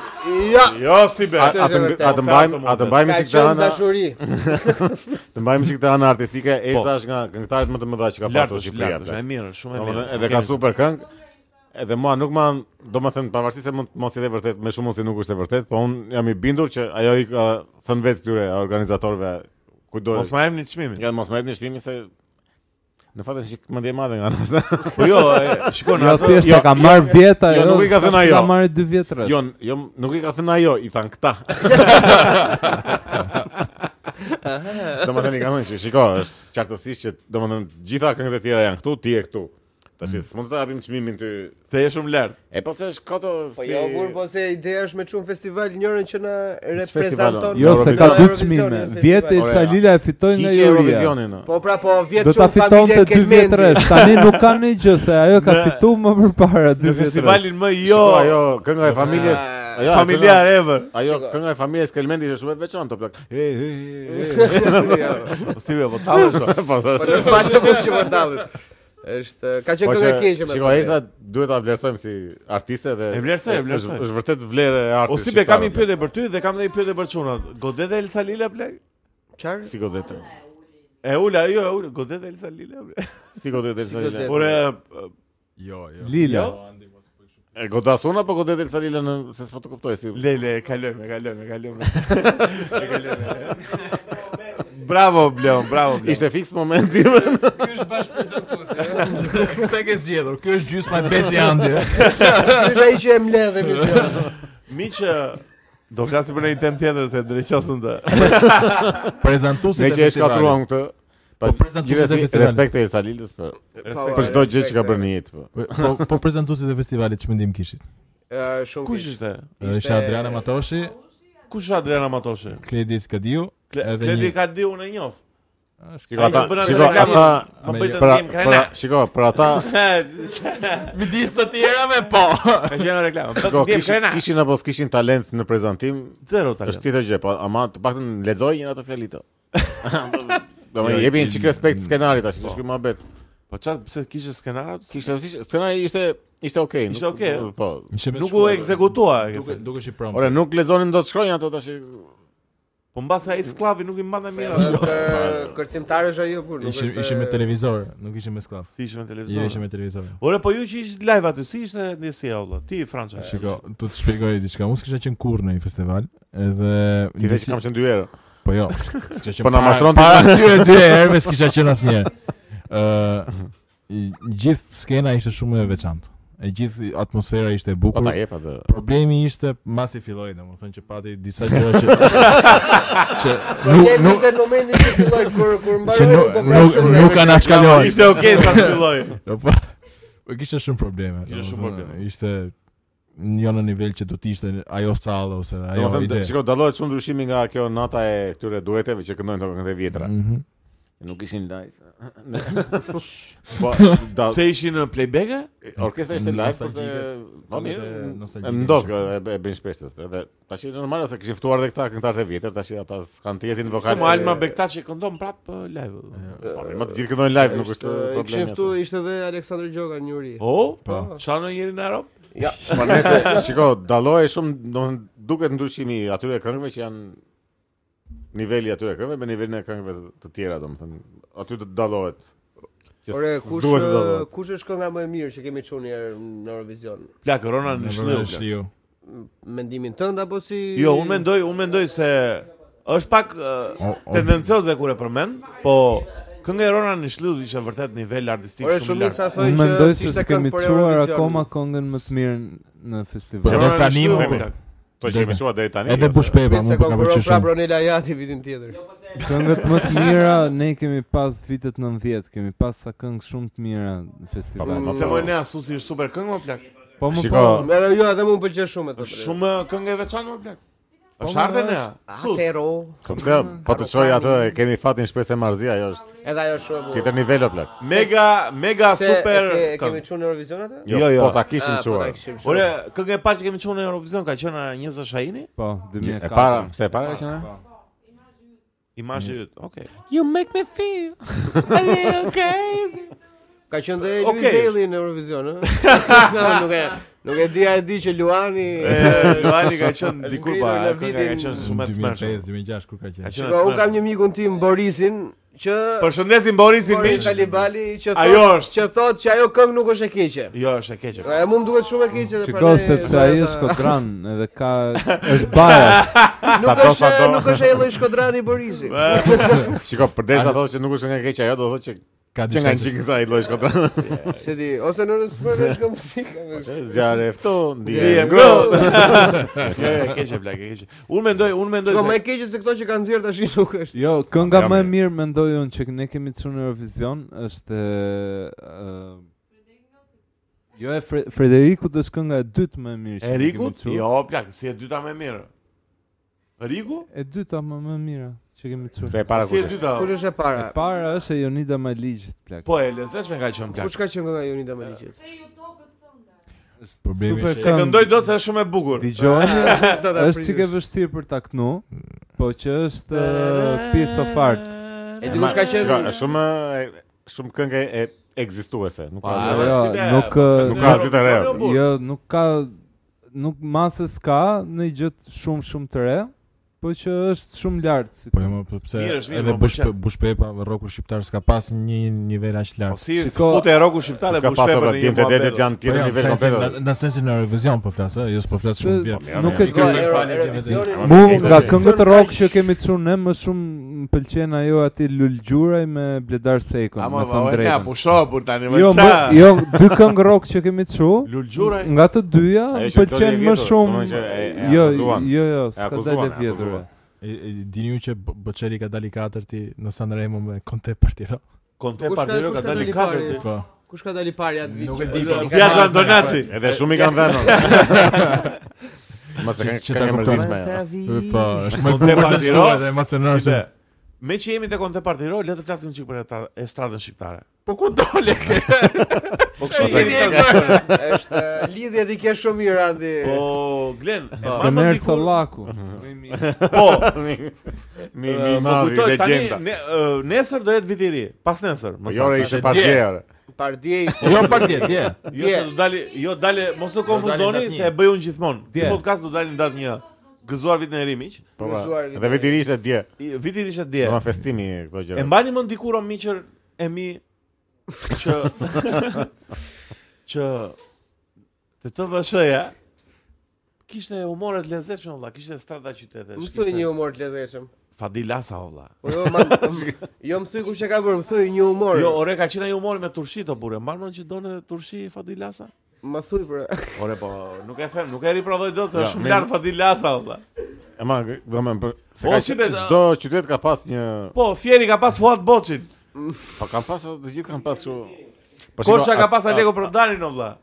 Speaker 6: Ja.
Speaker 1: Jo, si be.
Speaker 2: a- atë
Speaker 6: vërtet.
Speaker 2: atë mbajmë, atë mbajmë
Speaker 6: Ka
Speaker 2: që këtë
Speaker 6: qenë
Speaker 2: ana,
Speaker 6: dashuri.
Speaker 2: të mbajmë që këtë ana artistike, Elsa është nga këngëtarët më të mëdha që ka pasur
Speaker 1: Po. Lartë,
Speaker 2: në Shqipëri.
Speaker 1: lartë,
Speaker 2: bre.
Speaker 1: e mirë, shumë e mirë.
Speaker 2: Domethënë, edhe ka super këngë. Edhe mua nuk ma, domethënë pavarësisht se mund të mos jetë e vërtet, me shumë mund si nuk është e vërtet, po unë jam i bindur që ajo i ka thënë vetë këtyre organizatorëve kudo.
Speaker 1: Mos ma jepni çmimin.
Speaker 2: Ja, mos më jepni shpimin se në fakt është një mendje e madhe nga ana.
Speaker 1: Po jo, e, shikon
Speaker 3: Jo
Speaker 1: atë.
Speaker 3: thjesht
Speaker 2: jo,
Speaker 3: e ka
Speaker 2: jo,
Speaker 3: marr vjet ajo.
Speaker 2: jo, nuk i ka thënë ajo.
Speaker 3: Ka marrë 2 vjet rreth.
Speaker 2: Jo, jo, nuk i ka thënë ajo, i than këta. Domethënë i ka thënë, "Shi- shiko, është qartësisht që domethënë gjitha këngët e tjera janë këtu, ti je këtu. Tash mm. s'mund të japim çmimin ty.
Speaker 1: *laughs* Se je shumë lart.
Speaker 2: E po se është koto
Speaker 6: Po jo, burr, po se ideja është me çun festival njërin që na
Speaker 2: festival,
Speaker 6: reprezenton.
Speaker 3: Jo, se ka
Speaker 2: Eurovision,
Speaker 3: dy çmime. Vjet e
Speaker 2: Ore,
Speaker 3: Salila e fitoi nga
Speaker 2: hiqe
Speaker 3: Joria.
Speaker 2: Eurovisionin. no.
Speaker 6: Po pra, po vjet
Speaker 3: Do ta
Speaker 6: çun familje
Speaker 3: fitonte 2 vjet
Speaker 6: Kelmendi. *laughs*
Speaker 3: rreth. Tani nuk ka ndonjë gjë se ajo ka
Speaker 1: Në-
Speaker 3: fituar më përpara 2
Speaker 1: Në
Speaker 3: vjet rreth.
Speaker 1: festivalin më jo
Speaker 2: Jo, ajo kënga e familjes, ajo
Speaker 1: familjar ever.
Speaker 2: kënga- Ajo kënga e familjes Kelmendi është shumë e veçantë plak. E, e,
Speaker 6: *laughs*
Speaker 1: Po si be, po tallë është.
Speaker 2: e. *laughs* Po se-
Speaker 6: Jo, Po normal nuk mund që vërdallit. Është ka
Speaker 2: Po
Speaker 6: qenë këngë e keqe me.
Speaker 2: Shiko, Elsa duhet ta vlerësojmë si artiste dhe
Speaker 1: E vlerësoj, e
Speaker 2: është-
Speaker 1: vlerësoj.
Speaker 2: Është vërtet vlerë e artit.
Speaker 1: O si be, kam një pyetje për ty dhe kam edhe një pyetje për çunat. Godet El Salila plak?
Speaker 6: Çfarë?
Speaker 2: Si godet.
Speaker 1: E ula, jo, e ula, godet El Salila.
Speaker 2: *laughs*
Speaker 1: plak?
Speaker 2: Si godet Elsa
Speaker 6: godet.
Speaker 2: Lila.
Speaker 1: Ore,
Speaker 5: Jo, jo.
Speaker 3: Lila.
Speaker 2: E godas unë apo godet Elsa Lila në se s'po të kuptoj si.
Speaker 1: lele, e kalojmë, e kalojmë, e kalojmë. E kalojmë. e kalojmë. Bravo Blon, bravo Blon.
Speaker 2: Ishte fiks momenti.
Speaker 4: Ky është bash prezantues.
Speaker 5: *laughs* Këtë ke zgjedhur. Ky është gjysma e
Speaker 2: *laughs*
Speaker 5: Besi Andi.
Speaker 6: Ky ai që e mbledh emisionin.
Speaker 1: Miq, do flasim për një temë tjetër se drejtosën të.
Speaker 5: Prezantuesi
Speaker 2: Ne që e shkatruam këtë.
Speaker 5: Po prezantuesit e
Speaker 2: gjithsesi,
Speaker 5: festivalit.
Speaker 2: respekt e Elsa Lilës për
Speaker 1: Respekt.
Speaker 2: për çdo gjë që ka bërë në jetë. po.
Speaker 5: Po po prezantuesit e festivalit ç'mendim kishit?
Speaker 6: Ë, Eh, Shumë
Speaker 1: Kush
Speaker 6: keq.
Speaker 1: ishte?
Speaker 5: Ishte Adriana Matoshi,
Speaker 1: Kush është Adriana Matoshi?
Speaker 5: Kledi Skadiu,
Speaker 1: Kle-
Speaker 5: Edhe
Speaker 1: Kledi
Speaker 5: një-
Speaker 1: ka di unë e njoh.
Speaker 2: Shiko
Speaker 1: Ai
Speaker 2: ata,
Speaker 1: që bëra
Speaker 2: shiko
Speaker 1: reklamë,
Speaker 2: ata
Speaker 1: Më
Speaker 5: Me-
Speaker 1: bëjtë
Speaker 2: Pra,
Speaker 1: tim krena. *laughs*
Speaker 2: pra, shiko, për ata,
Speaker 5: midis të tjerave po.
Speaker 1: Ka qenë reklamë.
Speaker 2: shiko,
Speaker 1: Bëjtë tim
Speaker 2: kishin,
Speaker 1: krena.
Speaker 2: kishin apo s'kishin talent në prezantim,
Speaker 1: Zero
Speaker 2: është
Speaker 1: talent.
Speaker 2: tjetër gjë, po ama të paktën lexoj një ato *laughs* fjalito. Do më jepi një çik respekt skenarit tash, është ky mohabet.
Speaker 1: Po çfarë pse kishe skenarat?
Speaker 2: Kishte vësish- skenari ishte ishte okay. nuk-
Speaker 1: Ishte okay, ëh?
Speaker 2: Po.
Speaker 1: Nuk u ekzekutua. e ke
Speaker 5: Duke
Speaker 1: thënë.
Speaker 5: duke si prom.
Speaker 2: Ore, nuk lexonin dot shkronjën ato tash.
Speaker 1: Po mbas ai sklavi nuk i mbante mirë. atë.
Speaker 6: Për Kërcimtar është ajo burr. nuk
Speaker 5: Ishim
Speaker 6: është- eh,
Speaker 5: ishim me televizor, nuk ishim me sklav.
Speaker 1: Si ishim në
Speaker 5: Jo, ishim
Speaker 1: televizor.
Speaker 5: me televizor.
Speaker 1: Ore, po ju që ishit live aty, si ishte ndjesia olla? Ti Franca.
Speaker 5: Shiko, do të shpjegoj diçka. Unë s'kisha qenë kurrë në një festival, edhe
Speaker 2: Ti vetë
Speaker 5: ndjesi-
Speaker 2: kam qenë dy herë.
Speaker 5: Po jo, s'kisha qenë.
Speaker 2: Po na
Speaker 5: para-
Speaker 2: mashtron ti.
Speaker 5: para dy e dy herë, me s'kisha qenë asnjëherë. Ë, i- gjithë skena ishte shumë e veçantë. E gjithë atmosfera ishte e
Speaker 2: Po ta
Speaker 5: bukur.
Speaker 2: jep atë.
Speaker 5: Problemi ishte masi filloi, domethënë që
Speaker 2: *laughs*
Speaker 5: pati disa gjëra që që
Speaker 6: po, Ne
Speaker 5: nuk nuk
Speaker 6: pse në momentin që filloi kur kur
Speaker 5: që
Speaker 6: mbaroi
Speaker 5: nuk
Speaker 6: po pra
Speaker 5: nuk,
Speaker 6: shumë
Speaker 5: nuk
Speaker 6: lehtë.
Speaker 5: kanë ashkaloj.
Speaker 1: Ishte okay sa filloi.
Speaker 5: Jo, po. Po kishte shumë probleme.
Speaker 1: Kishte shumë
Speaker 5: domethënë,
Speaker 1: probleme.
Speaker 5: Ishte jo në nivel që do të ishte ajo sallë ose ajo
Speaker 2: Domethënë,
Speaker 5: ide.
Speaker 2: shiko, dallohet shumë ndryshimi nga kjo nata e këtyre dueteve që këndojnë këto këngë të vjetra.
Speaker 5: Mhm.
Speaker 2: Nuk ishin *laughs* live. *laughs*
Speaker 5: *laughs*
Speaker 2: Po, da,
Speaker 1: *laughs* Se ishin uh, në playback?
Speaker 2: orkestra ishte live, por se
Speaker 5: Nostalgjike.
Speaker 2: po mirë.
Speaker 5: Edhe nostalgjike
Speaker 2: e Ndodh,
Speaker 5: ishin.
Speaker 2: e e bën shpesh këtë. Edhe tash është normale se kishin ftuar edhe këta këngëtarë të vjetër, tash ata s'kan tjesin
Speaker 1: Po
Speaker 2: vokale.
Speaker 1: më Alma Bektaç e këndon prap eh, live.
Speaker 2: Po, mirë, më të gjithë këndojnë live, nuk është
Speaker 6: E kishin
Speaker 2: problemi.
Speaker 6: ftu ishte edhe Aleksandr Gjoka në Njuri.
Speaker 1: O,
Speaker 5: Po.
Speaker 1: çfarë në njërin në Europë?
Speaker 2: Ja, po nëse *laughs* shiko, dalloje shumë, domethënë duket ndryshimi i atyre këngëve që janë niveli i atyre këngëve me nivelin e këngëve të- të tjera, domethënë aty të dallohet. Që
Speaker 6: Ore,
Speaker 2: s-
Speaker 6: kush eh,
Speaker 2: duhet të dallohet.
Speaker 6: kush është kënga më e mirë që kemi çuar një herë në Eurovision?
Speaker 1: Pla korona në
Speaker 5: Në
Speaker 1: shliu.
Speaker 5: shliu.
Speaker 6: Mendimin tënd apo si
Speaker 1: Jo, unë mendoj, unë mendoj se është pak eh,
Speaker 5: O- o-
Speaker 1: tendencioze kur e përmend, po kënga e Rona në shliu ishte vërtet nivel artistik
Speaker 6: Ore
Speaker 1: shumë i
Speaker 6: shumë
Speaker 1: lartë.
Speaker 6: sa
Speaker 3: Unë
Speaker 6: thonë që
Speaker 3: mendoj se
Speaker 6: s'ishte
Speaker 3: kemi
Speaker 6: këngë për
Speaker 3: çuar
Speaker 6: Eurovision.
Speaker 3: akoma këngën më të mirë në
Speaker 5: Po,
Speaker 3: festival.
Speaker 5: edhe
Speaker 1: Rona në
Speaker 5: tani,
Speaker 1: Shliu,
Speaker 5: po,
Speaker 1: plak.
Speaker 2: To që kemi shkuar deri tani.
Speaker 5: Edhe
Speaker 2: ose-
Speaker 5: Bushpeva,
Speaker 6: Prit
Speaker 5: më
Speaker 6: se
Speaker 5: po ka
Speaker 6: konkuron
Speaker 5: pëlqyer
Speaker 6: prapë
Speaker 5: shumë.
Speaker 6: Ronela Jati vitin tjetër.
Speaker 3: Këngët më të mira ne kemi pas vitet 90, kemi pas sa këngë shumë të mira në
Speaker 2: Po,
Speaker 3: festival.
Speaker 2: po,
Speaker 1: Se
Speaker 2: po.
Speaker 1: më ne Asusi është super këngë, më plak.
Speaker 3: Po më
Speaker 2: Shiko,
Speaker 3: po.
Speaker 6: Edhe jo, edhe më pëlqen shumë atë.
Speaker 1: Është shumë këngë e veçantë, më plak.
Speaker 6: Po,
Speaker 1: Është
Speaker 3: më
Speaker 1: ardhe ne. Sus.
Speaker 6: Atero.
Speaker 2: Po pse po të çoj atë e kemi fatin shpresë e marzia, ajo është
Speaker 6: Edhe ajo është shumë e
Speaker 2: tjetër
Speaker 6: bukur.
Speaker 2: nivel o plak.
Speaker 1: Mega mega
Speaker 6: Se,
Speaker 1: super
Speaker 6: e ke- e kemi
Speaker 1: këngë.
Speaker 6: çuar në Eurovision atë?
Speaker 1: Jo, jo.
Speaker 2: Po ta kishim
Speaker 6: Ah, po ta
Speaker 2: çuar.
Speaker 6: kishim çuar.
Speaker 1: Ore, këngë e parë që kemi çuar në Eurovision ka qenë Njëza Shahini,
Speaker 3: Po,
Speaker 2: E
Speaker 3: 2004.
Speaker 2: para, pse e para ka qenë?
Speaker 6: Po.
Speaker 2: Mm. ajo?
Speaker 1: imazhi yt. Okej.
Speaker 2: You make me
Speaker 1: *laughs*
Speaker 2: feel.
Speaker 6: Ka qenë dhe
Speaker 1: Okej.
Speaker 6: Luiz Eli në Eurovision, *laughs* ëh? No, nuk e nuk e di, a e di që Luani
Speaker 1: E, Luani ka qenë
Speaker 6: Është
Speaker 1: dikur
Speaker 6: ngritur
Speaker 1: pa,
Speaker 6: në
Speaker 1: kënga ka
Speaker 6: vitin
Speaker 1: qenë shumë e tmerrshme.
Speaker 5: 2005, 2006 kur ka
Speaker 1: Ka
Speaker 5: qenë.
Speaker 1: qenë
Speaker 6: Shiko,
Speaker 1: e
Speaker 6: unë kam
Speaker 1: tmerrshme.
Speaker 6: një mikun tim Borisin që
Speaker 1: Përshëndesim Borisin
Speaker 6: Boris
Speaker 1: Miç.
Speaker 6: Kalibali që
Speaker 1: Ajo
Speaker 6: thotë
Speaker 1: është.
Speaker 6: që thotë që ajo këngë nuk është e keqe.
Speaker 1: Jo, është e keqe.
Speaker 6: E mu më duket shumë e keqe dhe
Speaker 3: Shiko
Speaker 6: prandaj-
Speaker 3: sepse ai
Speaker 6: *laughs*
Speaker 3: është Shkodran edhe ka është
Speaker 2: *laughs*
Speaker 3: bias.
Speaker 2: Sa
Speaker 6: "Ah, Nuk
Speaker 2: do
Speaker 6: është
Speaker 2: sa do.
Speaker 6: nuk është ai lloj Shkodrani Borisi.
Speaker 2: Shiko, përderisa thotë që nuk është nga keq ajo, do thotë që
Speaker 5: Ka
Speaker 2: që nga
Speaker 5: diçka. që-
Speaker 2: çik sa i lloj shkodra.
Speaker 6: Se di, ose në rrësmër është këngë muzikë.
Speaker 1: *laughs*
Speaker 2: Zjarë e fton,
Speaker 1: Je
Speaker 2: ndje.
Speaker 1: ngro. Jo, jo, *laughs* e keqe plak, e keqe. Unë mendoj, unë mendoj
Speaker 6: Shiko, më
Speaker 1: se
Speaker 6: e keqe se këto që kanë nxjerr tash nuk është.
Speaker 3: Jo, kënga
Speaker 2: Jam
Speaker 3: më e
Speaker 2: mirë.
Speaker 3: mirë mendoj unë që ne kemi çuar në Eurovision është ë Jo e Fre Frederikut është kënga e dytë më e mirë që ne kemi
Speaker 1: Eriku,
Speaker 3: çuar.
Speaker 1: jo plak, si e dyta më e mirë. Eriku?
Speaker 3: E dyta më më e mira që kemi çuar.
Speaker 2: Se e para
Speaker 1: Si e
Speaker 2: kush është?
Speaker 1: dyta?
Speaker 6: Kush është e para?
Speaker 3: E para është e Jonida Maligjit plak.
Speaker 1: Po e lezeshme ka qenë plak.
Speaker 6: Kush ka qenë nga Jonida Maliqit? *laughs*
Speaker 5: Problemi
Speaker 3: Super
Speaker 5: është-
Speaker 1: Se
Speaker 3: këngë.
Speaker 1: këndoj dot se është shumë e bukur.
Speaker 3: Dëgjojmë,
Speaker 6: *laughs* S'ta ta
Speaker 3: është
Speaker 6: prisësh.
Speaker 3: çike vështirë për ta knu, po që është ë, piece of art.
Speaker 6: E dikush ka
Speaker 2: Shiko,
Speaker 6: qenë po,
Speaker 2: është shumë e- shumë këngë e ekzistuese, nuk
Speaker 1: Pa,
Speaker 2: ka.
Speaker 1: e-
Speaker 3: Jo,
Speaker 1: si be-
Speaker 3: nuk ë,
Speaker 2: Nuk ka asgjë të re.
Speaker 1: Jo, burr.
Speaker 3: Jo, nuk ka nuk masës ka në gjë të shumë shumë të re, po që është shumë lart. Si
Speaker 5: Po jo, më, po pse
Speaker 1: Mirë është, mirë,
Speaker 5: edhe
Speaker 1: më
Speaker 5: Bush
Speaker 1: pëlqen.
Speaker 5: Bush Pepa, rroku shqiptar s'ka pas një nivel aq
Speaker 1: Po
Speaker 5: lart.
Speaker 1: si
Speaker 3: Shiko-
Speaker 1: fute roku shqiptar dhe
Speaker 2: Ka
Speaker 1: bushpe
Speaker 2: pasur
Speaker 1: për një
Speaker 2: djemtë e detet
Speaker 1: muhabet.
Speaker 2: janë
Speaker 5: Po,
Speaker 2: tjetër nivel komplet.
Speaker 5: Në sensin në Eurovision po flas, ë, jo s'po flas shumë
Speaker 3: Se-
Speaker 5: vjet.
Speaker 2: mirë,
Speaker 3: nuk
Speaker 2: mirë.
Speaker 3: e
Speaker 6: Shiko,
Speaker 3: ke.
Speaker 6: Euro-
Speaker 5: Falë,
Speaker 6: Eurovisionin-
Speaker 2: kemi-
Speaker 3: Mu
Speaker 2: Eksagerim.
Speaker 3: nga këngët
Speaker 6: Ka
Speaker 3: rock që
Speaker 6: sh-
Speaker 3: kemi çuar ne më shumë më pëlqen ajo aty Lulgjuraj me Bledar Sekon,
Speaker 1: Ama
Speaker 3: me
Speaker 1: po,
Speaker 3: thënë
Speaker 1: ja,
Speaker 3: drejtën.
Speaker 1: po shohur tani më
Speaker 3: Jo,
Speaker 1: ça.
Speaker 3: më, jo, dy këngë rock që kemi çuar,
Speaker 1: Lulgjuraj.
Speaker 3: Nga të dyja
Speaker 2: Ajo që
Speaker 3: pëlqen
Speaker 2: ndodhi e
Speaker 3: më
Speaker 2: vjetër,
Speaker 3: shumë.
Speaker 2: domethënë që e- e
Speaker 3: Jo,
Speaker 2: akuzuan.
Speaker 3: jo, jo, s'ka
Speaker 2: akuzuan,
Speaker 3: dalë e
Speaker 2: e
Speaker 3: vjetër.
Speaker 2: akuzuan.
Speaker 5: E- e- Dini ju që Bo- Bocelli ka dali katërti në Sanremo me Conte për Tiranë.
Speaker 1: Konte
Speaker 6: Kush ka-
Speaker 1: Pardero ka
Speaker 6: kush ka
Speaker 1: dalë
Speaker 6: dali
Speaker 1: katër.
Speaker 6: pari?
Speaker 5: Po.
Speaker 6: Kush ka dalë pari atë vit?
Speaker 5: Nuk
Speaker 6: që-
Speaker 5: e di, po, nuk e
Speaker 1: Ja Gian Donaci.
Speaker 2: Edhe shumë i kanë
Speaker 6: *laughs*
Speaker 2: dhënë. Mos e
Speaker 5: Që-
Speaker 2: kanë
Speaker 5: që ta
Speaker 2: kanë
Speaker 5: kuptoj.
Speaker 2: mërzitshme.
Speaker 5: Po, është më
Speaker 1: Conte
Speaker 5: bukur se
Speaker 1: për Tiranë.
Speaker 5: shkruhet dhe emocionor
Speaker 1: Si
Speaker 5: se.
Speaker 1: be, Me që jemi te Konte Pardero, le të flasim çik për ata- estradën shqiptare.
Speaker 5: Po ku dole?
Speaker 1: *laughs* Po kështu
Speaker 6: Çfarë lidhje e ka? Është eh, lidhje ti ke shumë mirë Andi.
Speaker 1: Po, Glen, e
Speaker 3: Të
Speaker 1: marrëm
Speaker 3: merr
Speaker 1: dikur-
Speaker 3: Sallaku.
Speaker 2: *laughs*
Speaker 1: Po,
Speaker 2: Mi mi
Speaker 1: mi
Speaker 2: madhi
Speaker 1: kujtoj tani
Speaker 2: legjenda.
Speaker 1: ne- ë, nesër do jetë viti i ri, pas nesër. më
Speaker 2: Po
Speaker 1: saktë.
Speaker 2: jore ishte
Speaker 1: Dhe
Speaker 2: pa
Speaker 1: dje,
Speaker 2: gjëra.
Speaker 6: Pardje ishte
Speaker 5: Jo për tjetër, je.
Speaker 1: Jo se do dali, jo dali, mos u konfuzoni
Speaker 5: datë
Speaker 1: se
Speaker 5: një.
Speaker 1: e bëj unë gjithmonë. Ky
Speaker 3: Dje.
Speaker 1: podcast do dalin datë një gëzuar vitin e ri miq.
Speaker 2: Po.
Speaker 6: Në
Speaker 2: pra.
Speaker 6: zuar
Speaker 2: Edhe viti i ri ishte dje.
Speaker 1: I- Viti i ri ishte
Speaker 2: Do
Speaker 1: dje.
Speaker 2: festimi këto
Speaker 1: E
Speaker 2: gjëra.
Speaker 1: mbani mend dikur o miqër e mi që *laughs* që të të vëshëja kishte humore të lezetshme valla, kishte strada qytetesh.
Speaker 6: Më jo. thuj
Speaker 1: kishte-
Speaker 6: një humor të lezetshëm.
Speaker 1: Fadil Asa o valla.
Speaker 6: Po jo, ma, m- jo më thuj kush e ka bërë, më thuj një humor.
Speaker 1: Jo, ore ka qenë ai humori me turshi to burë. Mban mend që donë turshi Fadil Asa?
Speaker 6: Më thuj për.
Speaker 1: Ore po, nuk e them, nuk e riprodhoj dot se
Speaker 2: Ja,
Speaker 1: është shumë
Speaker 2: mirë.
Speaker 1: lart Fadil Asa valla.
Speaker 2: E ma, do më bë- se
Speaker 1: Po,
Speaker 2: ka
Speaker 1: si be,
Speaker 2: çdo qytet ka pas një,
Speaker 1: Po, Fieri ka pas Fuat Boçin.
Speaker 2: po kanë pas të gjithë kanë pas kështu. Po shiko,
Speaker 1: Kosha ka
Speaker 2: at-
Speaker 1: pas
Speaker 2: at-
Speaker 1: Aleko Prodanin o valla.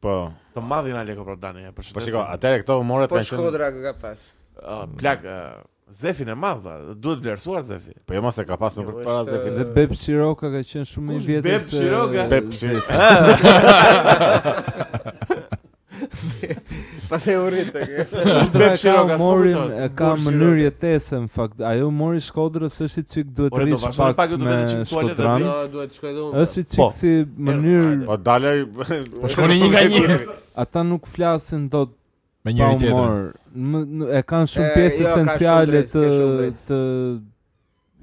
Speaker 1: Po,
Speaker 2: Po.
Speaker 1: Të madhin Aleko Prodanin, ja përshëndesim.
Speaker 2: Po shiko, atëre këto humoret
Speaker 6: Po
Speaker 2: kanë qenë
Speaker 6: Shkodra ka pas.
Speaker 1: Ah, plak, ah, Zefin e madh, valla, duhet vlerësuar Zefi.
Speaker 2: Po jo mos e ka pas më
Speaker 6: Jo,
Speaker 2: për para
Speaker 6: është-
Speaker 2: Zefit.
Speaker 3: Dhe Beb Shiroka ka qenë shumë i
Speaker 1: Kush
Speaker 3: vjetër
Speaker 1: Beb Shiroka?
Speaker 2: Beb Shiroka.
Speaker 6: Pastaj u rrit tek.
Speaker 1: Beb
Speaker 3: Beb
Speaker 1: Shiroka,
Speaker 3: Shiroka
Speaker 1: s'po
Speaker 3: mori
Speaker 1: kujtohet.
Speaker 3: e ka
Speaker 1: Bur
Speaker 3: mënyrë jetese në fakt. Ajo mori Shkodrës është i çik duhet
Speaker 1: Ore,
Speaker 3: të
Speaker 1: do
Speaker 3: rish
Speaker 1: vazhdoni pak,
Speaker 3: pak
Speaker 1: do të
Speaker 3: me
Speaker 1: vetë çik tualet dhe
Speaker 3: Shkodran.
Speaker 1: vi.
Speaker 6: Jo, duhet të shkoj dhe
Speaker 3: Është i
Speaker 1: Po,
Speaker 3: çik si mënyrë
Speaker 2: Po dalja
Speaker 5: Po shkoni
Speaker 2: *laughs*
Speaker 5: një nga një.
Speaker 3: ata nuk flasin dot
Speaker 5: me
Speaker 3: pa
Speaker 5: njëri tjetrin.
Speaker 3: humor. Më, n- e kanë shumë
Speaker 6: E,
Speaker 3: pjesë
Speaker 6: jo, ka shumë
Speaker 3: esenciale
Speaker 6: drejt,
Speaker 3: të
Speaker 6: ke shumë drejt.
Speaker 3: të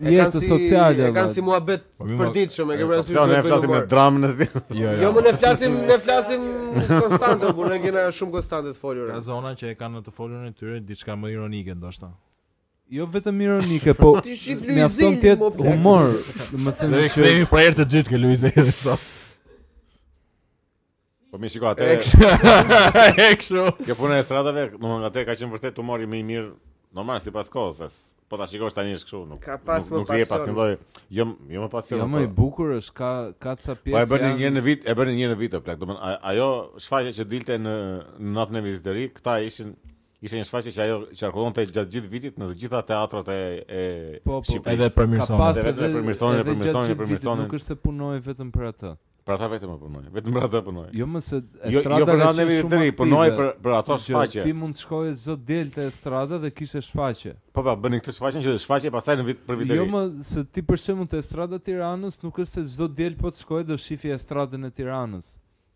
Speaker 3: jetës sociale.
Speaker 6: E kanë
Speaker 3: valla.
Speaker 6: si muhabet
Speaker 5: Po, mi,
Speaker 6: përditshëm, e ke
Speaker 2: Po
Speaker 6: vërtetë.
Speaker 2: ne flasim në dramën e tij.
Speaker 5: Jo,
Speaker 6: Jo, më ne flasim, ne flasim konstante, por ne kena shumë konstante të folur.
Speaker 5: Ka zona që e kanë në të folurën e tyre diçka më ironike ndoshta.
Speaker 3: Jo vetëm ironike, po
Speaker 6: *laughs* Ti shqip
Speaker 3: mjafton
Speaker 6: Luizin,
Speaker 3: të jetë
Speaker 6: mo plak. *laughs*
Speaker 3: humor. Do të
Speaker 5: Dhe
Speaker 3: thënë që
Speaker 5: e kthehemi për herë të dytë ke *laughs* Luiz Eri sot.
Speaker 2: Po më shiko atë.
Speaker 6: E
Speaker 5: E kështu.
Speaker 2: Kjo puna e stradave, domethënë nga te ka qenë vërtet humori më i mirë normal sipas kohës. as- Po ta shikosh tani është kështu, nuk.
Speaker 6: Ka pas
Speaker 2: nuk-
Speaker 6: më
Speaker 2: nuk je
Speaker 6: pasion.
Speaker 2: pas një lloj. Jo, jo më pasion.
Speaker 3: Jo
Speaker 2: po.
Speaker 3: më i bukur është ka ka ca pjesë.
Speaker 2: Po e bëni
Speaker 3: janë-
Speaker 2: një herë në vit, e bëni një herë në vit, o plak. Domethënë a- ajo shfaqje që dilte në në natën e vizitëri, këta ishin ishte një shfaqje që ajo qarkullonte gjatë gjithë vitit në të gjitha teatrat e e
Speaker 3: Po, po.
Speaker 2: Shqipërisë.
Speaker 5: Edhe përmirëson.
Speaker 3: Ka pas
Speaker 2: Edhe vetëm e përmirësonin, e
Speaker 3: edhe gjatë
Speaker 2: përmirësonin, e
Speaker 3: gjithë vitit
Speaker 2: përmirësonin.
Speaker 3: Nuk është se punoi vetëm për atë.
Speaker 2: Për pra, ata vetëm e punoi, vetëm për ata punoi.
Speaker 3: Jo më se
Speaker 2: Jo, jo për
Speaker 3: ka
Speaker 2: natën e
Speaker 3: qenë shumë aktive,
Speaker 2: vizitëri, punoi për për ato
Speaker 3: që Ti
Speaker 2: shfaqje.
Speaker 3: mund të shkoje çdo del te estrada dhe kishe shfaqje.
Speaker 2: Po po, bëni këtë shfaqje që shfaqje pastaj në vit për
Speaker 3: Jo
Speaker 2: vitëri.
Speaker 3: më se ti për shembull te estrada e Tiranës nuk është se çdo del po të shkoje do shifi estradën e Tiranës.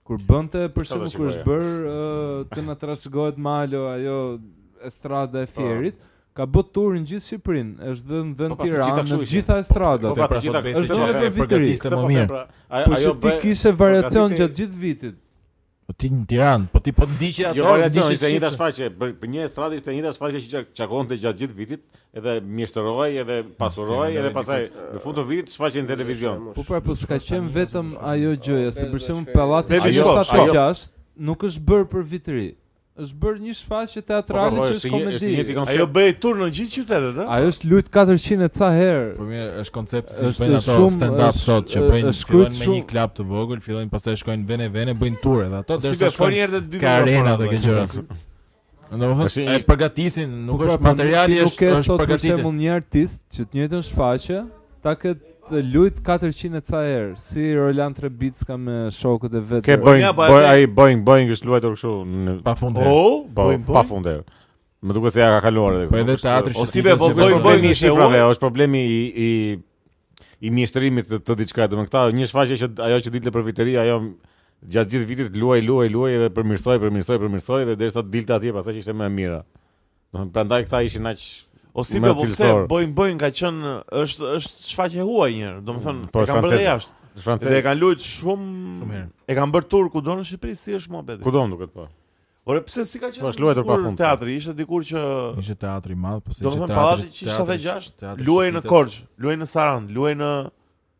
Speaker 3: Kur bënte për
Speaker 2: Sa do
Speaker 3: shembull kur
Speaker 2: shikoje?
Speaker 3: është bër ë, të na trashëgohet Malo ajo estrada e Fierit, ka bë tur në gjithë Shqipërinë, është dhënë
Speaker 2: Po,
Speaker 3: dhënë
Speaker 2: pra, të gjitha
Speaker 3: Tiranë,
Speaker 2: kështu
Speaker 3: në
Speaker 2: ishin.
Speaker 3: gjitha estradat.
Speaker 2: Po, pra,
Speaker 5: Pra pra
Speaker 2: të gjitha
Speaker 5: sot besi
Speaker 2: këto
Speaker 5: që
Speaker 2: që
Speaker 5: e përgatiste më
Speaker 2: pra,
Speaker 5: mirë.
Speaker 3: Po që ti kishe variacion
Speaker 2: përgatiti-
Speaker 3: gjatë gjithë vitit.
Speaker 5: Po ti në Tiranë, po ti po ndiqje ato.
Speaker 2: Jo variacion,
Speaker 5: ndiqje
Speaker 2: ishte e njëjta
Speaker 5: shifra.
Speaker 2: shfaqje, për për një estradë ishte e njëjta shfaqje që qak- çakonte gjatë gjithë vitit, edhe mjeshtëroi, edhe pasuroi, edhe pastaj në fund të vitit shfaqje në televizion.
Speaker 3: Po pra, po s'ka qenë vetëm ajo gjëja, se për
Speaker 6: pesë do
Speaker 3: shembull
Speaker 6: shkojë.
Speaker 3: pallati
Speaker 1: Bebi,
Speaker 3: i
Speaker 2: shko, shko.
Speaker 3: 76 nuk është bërë për vitëri. Është bërë një shfaqje
Speaker 2: Pra, Po,
Speaker 3: teatrale që është
Speaker 2: njëti
Speaker 3: komedi.
Speaker 1: Ajo
Speaker 2: koncept.
Speaker 1: bëi tur në gjithë qytetet, ëh?
Speaker 3: Ajo është lut 400 e ca herë.
Speaker 5: Për mua po është koncepti si
Speaker 3: Është
Speaker 5: bëjnë ato
Speaker 3: shumë-
Speaker 5: stand up
Speaker 3: është-
Speaker 5: sot që
Speaker 3: është-
Speaker 5: bëjnë
Speaker 3: është kryt
Speaker 5: fillojnë me një
Speaker 3: shumë-
Speaker 5: klap të vogël, fillojnë pastaj shkojnë vene vene, bëjnë ture dhe ato
Speaker 1: Si
Speaker 5: derisa
Speaker 1: be fol
Speaker 5: shkojnë
Speaker 1: një herë të dy
Speaker 5: ka
Speaker 1: mikrofona,
Speaker 5: arena të
Speaker 1: valla.
Speaker 5: kjo gjëra.
Speaker 2: Është
Speaker 5: Domethënë
Speaker 2: një-
Speaker 5: e përgatisin, nuk
Speaker 3: Po pra,
Speaker 5: është
Speaker 3: pra,
Speaker 5: materiali
Speaker 3: nuk
Speaker 5: është
Speaker 3: e
Speaker 5: është
Speaker 3: sot për
Speaker 5: përgatitur.
Speaker 3: shembull një artist që të njëjtën shfaqje ta ketë lut 400 e ca herë, si Roland Trebicka me shokët e vet.
Speaker 2: Ke
Speaker 1: Boeing,
Speaker 2: Boeing,
Speaker 1: Ja, po atë- Boeing-
Speaker 2: ai Boeing, Boeing është luajtur kështu në
Speaker 5: Pafund.
Speaker 1: Oh,
Speaker 2: po
Speaker 1: bojm
Speaker 2: pa
Speaker 1: bojm.
Speaker 2: funde. Më duket se ja ka kaluar edhe.
Speaker 5: Po edhe teatri
Speaker 1: O,
Speaker 5: që
Speaker 1: si be,
Speaker 5: s'kishte
Speaker 1: po,
Speaker 5: se
Speaker 2: Boeing,
Speaker 1: Boeing,
Speaker 5: bërë.
Speaker 1: Boeing
Speaker 2: problemi
Speaker 1: është
Speaker 2: i
Speaker 1: e
Speaker 2: shifrave,
Speaker 1: ullë.
Speaker 2: është problemi i i i mjeshtrimit të, të diçka, domethënë këta një shfaqje që ajo që dilte për vitëri, ajo gjatë gjithë vitit luaj, luaj, luaj dhe përmirësoi, përmirësoi, përmirësoi dhe derisa dilte atje pastaj që ishte më e mira. Domethënë prandaj këta ishin aq
Speaker 1: O si
Speaker 2: Më
Speaker 1: be po pse
Speaker 2: cilësor.
Speaker 1: bojm bojm ka qenë është është shfaqje huaj një herë, domethënë
Speaker 2: Po,
Speaker 1: e kanë bërë dhe
Speaker 2: francezë.
Speaker 1: jashtë.
Speaker 2: francezë.
Speaker 1: Dhe e kanë luajt shumë
Speaker 5: Shumë herë.
Speaker 1: E kanë bërë tur kudo në Shqipëri, si është muhabeti?
Speaker 2: Kudo më duket po.
Speaker 1: Ore pse si ka qenë?
Speaker 2: Po, është luajtur
Speaker 1: dikur
Speaker 2: pafund.
Speaker 1: Teatri ishte dikur që
Speaker 5: Ishte teatri i madh, po se
Speaker 1: Do
Speaker 5: ishte
Speaker 1: të thënë
Speaker 5: teatri.
Speaker 1: pallati 176 luaj në Korçë, luaj në Sarand, luaj në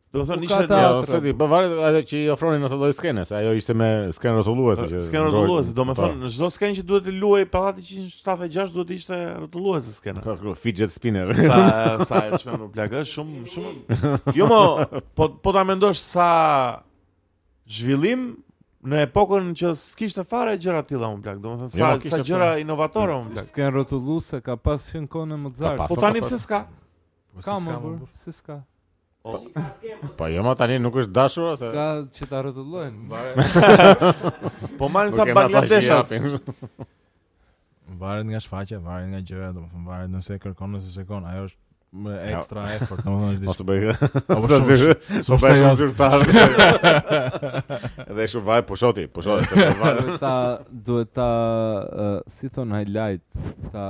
Speaker 1: Do të
Speaker 3: Ku
Speaker 1: thënë
Speaker 3: ka
Speaker 1: ishte
Speaker 3: ta-
Speaker 2: Jo,
Speaker 3: Teatri.
Speaker 2: se di, po varet ajo që i ofronin në atë lloj skene, se ajo ishte me skenë rrotulluese që. Po,
Speaker 1: skenë rrotulluese, do me thënë, në çdo skenë që duhet të luaj pallati 176 duhet të ishte rrotulluese skena.
Speaker 2: Ka kru, fidget spinner. *laughs*
Speaker 1: Sa sa e shme më plagë, është shumë shumë. Jo më, po po ta mendosh sa zhvillim në epokën që s'kishte fare gjëra të tilla më plagë, do me thënë sa
Speaker 2: Jo, kishte
Speaker 1: sa gjëra inovatore më plagë.
Speaker 3: S'kan rotullu se ka pas qenë kohën e Mozart.
Speaker 2: pas.
Speaker 1: Po tani pse s'ka?
Speaker 3: Ka më burr, si s'ka.
Speaker 2: Po jo, ma tani nuk është dashur ose
Speaker 3: Ka që ta rrotullojnë.
Speaker 1: Po marrin
Speaker 2: Nuk
Speaker 1: sa
Speaker 2: kemi ata që
Speaker 1: Bangladeshas.
Speaker 2: japin. *laughs*
Speaker 5: Varet nga shfaqja, varet nga gjëra, domethënë varet nëse e kërkon nëse s'e Ajo është më extra effort, domethënë
Speaker 2: *laughs*
Speaker 5: është
Speaker 2: Mos
Speaker 5: diçka.
Speaker 2: të bëj.
Speaker 5: Apo
Speaker 2: Po
Speaker 5: shumë
Speaker 2: Po
Speaker 5: shumë
Speaker 2: bëj shumë
Speaker 5: serioz.
Speaker 2: zyrtar. *laughs* Edhe shumë vaj pushoti, pushoti. se po vaj.
Speaker 3: Duhet ta duhet ta ë, si thon highlight ta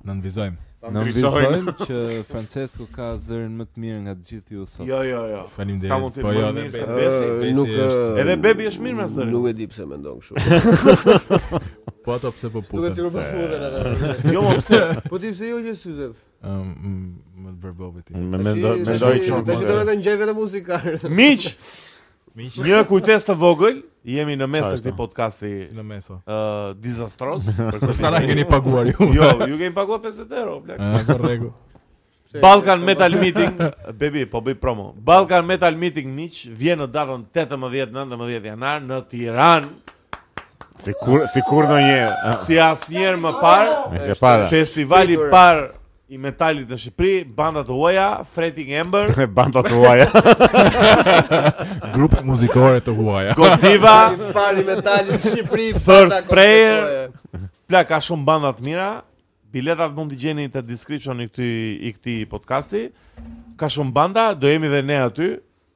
Speaker 5: Në nënvizojmë.
Speaker 3: na
Speaker 2: ndryshojnë.
Speaker 3: vizojmë që Francesco ka zërin më të mirë nga të gjithë ju sot.
Speaker 1: Jo, jo, jo. S'ka
Speaker 5: Faleminderit.
Speaker 1: mundësi
Speaker 5: Po
Speaker 1: më
Speaker 5: jo,
Speaker 1: mirë
Speaker 5: dhe
Speaker 1: se
Speaker 5: Besi-
Speaker 1: Besi.
Speaker 5: Besi
Speaker 6: nuk
Speaker 5: është-
Speaker 1: Edhe Bebi është mirë me zërin.
Speaker 6: Nuk e di pse mendon
Speaker 1: *laughs*
Speaker 6: kështu.
Speaker 5: po ato pse po
Speaker 6: Duhet
Speaker 5: puten.
Speaker 6: sikur po futen ata.
Speaker 1: Jo, mo pse?
Speaker 6: Po ti pse jo që syzet?
Speaker 5: Ëm m- më të vërbovi ti.
Speaker 2: Më mendoj, mendoj
Speaker 6: Tashi- tashi-
Speaker 2: që
Speaker 6: Tashi do të ngjej vetëm
Speaker 1: *laughs*
Speaker 6: muzikare.
Speaker 1: Miq,
Speaker 5: Miq,
Speaker 1: një kujtesë të vogël, jemi në mes
Speaker 2: Qa
Speaker 1: të
Speaker 2: është,
Speaker 1: këtij
Speaker 2: no?
Speaker 1: podcasti
Speaker 5: në meso.
Speaker 1: ë dizastros.
Speaker 5: Për *laughs* sa na keni paguar ju? *laughs*
Speaker 1: Jo, ju kemi paguar 50 euro, blek.
Speaker 5: Ah, po rregu.
Speaker 1: Balkan Metal Meeting, bebi, po bëj promo. Balkan Metal Meeting miq vjen në datën 18-19 janar në Tiranë,
Speaker 2: sikur sikur ndonjëherë.
Speaker 1: si asnjëherë më parë.
Speaker 2: Me se para.
Speaker 1: Festivali i
Speaker 6: Shpikur.
Speaker 1: parë i metalit në Shqipëri, bandat huaja, Fredding
Speaker 5: *laughs*
Speaker 1: Ember,
Speaker 2: *laughs* Banda të uaja
Speaker 5: Grupe muzikore të huaja.
Speaker 1: Godiva,
Speaker 6: I pari metalit në Shqipëri.
Speaker 1: First
Speaker 6: pata
Speaker 1: Prayer.
Speaker 6: kompetoje.
Speaker 1: Pla ka shumë banda të mira. Biletat mund t'i gjeni te description i këtij i këtij podcasti. Ka shumë banda, do jemi dhe ne aty.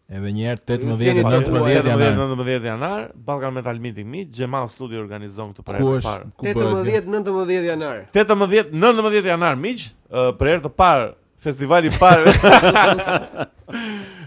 Speaker 5: Edhe një herë
Speaker 6: Mos jeni
Speaker 5: 18
Speaker 6: të
Speaker 5: 19
Speaker 6: huaj,
Speaker 5: janë.
Speaker 1: 19 janar, Balkan Metal Meeting Meet, Gjemal Studio organizon këtë për herë
Speaker 5: Ku
Speaker 1: të
Speaker 5: është?
Speaker 1: parë.
Speaker 5: Ku bëhet?
Speaker 6: 18, 19 janar.
Speaker 1: 18, 19 janar miq, ë, për herë të parë festivali i parë. *laughs*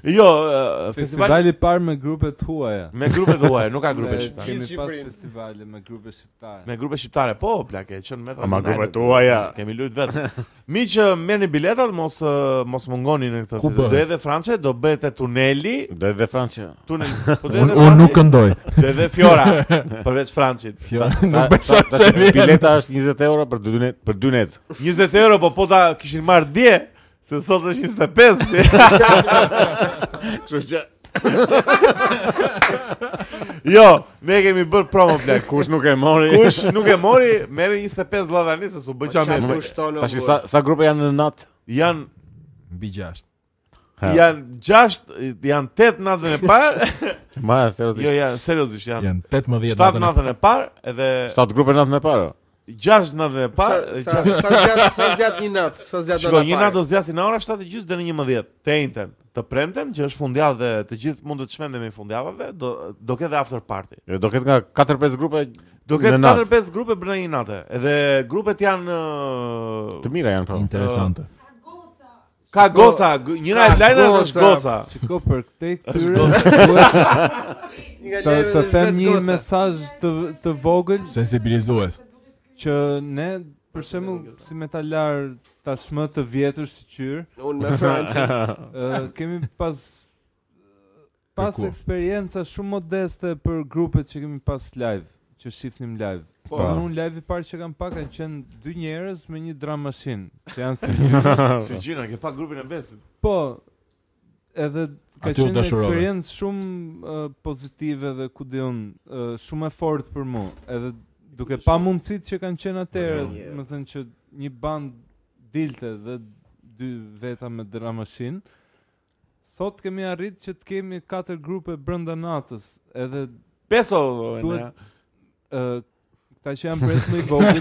Speaker 1: jo, ë, festivali
Speaker 3: Festivali parë me grupet huaja.
Speaker 1: me grupe të huaja, nuk ka
Speaker 5: *laughs*
Speaker 1: grupe
Speaker 6: Me-
Speaker 1: shqiptare.
Speaker 3: Kemi pas
Speaker 6: Shqipërinë.
Speaker 3: festivale me grupe shqiptare.
Speaker 1: Me grupe shqiptare, po, plak, e qënë metra.
Speaker 2: Ama
Speaker 1: United.
Speaker 2: grupe tuaja.
Speaker 1: Kemi lujt vetë. *laughs* Mi që merrni biletat, mos ë, mos mungoni në këtë
Speaker 5: Ku
Speaker 1: festivë.
Speaker 5: bëhet?
Speaker 1: Do edhe Françe, do bëhet te tuneli,
Speaker 2: Dhe dhe Franqë
Speaker 1: tunel.
Speaker 5: *laughs*
Speaker 1: Po do
Speaker 5: Unë
Speaker 1: edhe
Speaker 5: unë
Speaker 1: Françe,
Speaker 5: nuk këndoj.
Speaker 1: do edhe
Speaker 5: *laughs*
Speaker 1: Fiora, përveç Françit.
Speaker 5: Nuk besoj se vjen.
Speaker 2: Bileta është 20 euro për dy net Për dy net
Speaker 1: 20 euro, po po ta kishin marr dje, se sot është 25. si.
Speaker 2: Kështu që *laughs*
Speaker 1: jo, *laughs* ne kemi bër promo plak.
Speaker 2: kush nuk e mori
Speaker 1: Kush nuk e mori, merri 25 vlla tani se su bë
Speaker 2: Po,
Speaker 6: Qa
Speaker 1: qamë.
Speaker 6: kushton o
Speaker 2: Tash
Speaker 6: vllë?
Speaker 2: sa, sa grupe janë në natë
Speaker 1: Jan
Speaker 5: Mbi 6.
Speaker 2: Ha.
Speaker 1: janë 6, janë 8 natën e
Speaker 2: *laughs*
Speaker 1: parë.
Speaker 2: Ma seriozisht
Speaker 1: jo, janë seriozisht janë.
Speaker 5: Janë 18
Speaker 1: 7
Speaker 5: datën. e-
Speaker 1: natën e parë edhe
Speaker 2: 7 grupe natën e parë.
Speaker 1: 6 natën e
Speaker 6: Sa
Speaker 1: parë,
Speaker 6: sa *laughs*
Speaker 1: gjashtë-
Speaker 6: sa zjat- sa zjat një natë, sa zjat do
Speaker 1: Shiko, një natë do zjasin në ora 7:30 deri në 11, të njëjtën. Të premten që është fundjavë dhe të gjithë mund të shmendemi fundjavave, do do ketë dhe after party.
Speaker 2: E, Do ketë nga 4-5 grupe
Speaker 1: Do
Speaker 2: Në
Speaker 1: ketë
Speaker 2: natë.
Speaker 1: 4-5 grupe brenda një nate. Edhe grupet janë
Speaker 2: të
Speaker 1: ë,
Speaker 2: mira janë po.
Speaker 5: Interesante.
Speaker 1: ka goca, g- njëra e
Speaker 6: ka
Speaker 1: lajnave është goca.
Speaker 2: *laughs*
Speaker 6: goca.
Speaker 3: Shiko për këtë këtyre duhet të, të them një
Speaker 6: mes.
Speaker 3: mesazh të të vogël
Speaker 5: Sensibilizues.
Speaker 3: që ne për shembull si metalar tashmë të vjetër si qyr,
Speaker 6: Unë me Francë.
Speaker 3: ë, kemi pas pas
Speaker 5: Kërkuar.
Speaker 3: eksperienca shumë modeste për grupet që kemi pas live, që shifnim live. Po,
Speaker 2: Po.
Speaker 3: unë live i parë që kam pak kanë qenë dy njerëz me një drum machine, që janë si
Speaker 1: Si gjina, ke pa grupin e besit.
Speaker 3: Po, edhe ka
Speaker 5: Aty u
Speaker 3: qenë një
Speaker 5: dashurove.
Speaker 3: eksperiencë shumë uh, pozitive dhe ku di unë, uh, shumë e fortë për mua. Edhe duke pa mundësitë që kanë qenë atëherë,
Speaker 6: Yeah.
Speaker 3: më thënë që një band dilte dhe dy veta me dramashin. Sot kemi arrit që të kemi katër grupe brenda natës, edhe
Speaker 1: Peso
Speaker 3: Duhet- ë këta që janë pres më i vogël,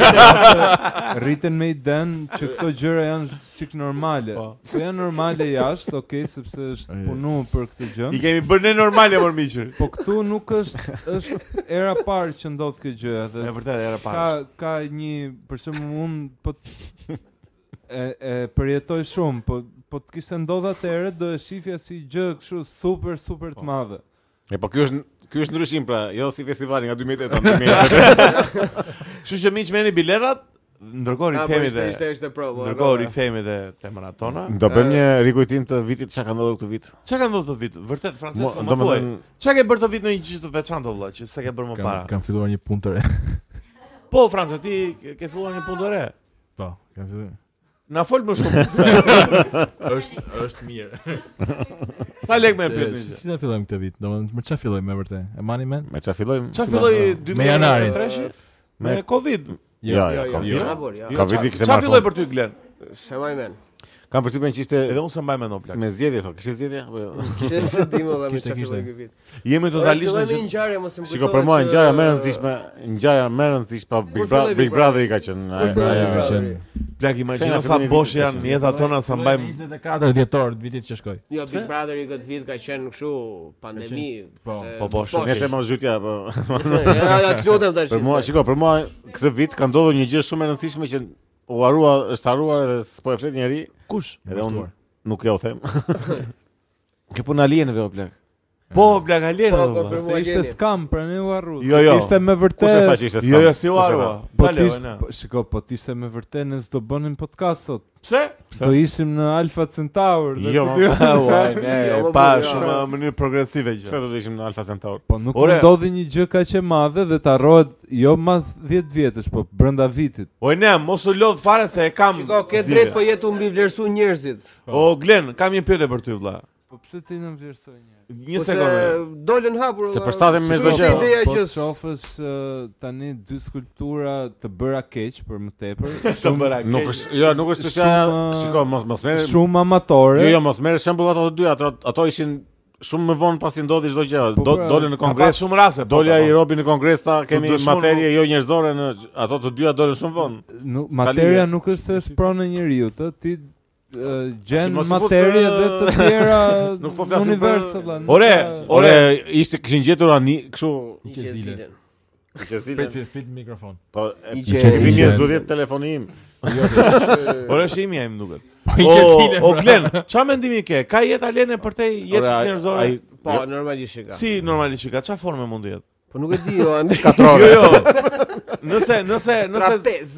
Speaker 3: rriten me i den që këto gjëra janë çik normale.
Speaker 1: Po.
Speaker 3: Po janë normale jashtë, okay, sepse është
Speaker 5: E.
Speaker 3: punuar për këtë gjë.
Speaker 1: i kemi bërë ne normale për miqën.
Speaker 3: *laughs* Po këtu nuk është është era parë që ndodh kjo gjë,
Speaker 1: E
Speaker 3: edhe
Speaker 1: vërtet era
Speaker 3: ka
Speaker 1: parë.
Speaker 3: ka një për shembull unë po t- e, e përjetoj shumë, po po të kishte ndodhur atëherë do e shifja si gjë kështu super super të madhe.
Speaker 2: E po ky është ky është ndryshim pra, jo si festivali nga 2008 në 2008.
Speaker 1: Kështu që miq merrni biletat, ndërkohë
Speaker 6: Ah, po,
Speaker 1: rikthehemi
Speaker 6: ishte-
Speaker 1: dhe
Speaker 6: ishte- ishte provë.
Speaker 1: ndërkohë rikthehemi dhe temrat tona.
Speaker 2: *laughs* Do bëjmë një rikujtim të vitit çka ka ndodhur këtë vit.
Speaker 1: Çka ka ndodhur këtë vit? Vërtet
Speaker 2: Mo-
Speaker 1: Francesco, më thuaj.
Speaker 2: Domethënë
Speaker 1: Çka ke bërë të vit në një gjë të veçantë vëlla që s'e ke bërë më
Speaker 5: Kam,
Speaker 1: Po, para?
Speaker 5: kam filluar një punë të re.
Speaker 1: Po Franca, ti ke- ke filluar një punë të re.
Speaker 5: Po, kam filluar.
Speaker 1: Na fol më shumë.
Speaker 5: Është është mirë.
Speaker 1: Sa lek më e pyet
Speaker 5: Si
Speaker 1: një.
Speaker 5: si ta fillojmë këtë vit? Domethënë, me çfarë fillojmë me vërtet? E mani men?
Speaker 2: me çfarë fillojmë?
Speaker 1: Çfarë filloi
Speaker 5: Me janarin.
Speaker 1: 2023? Me
Speaker 2: Me-
Speaker 1: Covid.
Speaker 2: Jo, jo,
Speaker 6: Jo,
Speaker 2: kam-
Speaker 6: jo, ja, bor, ja.
Speaker 1: Jo,
Speaker 2: Covidi
Speaker 1: qa-
Speaker 2: kishte
Speaker 1: qa
Speaker 2: marrë
Speaker 1: filloi
Speaker 2: fund.
Speaker 1: për ty Glen?
Speaker 6: Shemaj men.
Speaker 2: Kam përshtypjen që ishte
Speaker 1: Edhe unë s'e mbaj mend o plak.
Speaker 2: me zgjedhje thonë, kishte zgjedhje apo jo?
Speaker 6: Kishte se dimë dhe më
Speaker 5: kishte,
Speaker 6: çfarë
Speaker 5: kishte.
Speaker 6: filloi ky vit.
Speaker 1: Jemi totalisht
Speaker 6: Ora,
Speaker 1: në
Speaker 6: fillojmë një
Speaker 1: gjë.
Speaker 6: ngjarje mos e mbujtoj.
Speaker 2: Shiko për mua ngjarja më e rëndësishme, ngjarja më e rëndësishme pa Big
Speaker 6: filloi
Speaker 2: Brother,
Speaker 6: Big
Speaker 2: Big Brother i ka qenë.
Speaker 6: Kur filloi
Speaker 2: ajo-
Speaker 6: Big
Speaker 2: ajo-
Speaker 6: Brother?
Speaker 1: Plak imagjino
Speaker 2: Fena,
Speaker 1: sa
Speaker 2: filloi një
Speaker 1: bosh
Speaker 2: vit,
Speaker 1: janë
Speaker 2: tash.
Speaker 1: jetat tona sa mbajmë.
Speaker 5: 24 dhjetor të vitit që shkoi.
Speaker 6: Jo, Big Brother i këtë vit ka qenë kështu pandemi.
Speaker 5: Po,
Speaker 6: se-
Speaker 1: po, po, shumë.
Speaker 2: Nëse më zhytja po.
Speaker 6: *laughs* Ja, ja, të lutem tash.
Speaker 2: Për mua,
Speaker 6: se-
Speaker 2: shiko, për mua këtë vit ka ndodhur një gjë shumë e rëndësishme që u harua, është harruar edhe s'po e flet njëri,
Speaker 5: Kush?
Speaker 2: edhe unë nuk ja u them. Ke puna alienëve o plak.
Speaker 1: Po plak alien.
Speaker 6: Po,
Speaker 1: ato, vëlla.
Speaker 6: konfirmuar.
Speaker 3: Se ishte skam, pra ne u harru.
Speaker 1: Jo, jo.
Speaker 3: Ishte me
Speaker 2: Kush e
Speaker 3: vërtet.
Speaker 2: tha që ishte
Speaker 1: Jo,
Speaker 2: skam?
Speaker 1: jo, si u
Speaker 2: Kush e tha?
Speaker 1: harua.
Speaker 3: Po
Speaker 1: Pale,
Speaker 3: tis,
Speaker 1: ona.
Speaker 3: po, shiko, po tiste me vërtet ne s'do bënim podcast sot.
Speaker 1: *laughs* Pse?
Speaker 3: Do ishim në Alpha Centaur. dhe
Speaker 2: Jo,
Speaker 3: ku
Speaker 2: ma- *laughs*
Speaker 3: di unë.
Speaker 1: Uaj,
Speaker 6: Jo,
Speaker 1: ne,
Speaker 6: po,
Speaker 1: pa
Speaker 6: po, jo.
Speaker 1: shumë në mënyrë progresive
Speaker 2: Pse
Speaker 1: gjë.
Speaker 2: do të ishim në Alfa Centaur?
Speaker 3: Po nuk
Speaker 1: Ore.
Speaker 3: Ore. ndodhi një gjë kaq e madhe dhe ta rrohet jo mas 10 vjetësh, po brenda vitit.
Speaker 1: Oj ne, mos u lodh fare se e kam.
Speaker 6: Shiko, ke po-
Speaker 1: zile.
Speaker 6: drejt po jetë u mbi vlerësu njerëzit.
Speaker 1: O Glen, kam një pyetje për ty vëlla.
Speaker 3: Po pse ti na vlerësoj një?
Speaker 6: Po
Speaker 1: Një sekondë.
Speaker 6: dolën hapur.
Speaker 2: Se
Speaker 6: valla,
Speaker 2: përshtatem me
Speaker 6: si
Speaker 2: çdo
Speaker 6: është
Speaker 2: gjë.
Speaker 6: Ideja
Speaker 3: po
Speaker 6: që
Speaker 3: të shofës uh, tani dy skulptura të bëra keq për më
Speaker 2: *laughs*
Speaker 3: tepër,
Speaker 1: Të
Speaker 3: shumë
Speaker 1: bëra
Speaker 2: Nuk
Speaker 1: keq.
Speaker 2: është, jo, nuk është çështja,
Speaker 3: Shumë, uh,
Speaker 2: shiko, mos mos merr.
Speaker 3: shumë amatore.
Speaker 2: Jo, jo, mos merr shembull ato të dy, ato ato ishin shumë më vonë pasi ndodhi çdo gjë.
Speaker 3: Po,
Speaker 2: Do
Speaker 3: pra,
Speaker 2: dolën në
Speaker 1: Ka pas
Speaker 2: kongres.
Speaker 1: shumë raste. po,
Speaker 2: Dolja
Speaker 1: po, po.
Speaker 2: i robi në kongres ta kemi
Speaker 1: dëshmon-
Speaker 2: materie jo njerëzore në ato të dyja dolën shumë vonë.
Speaker 3: Nuk
Speaker 2: S'ka
Speaker 3: materia
Speaker 2: lidhje.
Speaker 3: nuk është se është pronë e njeriu, të ti uh, gjen
Speaker 2: mos i fut,
Speaker 3: materie
Speaker 2: ë,
Speaker 3: dhe të tjera
Speaker 2: *laughs* Nuk po
Speaker 3: në
Speaker 2: flasim
Speaker 3: univers
Speaker 2: për-
Speaker 3: valla. nuk
Speaker 1: Ore,
Speaker 3: ka-
Speaker 2: Ore, ishte kishin gjetur ani kështu
Speaker 4: Një
Speaker 5: Që zile.
Speaker 4: qezile.
Speaker 5: Prit, prit, prit mikrofon.
Speaker 2: Po,
Speaker 6: I
Speaker 2: qezimi e
Speaker 5: qezile.
Speaker 2: zgjodhet telefoni im.
Speaker 1: Ore është imja im
Speaker 6: *laughs*
Speaker 1: duket.
Speaker 6: Po,
Speaker 5: i
Speaker 1: O,
Speaker 5: qesile,
Speaker 1: o
Speaker 5: pra.
Speaker 1: Glen, ç'a mendimi ke? Ka jetë alene për te jetës
Speaker 2: ai-
Speaker 1: njerëzore?
Speaker 2: ai-
Speaker 6: Po,
Speaker 2: jo,
Speaker 6: normalisht që ka.
Speaker 1: Si normalisht që ka ç'a forme mund të jetë?
Speaker 6: Po nuk e di jo, ande
Speaker 1: Jo, jo.
Speaker 2: *laughs*
Speaker 1: Nëse, nëse, nëse
Speaker 6: *laughs* trapez.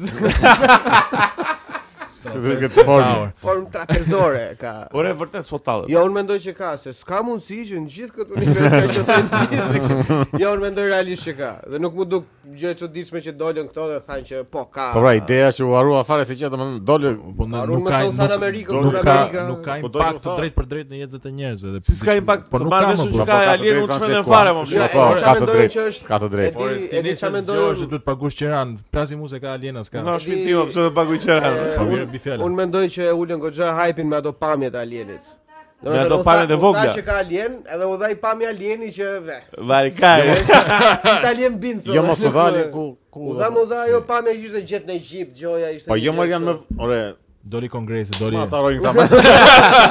Speaker 2: Këtë formë.
Speaker 6: Form trapezore ka.
Speaker 1: Ore vërtet s'po tallet.
Speaker 6: Jo, unë mendoj që ka, se s'ka mundësi që në gjithë këtë univers
Speaker 2: *laughs*
Speaker 6: ka që të gjithë. *laughs* Jo, unë mendoj realisht që ka. Dhe nuk mu duk gjë e çuditshme që dolën këto dhe thanë që po ka.
Speaker 2: Po pra, ideja që u harua fare se që domethënë dolë
Speaker 5: Po në-
Speaker 6: Arun
Speaker 5: nuk
Speaker 6: me
Speaker 5: ka
Speaker 6: South
Speaker 5: nuk,
Speaker 6: Amerikën,
Speaker 5: nuk
Speaker 6: Kur
Speaker 5: ka
Speaker 6: Amerika-
Speaker 5: nuk ka
Speaker 2: Po do
Speaker 5: impakt
Speaker 2: të
Speaker 5: të
Speaker 2: thotë.
Speaker 5: drejt për drejt në jetën e njerëzve dhe
Speaker 1: Si s'ka impakt,
Speaker 5: po
Speaker 1: të
Speaker 5: nuk
Speaker 1: marrë
Speaker 5: ka më
Speaker 1: vesh që
Speaker 5: bra.
Speaker 1: ka alien u çmend në fare më
Speaker 6: Jo,
Speaker 1: mirë.
Speaker 2: Po,
Speaker 6: po,
Speaker 2: ka
Speaker 6: çfarë
Speaker 2: të
Speaker 6: mendoj
Speaker 2: drejtë,
Speaker 6: që është?
Speaker 2: ka të drejtë.
Speaker 6: E di, e di
Speaker 2: jo,
Speaker 6: çfarë mendoj.
Speaker 5: se duhet pagush qiran, plasim mu se ka aliena s'ka.
Speaker 1: Na shpinë tim pse të paguaj qera.
Speaker 6: E,
Speaker 5: Po,
Speaker 6: unë-
Speaker 5: mirë, mbi fjalën.
Speaker 6: Unë mendoj që e ulën goxha hype-in me ato pamjet e alienit. Do
Speaker 1: Me
Speaker 6: të
Speaker 1: ato
Speaker 6: thënë, u tha-
Speaker 1: pamjet e
Speaker 6: U
Speaker 1: vogla.
Speaker 6: tha që ka alien, edhe u dha i pamja alieni që ve.
Speaker 2: *laughs*
Speaker 1: Varikare.
Speaker 6: Si ta alien binë
Speaker 2: Jo mos u dhali ku ku.
Speaker 6: U dha mu dha ajo pamja që ishte gjetë në Egjipt, gjoja ishte.
Speaker 2: Po
Speaker 6: në
Speaker 2: jo
Speaker 6: Egjipt,
Speaker 2: më janë më ore,
Speaker 5: Doli kongresi, doli.
Speaker 2: ma sa rojnë këta.
Speaker 6: *laughs*
Speaker 2: më-
Speaker 5: *laughs*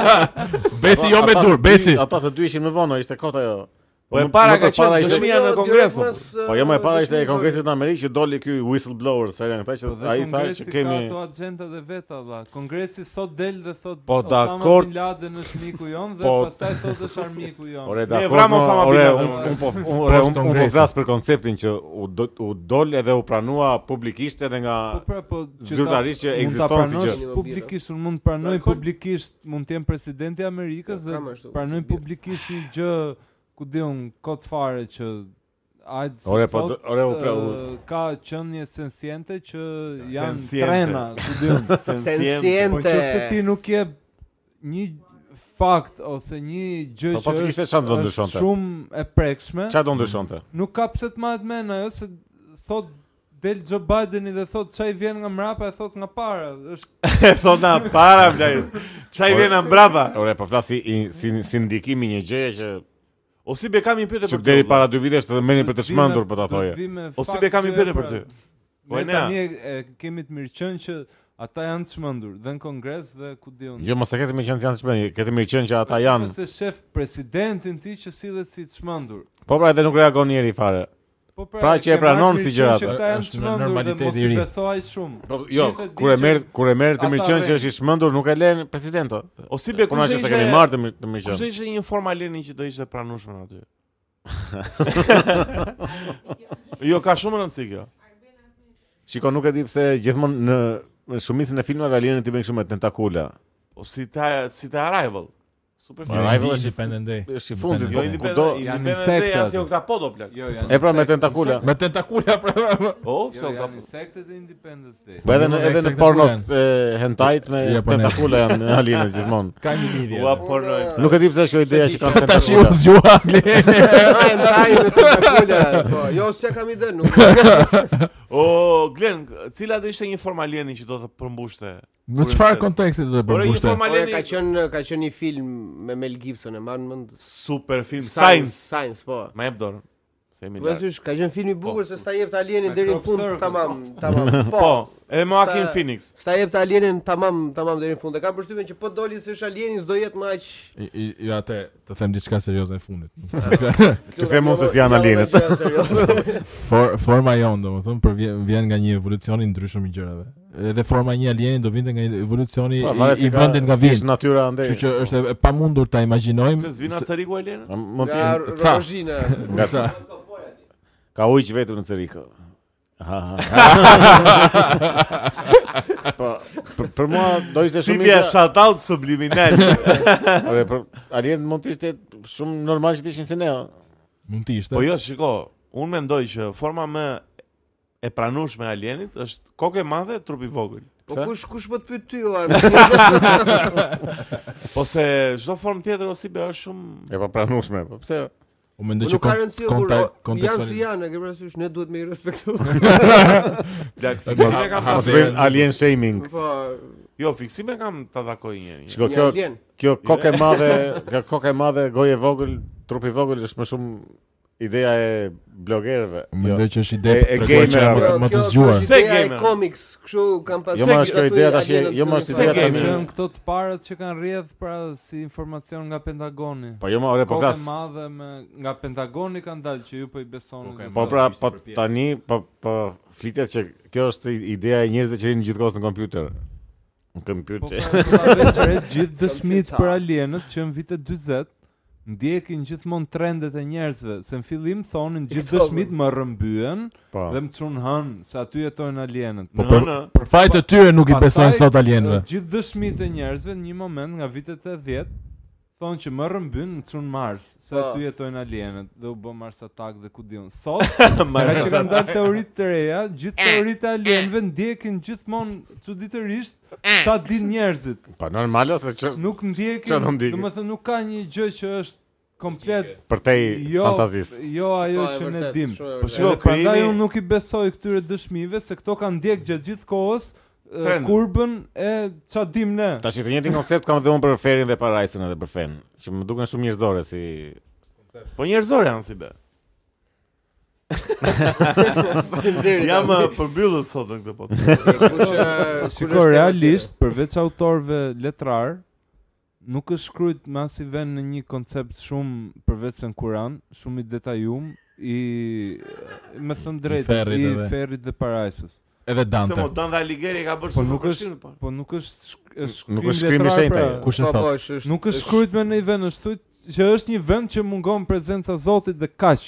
Speaker 5: Besi jo
Speaker 2: Ata-
Speaker 5: me
Speaker 2: ata
Speaker 5: dur,
Speaker 2: të dy-
Speaker 5: besi.
Speaker 2: Ata të dy ishin më vonë, ishte kota ajo.
Speaker 1: Po e
Speaker 2: Më-
Speaker 1: para
Speaker 2: më
Speaker 1: ka
Speaker 2: të
Speaker 1: qenë
Speaker 2: ishte-
Speaker 1: dëshmia në
Speaker 6: Jo,
Speaker 1: kongres.
Speaker 6: jo, mas,
Speaker 2: Po jo më e para ishte e
Speaker 6: dëshmi-
Speaker 2: kongresit në Amerikë që doli ky whistleblower, se janë këta që
Speaker 3: Po dhe
Speaker 2: ai tha
Speaker 3: kongresi
Speaker 2: që kemi
Speaker 3: ka ato agenda dhe veta valla. Kongresi sot del dhe thot
Speaker 1: Po,
Speaker 3: Osama
Speaker 1: dakord.
Speaker 3: bin Laden është miku jon dhe
Speaker 2: *laughs* Po.
Speaker 3: pastaj thot është armiku jon.
Speaker 2: Ore
Speaker 1: Ne
Speaker 2: da,
Speaker 1: vram Osama Bin
Speaker 2: ore,
Speaker 1: Laden,
Speaker 2: unë
Speaker 1: ore.
Speaker 2: un po unë- ore,
Speaker 5: Post
Speaker 2: unë un po
Speaker 5: kongresi.
Speaker 2: flas për konceptin që u do- u dol edhe u pranua publikisht edhe nga
Speaker 3: Po pra po ta-
Speaker 2: Zyrtarisht që
Speaker 3: mund ta
Speaker 2: ekziston si
Speaker 3: pranosh
Speaker 6: gjë.
Speaker 3: Publikisht unë mund të pranoj publikisht, mund të jem presidenti i Amerikës
Speaker 6: Po,
Speaker 3: dhe
Speaker 6: kam ashtu.
Speaker 3: pranoj
Speaker 6: Mirë.
Speaker 3: publikisht një gjë ku di un kot fare që Ajde se
Speaker 2: Ore, po,
Speaker 3: sot,
Speaker 2: d- ore, u pra, u-
Speaker 3: ë, ka qenie sensiente që janë
Speaker 1: Sensiente.
Speaker 3: trena, ku di
Speaker 2: *laughs*
Speaker 3: un. Po
Speaker 6: Sensiente.
Speaker 3: nëse ti nuk je një fakt ose një gjë
Speaker 2: Po,
Speaker 3: që
Speaker 2: po, ti kishte çfarë do ndryshonte?
Speaker 3: shumë e prekshme,
Speaker 2: çfarë do ndryshonte.
Speaker 3: nuk ka pse të mahet mend ajo se sot del Joe Bideni dhe thot çai vjen nga mrapa e thot nga para. Është
Speaker 1: E thona para blaj. Çai vjen në brapa.
Speaker 2: Ore, po flasi i- si si ndikimi një gjëje që
Speaker 1: O si be kam një pyetje
Speaker 2: që
Speaker 1: për ty,
Speaker 2: deri
Speaker 1: vëlla.
Speaker 2: para dy vitesh të merrin për të
Speaker 3: vi me-
Speaker 2: çmendur po ta
Speaker 3: do
Speaker 2: thoje.
Speaker 3: vi me
Speaker 1: O si
Speaker 3: fakt
Speaker 1: be kam një
Speaker 3: që
Speaker 1: pyetje
Speaker 3: e
Speaker 1: për ty.
Speaker 3: pra-
Speaker 1: Po
Speaker 3: Ne
Speaker 1: e nea.
Speaker 3: tani e, e kemi të mirë qenë që ata janë të çmendur dhe në kongres dhe ku diun.
Speaker 2: Jo, mos e ketë me qenë janë të shpenë, ketë me qenë që ata janë.
Speaker 3: Se shef presidentin ti që sillet si të çmendur.
Speaker 2: Po pra edhe nuk reagon njeri fare.
Speaker 3: Po
Speaker 2: Pra që
Speaker 3: ke
Speaker 2: e
Speaker 3: marrë
Speaker 2: pranon si
Speaker 3: mirë qenë
Speaker 2: gjëra
Speaker 3: që
Speaker 2: ato.
Speaker 3: Ata janë
Speaker 5: Është
Speaker 3: të çmendur dhe
Speaker 5: normaliteti
Speaker 3: mos
Speaker 5: i
Speaker 3: i
Speaker 5: ri.
Speaker 3: beso aq shumë.
Speaker 2: Po jo,
Speaker 3: Gjithë e di
Speaker 2: kur e
Speaker 3: që-
Speaker 2: merr kur e merr të
Speaker 3: ata
Speaker 2: mirëqen që
Speaker 3: vjen.
Speaker 2: është i shmendur, nuk e lën presidento.
Speaker 1: O si be
Speaker 2: Po na
Speaker 1: kush
Speaker 2: që
Speaker 1: ishte
Speaker 2: se kemi marrë të mir- të
Speaker 1: Kush
Speaker 2: mirëqen.
Speaker 1: ishte një forma leni që do ishte pranueshme aty?
Speaker 2: *laughs*
Speaker 1: jo, ka shumë rëndësi kjo.
Speaker 2: Shiko, nuk e di pse gjithmonë në në shumicën e filmave alienët i bëjnë kështu me tentakula.
Speaker 1: O si ta si ta arrival. Super
Speaker 5: Po
Speaker 1: film.
Speaker 2: Arrival
Speaker 5: Arrival
Speaker 2: është
Speaker 5: është
Speaker 2: i-
Speaker 5: Independent Day.
Speaker 2: është i fundit,
Speaker 1: Jo
Speaker 2: Ku
Speaker 1: independent,
Speaker 2: do-
Speaker 3: janë
Speaker 1: independent
Speaker 3: insekte
Speaker 1: Day, as
Speaker 3: ato.
Speaker 1: jo këta po do plak.
Speaker 3: Jo, janë
Speaker 2: E pra me
Speaker 3: insekte.
Speaker 2: tentakula.
Speaker 5: Me tentakula pra.
Speaker 1: *laughs* O, pse
Speaker 3: Jo,
Speaker 1: u ka
Speaker 3: janë insektet e Independence Day.
Speaker 2: Po edhe në
Speaker 5: Janë
Speaker 2: edhe në
Speaker 5: tentakula
Speaker 2: pornot
Speaker 5: janë.
Speaker 2: e hentajt me
Speaker 5: Ja, po, ne.
Speaker 2: tentakula
Speaker 5: *laughs*
Speaker 2: janë alienët gjithmonë.
Speaker 5: Ka një lidhje.
Speaker 1: Ua
Speaker 5: edhe.
Speaker 1: porno.
Speaker 2: Nuk e di pse është kjo ideja që kanë
Speaker 5: Tash u
Speaker 2: tentakula.
Speaker 5: zgjua Angli.
Speaker 6: Ai ndaj me tentakula. Po, jo se kam ide, nuk.
Speaker 1: O Glen, cila do ishte një forma leni që do të përmbushte?
Speaker 5: Në çfarë konteksti do të
Speaker 1: Por një
Speaker 5: përmbushte?
Speaker 1: forma
Speaker 6: Ore, ka
Speaker 1: leni
Speaker 6: qenë ka qenë një film me Mel Gibson, e mban mend.
Speaker 1: super film Science.
Speaker 6: Science, po.
Speaker 1: Ma jep dorën. Se jemi larg.
Speaker 6: Vazhdish, ka qenë film i
Speaker 1: Po.
Speaker 6: bukur se sta jep të alienin
Speaker 3: Me
Speaker 6: deri në
Speaker 3: crop
Speaker 6: fund,
Speaker 3: circle.
Speaker 6: tamam, tamam.
Speaker 2: *laughs*
Speaker 6: Po.
Speaker 1: Po, edhe Joaquin
Speaker 6: Sa-
Speaker 1: Phoenix.
Speaker 6: Sta jep të alienin tamam, tamam deri në fund. E kam përshtypjen që po doli se është alieni, s'do jetë më aq.
Speaker 5: I- i- Jo, atë të them diçka serioze në funit.
Speaker 2: Të them unë se si
Speaker 6: Jo,
Speaker 2: janë alienet.
Speaker 5: *laughs* For, forma jon, domethënë, për vjen, vjen nga një evolucion i ndryshëm i gjërave. Edhe forma e një alieni do vinte nga evolucioni
Speaker 2: Po,
Speaker 5: i,
Speaker 2: varet si
Speaker 5: i
Speaker 2: ka-
Speaker 5: vendit nga
Speaker 2: si është
Speaker 5: vjen.
Speaker 2: natyra andej.
Speaker 5: Kështu që është e pamundur ta imagjinojmë.
Speaker 1: Kës vina
Speaker 5: se-
Speaker 1: Ceriku e leni?
Speaker 2: *laughs* Mund të
Speaker 6: Nga
Speaker 5: Ca.
Speaker 6: Rozhina.
Speaker 2: nga Ka ujq vetëm në Ceriko. Ha, *laughs* ha, ha. po, për, për mua do ishte
Speaker 1: Si
Speaker 2: shumë
Speaker 1: bie
Speaker 2: mirë. se-
Speaker 1: shataut subliminal.
Speaker 2: Ore, për alien mund të ishte shumë normal që të ishin si ne. o.
Speaker 5: Mund të ishte.
Speaker 1: Po jo, shiko, unë mendoj që forma më e pranueshme e alienit është kokë e madhe, trup i vogël.
Speaker 6: Po
Speaker 2: Pse?
Speaker 6: kush kush po të pyet ty
Speaker 2: *laughs*
Speaker 6: Johan?
Speaker 1: Po se çdo formë tjetër ose be është shumë
Speaker 2: E pa pranueshme, po pse?
Speaker 5: U mendoj që
Speaker 6: Po Nuk ka rëndësi kur
Speaker 5: konta-
Speaker 6: o, janë si
Speaker 5: kontekstuali-
Speaker 6: janë, e ke parasysh, ne duhet me i
Speaker 5: *laughs*
Speaker 6: respektu.
Speaker 1: plak
Speaker 2: Mos
Speaker 1: fiksime kam.
Speaker 2: mos
Speaker 1: ta-
Speaker 2: të bëjmë alien shaming.
Speaker 6: *laughs* Po,
Speaker 1: Jo, fiksime kam ta takoj njëri.
Speaker 2: Shiko,
Speaker 6: një
Speaker 2: Jo, kjo
Speaker 6: alien.
Speaker 2: kjo kokë e madhe, kjo kokë e madhe, gojë e vogël, trupi i vogël është më shumë ideja e blogerëve.
Speaker 5: U mendoj që është ide
Speaker 2: Jo, E- e
Speaker 5: për tregoj që janë
Speaker 2: gamerave.
Speaker 5: më të-
Speaker 6: Po,
Speaker 5: më të
Speaker 6: kjo- kjo
Speaker 5: zgjuar.
Speaker 6: është ideja
Speaker 1: Se
Speaker 6: e
Speaker 1: gamer.
Speaker 6: Comics, kështu kam pasur.
Speaker 2: Jo, ma është kjo ideja tash, jo, ma
Speaker 1: Se
Speaker 2: është ideja
Speaker 1: kemi.
Speaker 3: Që
Speaker 2: tani.
Speaker 3: janë këto të parët që kanë rrjedh pra si informacion nga Pentagoni.
Speaker 2: Po jo, ma, ore, po
Speaker 3: Kokë
Speaker 2: flas.
Speaker 3: e madhe me nga Pentagoni kanë dalë që ju po i besoni.
Speaker 4: Kokë e
Speaker 3: dhe
Speaker 2: Po
Speaker 4: madhe.
Speaker 3: sa-
Speaker 2: pra,
Speaker 4: ishte
Speaker 2: po
Speaker 4: përpjekje.
Speaker 2: tani po po flitet që kjo është i- ideja e njerëzve që rinë gjithkohës në kompjuter. Në
Speaker 3: Po
Speaker 2: kompjuter.
Speaker 3: pra, veçre gjithë dëshmit për alienët që në vitet 40 ndjekin gjithmonë trendet e njerëzve, se në fillim thonin gjithë dëshmit më rëmbyen
Speaker 2: Po. pra,
Speaker 3: dhe më çun hën se aty jetojnë alienët.
Speaker 5: Po
Speaker 1: Në,
Speaker 5: për,
Speaker 1: në.
Speaker 5: për fajt e tyre nuk i besojnë
Speaker 3: Pastaj,
Speaker 5: sot alienëve.
Speaker 3: Në Gjithë dëshmitë e njerëzve në një moment nga vitet 80 thonë që më rëmbyn në çun Mars, se
Speaker 6: Po.
Speaker 3: aty jetojnë alienët dhe u bë Mars atak dhe ku diun.
Speaker 6: *laughs*
Speaker 3: Sot nga që kanë dalë teoritë të reja,
Speaker 6: Eh,
Speaker 3: gjithë teoritë e alienëve ndjekin gjithmonë çuditërisht
Speaker 6: Eh.
Speaker 3: ça din njerëzit.
Speaker 2: Po normal ose që
Speaker 3: Nuk ndjekin,
Speaker 2: Ça do ndjekin?
Speaker 3: domethënë nuk ka një gjë që është komplet
Speaker 2: për te
Speaker 3: jo
Speaker 2: fantazisë.
Speaker 3: jo ajo
Speaker 6: Po, e
Speaker 3: që ne
Speaker 6: vërtet,
Speaker 3: dim.
Speaker 6: shumë e
Speaker 1: Po
Speaker 6: vërtet.
Speaker 1: shiko,
Speaker 3: Edhe prandaj
Speaker 1: krimi-
Speaker 3: unë nuk i besoj këtyre dëshmive se këto kanë ndjek gjatë gjithë kohës e,
Speaker 1: Trend.
Speaker 3: kurbën e ça dim ne.
Speaker 2: Tash i të njëjtin koncept kam dhe unë për ferin dhe parajsën edhe për fen, që më duken shumë njerëzore si
Speaker 1: Po njerëzor janë si be.
Speaker 6: Faleminderit.
Speaker 1: Jam ë, përmbyllës sot në këtë podcast.
Speaker 6: Kush, eh, kush
Speaker 3: Shiko
Speaker 6: është
Speaker 3: realisht përveç autorëve letrar nuk është shkruajt me as i vend në një koncept shumë përveç se në Kur'an, shumë i detajum i me thënë drejtë
Speaker 5: ferrit
Speaker 3: i
Speaker 5: edhe.
Speaker 3: ferrit dhe parajsës.
Speaker 1: Se
Speaker 5: Edhe
Speaker 1: mo
Speaker 5: Dante.
Speaker 1: Dan dhe Alighieri ka bërë
Speaker 3: Po
Speaker 1: shumë
Speaker 3: nuk
Speaker 1: përshkrim,
Speaker 3: është
Speaker 1: po.
Speaker 3: po nuk është shk- është
Speaker 2: Nuk
Speaker 3: shkrim
Speaker 2: është shkrim i
Speaker 3: letrar,
Speaker 2: shenjtë,
Speaker 3: pra.
Speaker 2: jo.
Speaker 5: Kush e
Speaker 6: Po, po,
Speaker 5: thot?
Speaker 6: është-
Speaker 3: Nuk është
Speaker 6: është-
Speaker 3: shkruajt me në një vend, është thuajt që është një vend që mungon prezenca e Zotit dhe kaq.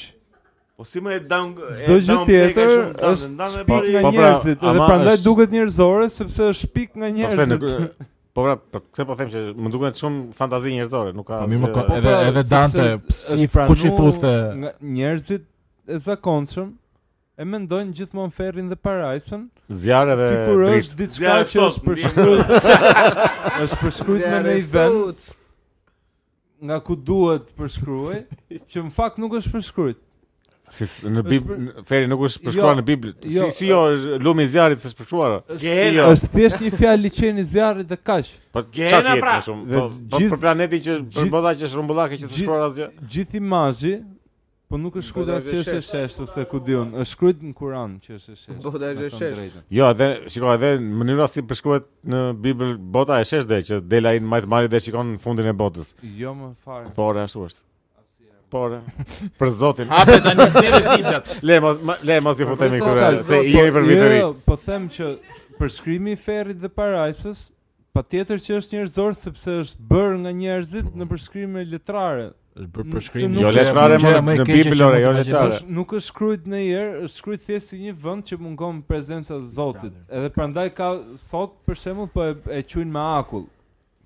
Speaker 1: Po si më e down
Speaker 3: Çdo gjë tjetër është shpik nga
Speaker 2: Po pra,
Speaker 3: njerëzit, edhe
Speaker 2: ama
Speaker 3: prandaj
Speaker 2: është-
Speaker 3: duket njerëzore sepse është shpik nga
Speaker 2: Po pse nuk
Speaker 3: njerëzit.
Speaker 2: Po pra, po pse po them që më duken shumë fantazi njerëzore, nuk ka.
Speaker 5: Po mi më
Speaker 2: asgjë-
Speaker 5: ka- edhe
Speaker 3: pra,
Speaker 5: edhe
Speaker 3: sepse
Speaker 5: Dante,
Speaker 3: është
Speaker 5: si kush i
Speaker 3: pranu
Speaker 5: fuste?
Speaker 3: Nga njerëzit e zakonshëm e mendojnë gjithmonë ferrin dhe parajsën,
Speaker 2: zjarre dhe
Speaker 3: sikur
Speaker 2: dritë.
Speaker 3: është diçka
Speaker 1: Zjarë
Speaker 3: që
Speaker 1: ftohtë,
Speaker 3: është përshkruajt. është
Speaker 6: Po,
Speaker 3: përshkruajt me në një vend
Speaker 6: Fut.
Speaker 3: nga ku duhet përshkruaj, që në fakt nuk është përshkruajt.
Speaker 2: Si s- në
Speaker 3: Është
Speaker 2: Bibl,
Speaker 3: për-
Speaker 2: në- feri nuk është përshkruar
Speaker 3: Jo,
Speaker 2: në Bibël. Si
Speaker 3: jo,
Speaker 2: si jo, është- lumi i zjarrit s'është përshkruar.
Speaker 1: Gehena.
Speaker 2: Jo.
Speaker 3: Është thjesht një fjalë liçeni zjarrit dhe kaq.
Speaker 2: Po
Speaker 1: Gjena
Speaker 2: çfarë tjetër
Speaker 1: pra.
Speaker 2: më shumë?
Speaker 3: Dhe
Speaker 2: Po po
Speaker 3: gjith-
Speaker 2: për planetin që për
Speaker 3: gjith-
Speaker 2: bolla që është rrumbullake që të
Speaker 3: gjith-
Speaker 2: shkruar asgjë.
Speaker 3: Gjithë imazhi Po nuk është shkruar
Speaker 6: Po,
Speaker 3: si është
Speaker 6: dhe
Speaker 3: e sheshtë ose ku diun, është shkruar në Kur'an që është e sheshtë.
Speaker 6: Po, dhe është e
Speaker 3: me thënë
Speaker 6: sheshtë.
Speaker 3: drejtën.
Speaker 2: Jo, edhe shiko, edhe në mënyra si përshkruhet në Bibël bota e shesh dhe që del ai në majtë mali dhe shikon në fundin e botës.
Speaker 3: Jo më fare.
Speaker 2: Po, ore, ashtu është. Po, ore. Për Zotin.
Speaker 5: Hape
Speaker 2: *laughs*
Speaker 5: tani tjetër ditët.
Speaker 2: le mos ma- le mos i futemi
Speaker 6: për
Speaker 2: këtyre
Speaker 6: Zotin,
Speaker 2: se
Speaker 6: po,
Speaker 2: i jemi për vitëri.
Speaker 3: Jo, po them që përshkrimi i ferrit dhe parajsës patjetër që është njerëzor sepse është bërë nga njerëzit në përshkrime letrare.
Speaker 5: Është
Speaker 3: Nuk-
Speaker 5: bërë përshkrim.
Speaker 3: se nuk-
Speaker 2: Jo
Speaker 5: gjëja-
Speaker 2: letrare
Speaker 5: gjëja
Speaker 2: më
Speaker 5: më e
Speaker 2: në
Speaker 5: keqe që
Speaker 2: Bibël
Speaker 5: mund
Speaker 2: ore,
Speaker 5: të
Speaker 2: jo
Speaker 5: imagjinosh.
Speaker 2: letrare.
Speaker 3: Është nuk është shkruajt në erë, është shkruajt thjesht si një vend që mungon prezenca e Zotit. Edhe prandaj ka sot për shembull po e, e quajnë me akull.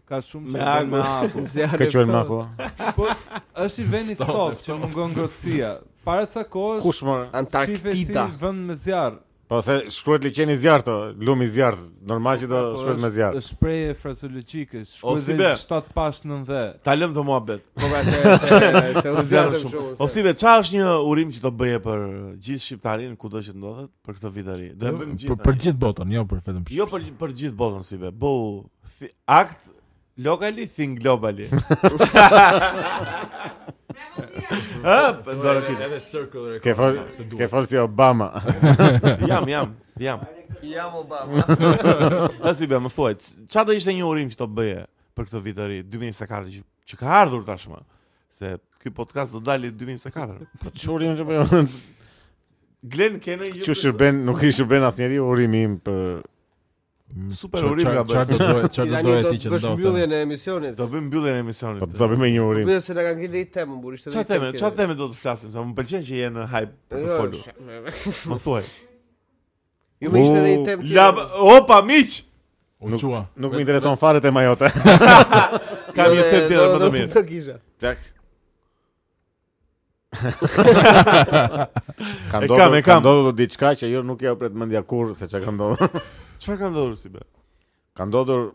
Speaker 3: Ka shumë
Speaker 1: Me
Speaker 3: që bën me
Speaker 2: *laughs*
Speaker 1: akull.
Speaker 3: akull.
Speaker 6: Zjarre
Speaker 2: Ka qenë më
Speaker 6: ftohtë.
Speaker 2: ku.
Speaker 3: Po është i vendi ftohtë që mungon ngrohtësia. Para ca kohësh
Speaker 2: Kush më?
Speaker 3: shife si
Speaker 6: Antarktida.
Speaker 3: vend me zjarr.
Speaker 2: Po se shkruhet liçeni zjarr to, lumi zjarr. Normal që do
Speaker 3: Po,
Speaker 2: shkruhet me
Speaker 3: është-
Speaker 2: zjarr.
Speaker 3: Është shprehje frazeologjike,
Speaker 1: O, si
Speaker 3: shkruhet
Speaker 1: be.
Speaker 3: 7 pas 9.
Speaker 1: *laughs* Ta lëm të muhabet.
Speaker 6: Po pra se se- se u
Speaker 1: Se
Speaker 6: zjarre
Speaker 1: zjarë
Speaker 6: shumë.
Speaker 1: shumë. O si be, qa është një urim që do bëje për gjithë shqiptarin kudo që ndodhet për këtë vit të ri? Do e bëjmë
Speaker 5: Për
Speaker 1: gjithë.
Speaker 5: për gjithë botën, jo për vetëm.
Speaker 1: Jo për për gjithë botën si be. Bo thi- act locally think globally. *laughs* Bravo Ë, do të
Speaker 2: Ke fol ke fol si Obama.
Speaker 1: jam, jam, jam.
Speaker 6: Jam
Speaker 1: *laughs*
Speaker 6: Obama.
Speaker 1: Ë si be, më thuaj, ç'a do ishte një urim që do bëje për këtë vit të ri 2024 që, që ka ardhur tashmë? Se ky podcast do dali 2024.
Speaker 2: Po çurim që bëjmë.
Speaker 1: Glen Kenë
Speaker 2: Që shërben, nuk i shërben asnjëri urimi im për
Speaker 1: Super urim ka bërë.
Speaker 5: Çfarë do doje, çfarë do
Speaker 6: Tani
Speaker 5: doje
Speaker 6: do
Speaker 5: ti
Speaker 6: të
Speaker 5: që
Speaker 6: bësh
Speaker 5: ndodhte?
Speaker 6: mbylljen e emisionit.
Speaker 1: Do bëjmë mbylljen e
Speaker 2: po
Speaker 1: emisionit.
Speaker 2: do bëjmë një urim.
Speaker 6: Pyet se na kanë gjetë temën, burr, ishte.
Speaker 1: Qa teme, qa teme do të flasim, sa më pëlqen që je në hype
Speaker 6: Po,
Speaker 1: për
Speaker 6: Jo,
Speaker 1: të folur. Më thuaj.
Speaker 6: Ju më ishte edhe një temë.
Speaker 1: La, opa miq,
Speaker 5: U çua.
Speaker 2: Nuk më intereson fare tema jote.
Speaker 1: kam një temë tjetër më të mirë.
Speaker 6: Do kisha.
Speaker 2: *laughs*
Speaker 1: *laughs*
Speaker 2: *laughs* Plak. ka
Speaker 1: E
Speaker 2: ndodhur,
Speaker 1: kam, e
Speaker 2: ka
Speaker 1: kam.
Speaker 2: *laughs* ndodhur diçka që jo nuk ja pret mendja kurrë se çka ka ndodhur.
Speaker 1: Çfarë ka ndodhur si be?
Speaker 2: Ka ndodhur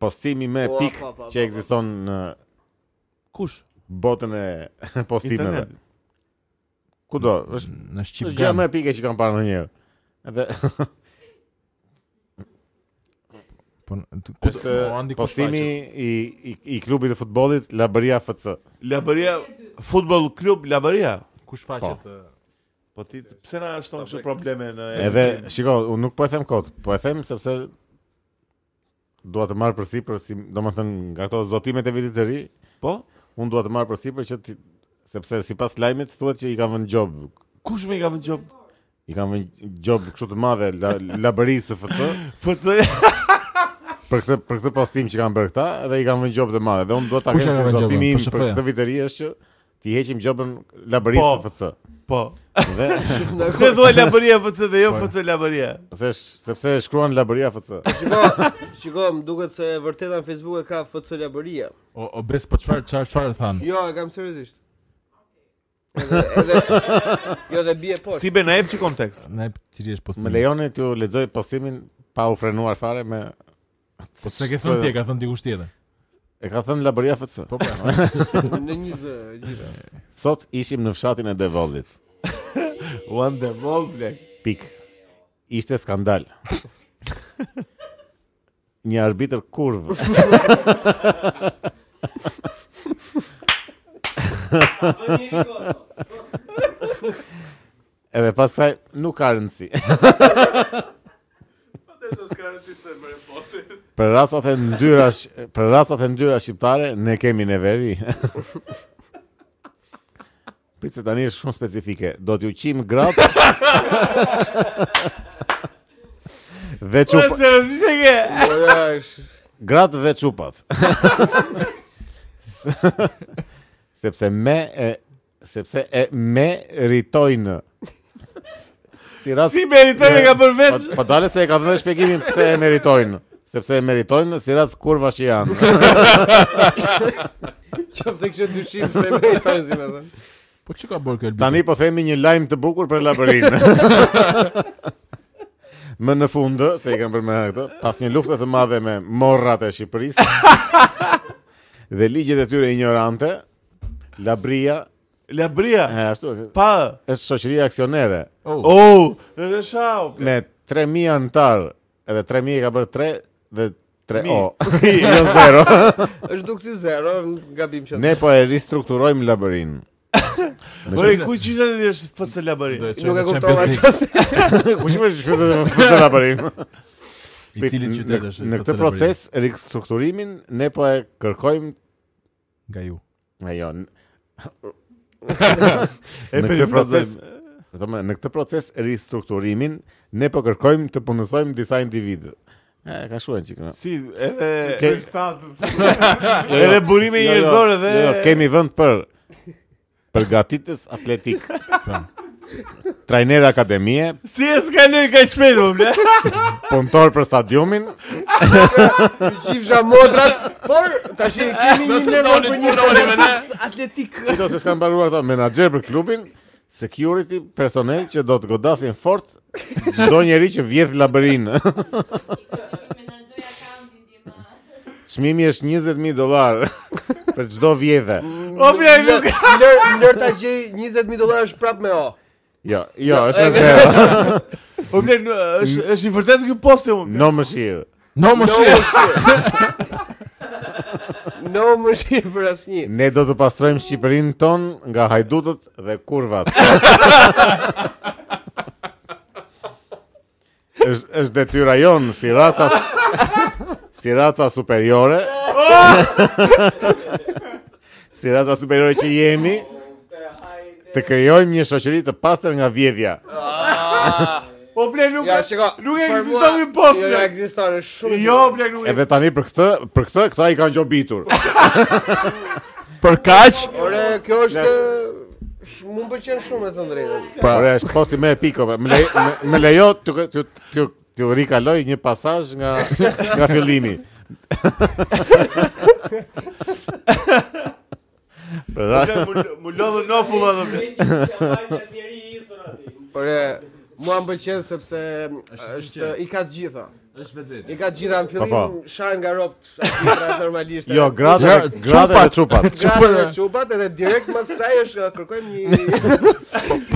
Speaker 2: postimi me
Speaker 6: Po,
Speaker 2: pik
Speaker 6: po, po, po,
Speaker 2: që ekziston në
Speaker 1: Kush?
Speaker 2: botën e *laughs* postimeve.
Speaker 1: Internet.
Speaker 2: Kudo, është
Speaker 5: Në
Speaker 2: është
Speaker 5: Shqipëri.
Speaker 2: gjë më e pike që kam parë ndonjëherë. Edhe
Speaker 5: Po n- t-
Speaker 2: *laughs*
Speaker 5: ku
Speaker 2: është
Speaker 5: po, Andi
Speaker 2: postimi
Speaker 5: Kostaqi.
Speaker 2: i i, i klubit të futbollit Labëria FC.
Speaker 1: Labaria Football Club Labaria.
Speaker 5: Kush faqet?
Speaker 1: Po ti pse na shton kështu probleme në
Speaker 2: Edhe shiko, unë nuk po e them kot, po e them sepse dua të marr përsipër, si, domethënë nga ato zotimet e vitit të ri,
Speaker 1: po
Speaker 2: unë dua të marr përsipër që ti, sepse sipas lajmit thuhet që i kanë vënë job,
Speaker 1: kush më i ka vënë job?
Speaker 2: i kanë vënë job kështu të madhe la, Labërisë FC *laughs*
Speaker 1: FC
Speaker 2: për këtë për këtë postim që kanë bërë këta dhe i kanë vënë job të madhe. Dhe unë dua ta
Speaker 5: Kush e
Speaker 2: kem se
Speaker 5: ka vënë Po, gjobën?
Speaker 2: zotimi im
Speaker 5: PSF -ja?
Speaker 2: për këtë vit të ri është që ti heqim jobën Labërisë
Speaker 1: Po.
Speaker 2: FC.
Speaker 1: po.
Speaker 2: Dhe
Speaker 1: Pse thua Labaria FC dhe jo
Speaker 2: Po.
Speaker 1: FC Labaria?
Speaker 2: pse sh- sepse shkruan Labëria FC.
Speaker 6: Shiko, shiko, më duket se vërteta në Facebook e ka FC Labëria.
Speaker 5: O, o bes po çfarë çfarë çfarë than?
Speaker 6: Jo, e kam seriozisht. Edhe, edhe, jo dhe bie poshtë.
Speaker 1: Si be na jep çi kontekst.
Speaker 5: Ne cili është postimi?
Speaker 2: Më lejoni t'ju lexoj postimin pa u frenuar fare me
Speaker 5: Po se ke thënë ti, ka thënë dikush tjetër.
Speaker 2: E ka thënë Labëria FC.
Speaker 5: Po po.
Speaker 6: në një zë gjithë.
Speaker 2: Sot ishim në fshatin e Devollit.
Speaker 1: One the ball black.
Speaker 2: Pik. Ishte skandal. Një arbitër kurv. Edhe pasaj nuk ka rëndësi. Për racat e ndyra sh- për racat e ndyra shqiptare ne kemi neveri. Pritë tani është shumë specifike. Do t'ju qim gratë dhe
Speaker 1: Po
Speaker 2: çupa,
Speaker 1: seriozisht e ke?
Speaker 6: Po ja, është.
Speaker 2: gratë dhe çupat. S- sepse me e, sepse e me ritojnë. S- Si rast
Speaker 1: Si meritoni ka bërë veç?
Speaker 2: Po dale se e ka dhënë shpjegimin pse e meritojnë, sepse e meritojnë si rast kurva që janë.
Speaker 6: Qoftë kishte dyshim se meritojnë si më thënë.
Speaker 5: Po çu ka bërë kjo Elbita?
Speaker 2: Tani po themi një lajm të bukur për labërinë. *laughs* më në fund, se i kam përmendur këtë, pas një lufte të madhe me morrat e Shqipërisë dhe ligjet e tyre ignorante, Labria,
Speaker 1: Labria.
Speaker 2: e ashtu e-
Speaker 1: Pa.
Speaker 2: është shoqëria aksionere
Speaker 5: Oh,
Speaker 1: Oh, është shau.
Speaker 2: me 3000 antar, edhe 3000 e ka bërë 3 dhe 3
Speaker 1: Mi.
Speaker 2: o,
Speaker 5: *laughs*
Speaker 2: jo 0.
Speaker 6: Është duk si zero, në gabim që.
Speaker 2: ne po e ristrukturojmë
Speaker 5: *laughs*
Speaker 2: labërinë.
Speaker 1: Po e ku qishte ti është FC
Speaker 5: do
Speaker 1: Labaria?
Speaker 5: e çojë
Speaker 6: Nuk e
Speaker 5: në Champions
Speaker 6: kuptova
Speaker 5: League.
Speaker 6: çfarë.
Speaker 2: Ku shihmë shpëtë labërinë?
Speaker 5: I cili qytet
Speaker 2: Në-
Speaker 5: është?
Speaker 2: Në këtë
Speaker 5: Celebrini?
Speaker 2: proces ristrukturimin ne po e kërkojmë
Speaker 5: nga ju.
Speaker 2: ajo.
Speaker 5: *laughs*
Speaker 2: n-
Speaker 1: E
Speaker 2: Në këtë
Speaker 1: perifrazojmë.
Speaker 2: proces do të thënë, në këtë proces ristrukturimin ne po kërkojmë të punësojmë disa individë. E ka shuan çik.
Speaker 1: Si, edhe
Speaker 2: Ke- *laughs*
Speaker 1: edhe burime njerëzore dhe
Speaker 2: Jo, kemi vend për përgatitës atletik. Trajner akademie,
Speaker 1: si e skaloj kaq shpejt po, më
Speaker 2: *laughs*
Speaker 1: bla.
Speaker 2: punëtor për stadiumin,
Speaker 6: Qifsha modrat, por tash i kemi një nevojë për një atletik. atletik.
Speaker 2: i do se s'kan mbaruar ato menaxher për klubin, security, personel që do të godasin fort çdo njeri që vjedh labërinë.
Speaker 8: Menaxhoja kampin dje ma.
Speaker 2: *laughs* Çmimi është 20000 dollar *laughs* për çdo vjedhje.
Speaker 1: O bla Po, nuk
Speaker 6: Lër, lër ta gjej 20000 dollarësh prap me o.
Speaker 2: Jo, jo, është me zero.
Speaker 1: o bla Po nuk- është
Speaker 2: Mm.
Speaker 1: është i vërtetë ky posti më. bla.
Speaker 2: No mëshirë.
Speaker 5: No më
Speaker 6: No
Speaker 5: shih.
Speaker 6: shit. No më shih për asnjë.
Speaker 2: Ne do të pastrojmë Shqipërinë tonë nga hajdutët dhe kurvat. është është detyra jonë si raca si raca superiore. si raca superiore që jemi të krijojmë një shoqëri të pastër nga vjedhja.
Speaker 1: O bla Po nuk
Speaker 6: Ja, shiko.
Speaker 1: nuk
Speaker 6: për
Speaker 1: ekziston
Speaker 6: mua-
Speaker 1: ky post.
Speaker 6: Jo,
Speaker 1: bla.
Speaker 6: ekziston, është shumë.
Speaker 1: Jo bla nuk
Speaker 2: Edhe tani për këtë, për këtë këta i kanë gjobitur.
Speaker 5: Për kaq?
Speaker 6: Ore, kjo është sh- mu më pëlqen shumë e thënë drejtën.
Speaker 2: Pra, Ore, është posti më e pikove. Më, le, më, më lejo t'ju t'ju t'ju t'ju rikaloj një pasazh nga nga fillimi. Pra,
Speaker 1: Bla, mu- mu lodhën nofulla dhe bla.
Speaker 2: *laughs*
Speaker 6: Por e mua më pëlqen sepse është i ka të gjitha.
Speaker 5: Është vetë.
Speaker 6: I ka të gjitha në
Speaker 2: Po,
Speaker 6: fillim
Speaker 2: po.
Speaker 6: shar nga ropt artistrat normalisht.
Speaker 2: Jo, gratë,
Speaker 5: Ja,
Speaker 2: gratë dhe çupat.
Speaker 6: Gratë dhe çubat edhe direkt mas saj është kërkojmë *laughs* një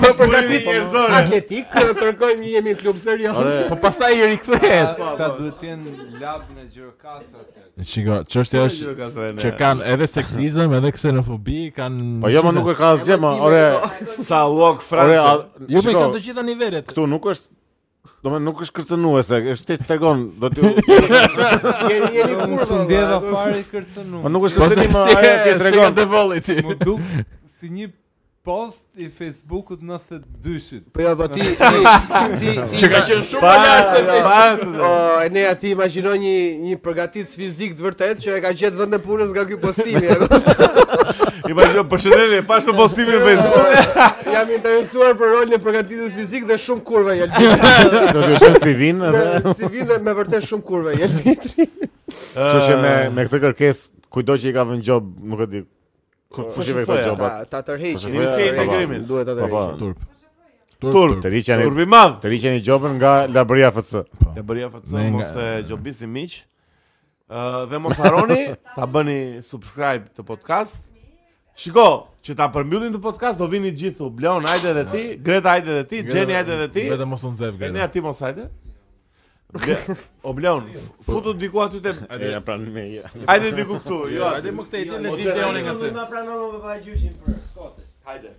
Speaker 6: më përgatit
Speaker 1: njerëzore.
Speaker 6: atletik, kërkojmë një jemi klub serioz. *laughs*
Speaker 5: Po pastaj i rikthehet.
Speaker 3: Ka duhet të jenë lab në gjyrokasa.
Speaker 5: *laughs* Shiko, çështja është që kanë edhe seksizëm, edhe ksenofobi, kanë
Speaker 2: Po jo, ma nuk e ka asgjë, ma, ore,
Speaker 6: jo.
Speaker 1: Sa lok
Speaker 2: ore,
Speaker 1: Francë.
Speaker 2: a-
Speaker 5: Jo, po i
Speaker 2: shiko,
Speaker 5: kanë të gjitha nivelet.
Speaker 2: këtu nuk është Do me nuk është kërcënuese, është te tregon, do t'ju
Speaker 6: Jeni jeni
Speaker 3: Unë
Speaker 6: kurrë.
Speaker 3: së ndjeva
Speaker 6: valla.
Speaker 3: fare i kërcënu.
Speaker 2: Po nuk është kërcënim, ma ajo t'ju tregon.
Speaker 5: devolli ti.
Speaker 3: Më duk si një post i Facebookut 92-shit.
Speaker 6: Po jo, po
Speaker 1: *laughs*
Speaker 6: ti ti- ti ti Çka që
Speaker 1: Pa, pa, se-
Speaker 6: O, e ne aty imagjino një një përgatitës fizik të vërtet që e ka gjetë vend e punës nga ky postimi. *laughs* e kupton?
Speaker 1: *laughs* I pa që përshëndetje, pa shtë postimin në Facebook.
Speaker 6: Jam interesuar për rolin e përgatitës fizik dhe shumë kurve Jelbi.
Speaker 1: *laughs*
Speaker 2: Do t'ju shkon si vinë edhe.
Speaker 6: Me- Si vjen dhe me vërtet shumë kurve Jelbi.
Speaker 2: Kështu që me me këtë kërkesë, kujdo që i ka vënë gjob, nuk e di. Ku
Speaker 1: Po,
Speaker 2: kush i vë këto
Speaker 1: shifroja,
Speaker 2: gjobat?
Speaker 6: Ta ta tërheqin.
Speaker 2: Jemi si
Speaker 1: integrimin.
Speaker 6: Duhet po, ta
Speaker 2: Po po.
Speaker 6: tërheqin.
Speaker 5: Turp.
Speaker 1: Turp.
Speaker 2: Të riqeni,
Speaker 1: Turpi madh.
Speaker 2: të riqeni gjobën nga Labria FC.
Speaker 1: Ja bëria fatësë,
Speaker 5: Ne nga-
Speaker 1: mos e gjobisi miq. Ë dhe mos harroni ta bëni subscribe të podcast. Shiko, që ta përmbyllim të podcast do vini gjithu. Bleon, hajde edhe ti, Greta hajde edhe ti, Gjeni hajde edhe ti.
Speaker 5: Vetëm mos u nxev
Speaker 1: E ne
Speaker 5: gjë.
Speaker 1: aty mos hajde. Ble- O Bleon, futu diku aty te
Speaker 2: Ja pranë me. ja.
Speaker 1: hajde diku këtu. Jo, hajde.
Speaker 5: Hajde më këtë ditë në videon e ngacë.
Speaker 4: Na pranon me pa gjyshin për shkote.
Speaker 1: Hajde.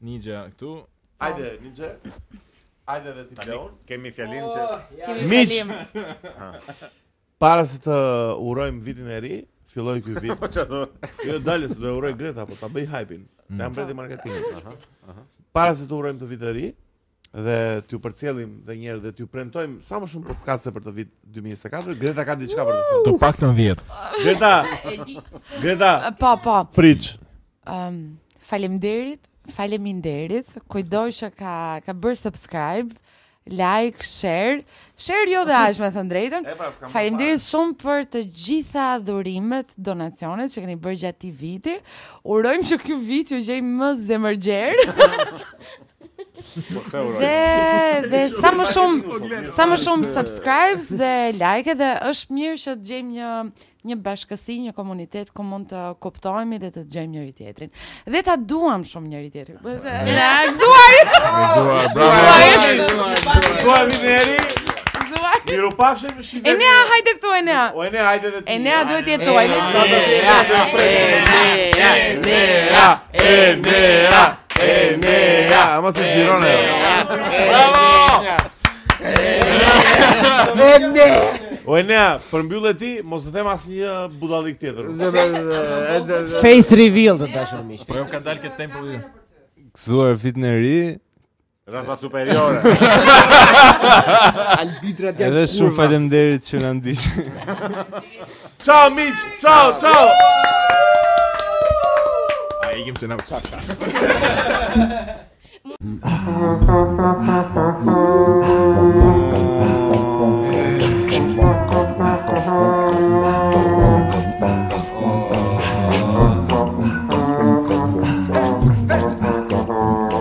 Speaker 5: Nigja këtu.
Speaker 1: Hajde, Ninja. Hajde edhe ti Bleon.
Speaker 2: Kemi fjalinë që
Speaker 1: Miq. Para se të urojmë vitin e ri, filloi ky *laughs* vit.
Speaker 2: Po çfarë do?
Speaker 1: Jo dalë se do e uroj Greta, po ta bëj hype-in. Ne mm. mbreti marketingin. Aha. Para se të urojmë të vitë të ri dhe t'ju përcjellim dhe njerë dhe t'ju premtojmë sa më shumë podcaste për të vit 2024. Greta ka diçka për të thënë.
Speaker 5: Të paktën 10.
Speaker 1: *laughs* Greta, Greta,
Speaker 7: Po, po.
Speaker 1: prit.
Speaker 7: Um, faleminderit, faleminderit. Kujdoj që ka ka bër subscribe, like, share. Share jo dhe as me thënë drejtën.
Speaker 1: pra, s'kam bërë
Speaker 7: Faleminderit shumë për të gjitha dhurimet, donacionet që keni bërë gjatë këtij viti. Urojmë që ky vit ju gjej më zemërgjer.
Speaker 2: Po këtë uroj.
Speaker 7: Dhe dhe sa më shumë sa më shumë subscribes dhe like dhe është mirë që të gjejmë një një bashkësi, një komunitet ku mund të kuptohemi dhe të dëgjojmë njëri tjetrin. Dhe ta duam shumë njëri tjetrin. Na gëzuar,
Speaker 5: Gëzuar, bravo.
Speaker 1: Tua vitin e ri,
Speaker 7: gëzuar.
Speaker 1: miru pafshim, shifemi.
Speaker 7: Enea, hajde këtu Enea.
Speaker 1: O Enea, hajde dhe ti.
Speaker 7: Enea duhet të jetuaj.
Speaker 1: Enea, Enea, Enea. Ama se gjirone. O Enea, përmbyllë ti, mos të them asnjë budallik tjetër.
Speaker 4: Face reveal të dashur miq.
Speaker 5: Po jam ka dalë këtë tempulli.
Speaker 3: Gëzuar vitin e ri,
Speaker 2: Raza superiore.
Speaker 6: Arbitrat janë
Speaker 3: edhe shumë
Speaker 6: kurva.
Speaker 3: faleminderit që na ndiqni.
Speaker 1: Ciao miq, ciao, ciao.
Speaker 5: A i gjimë që na qaka.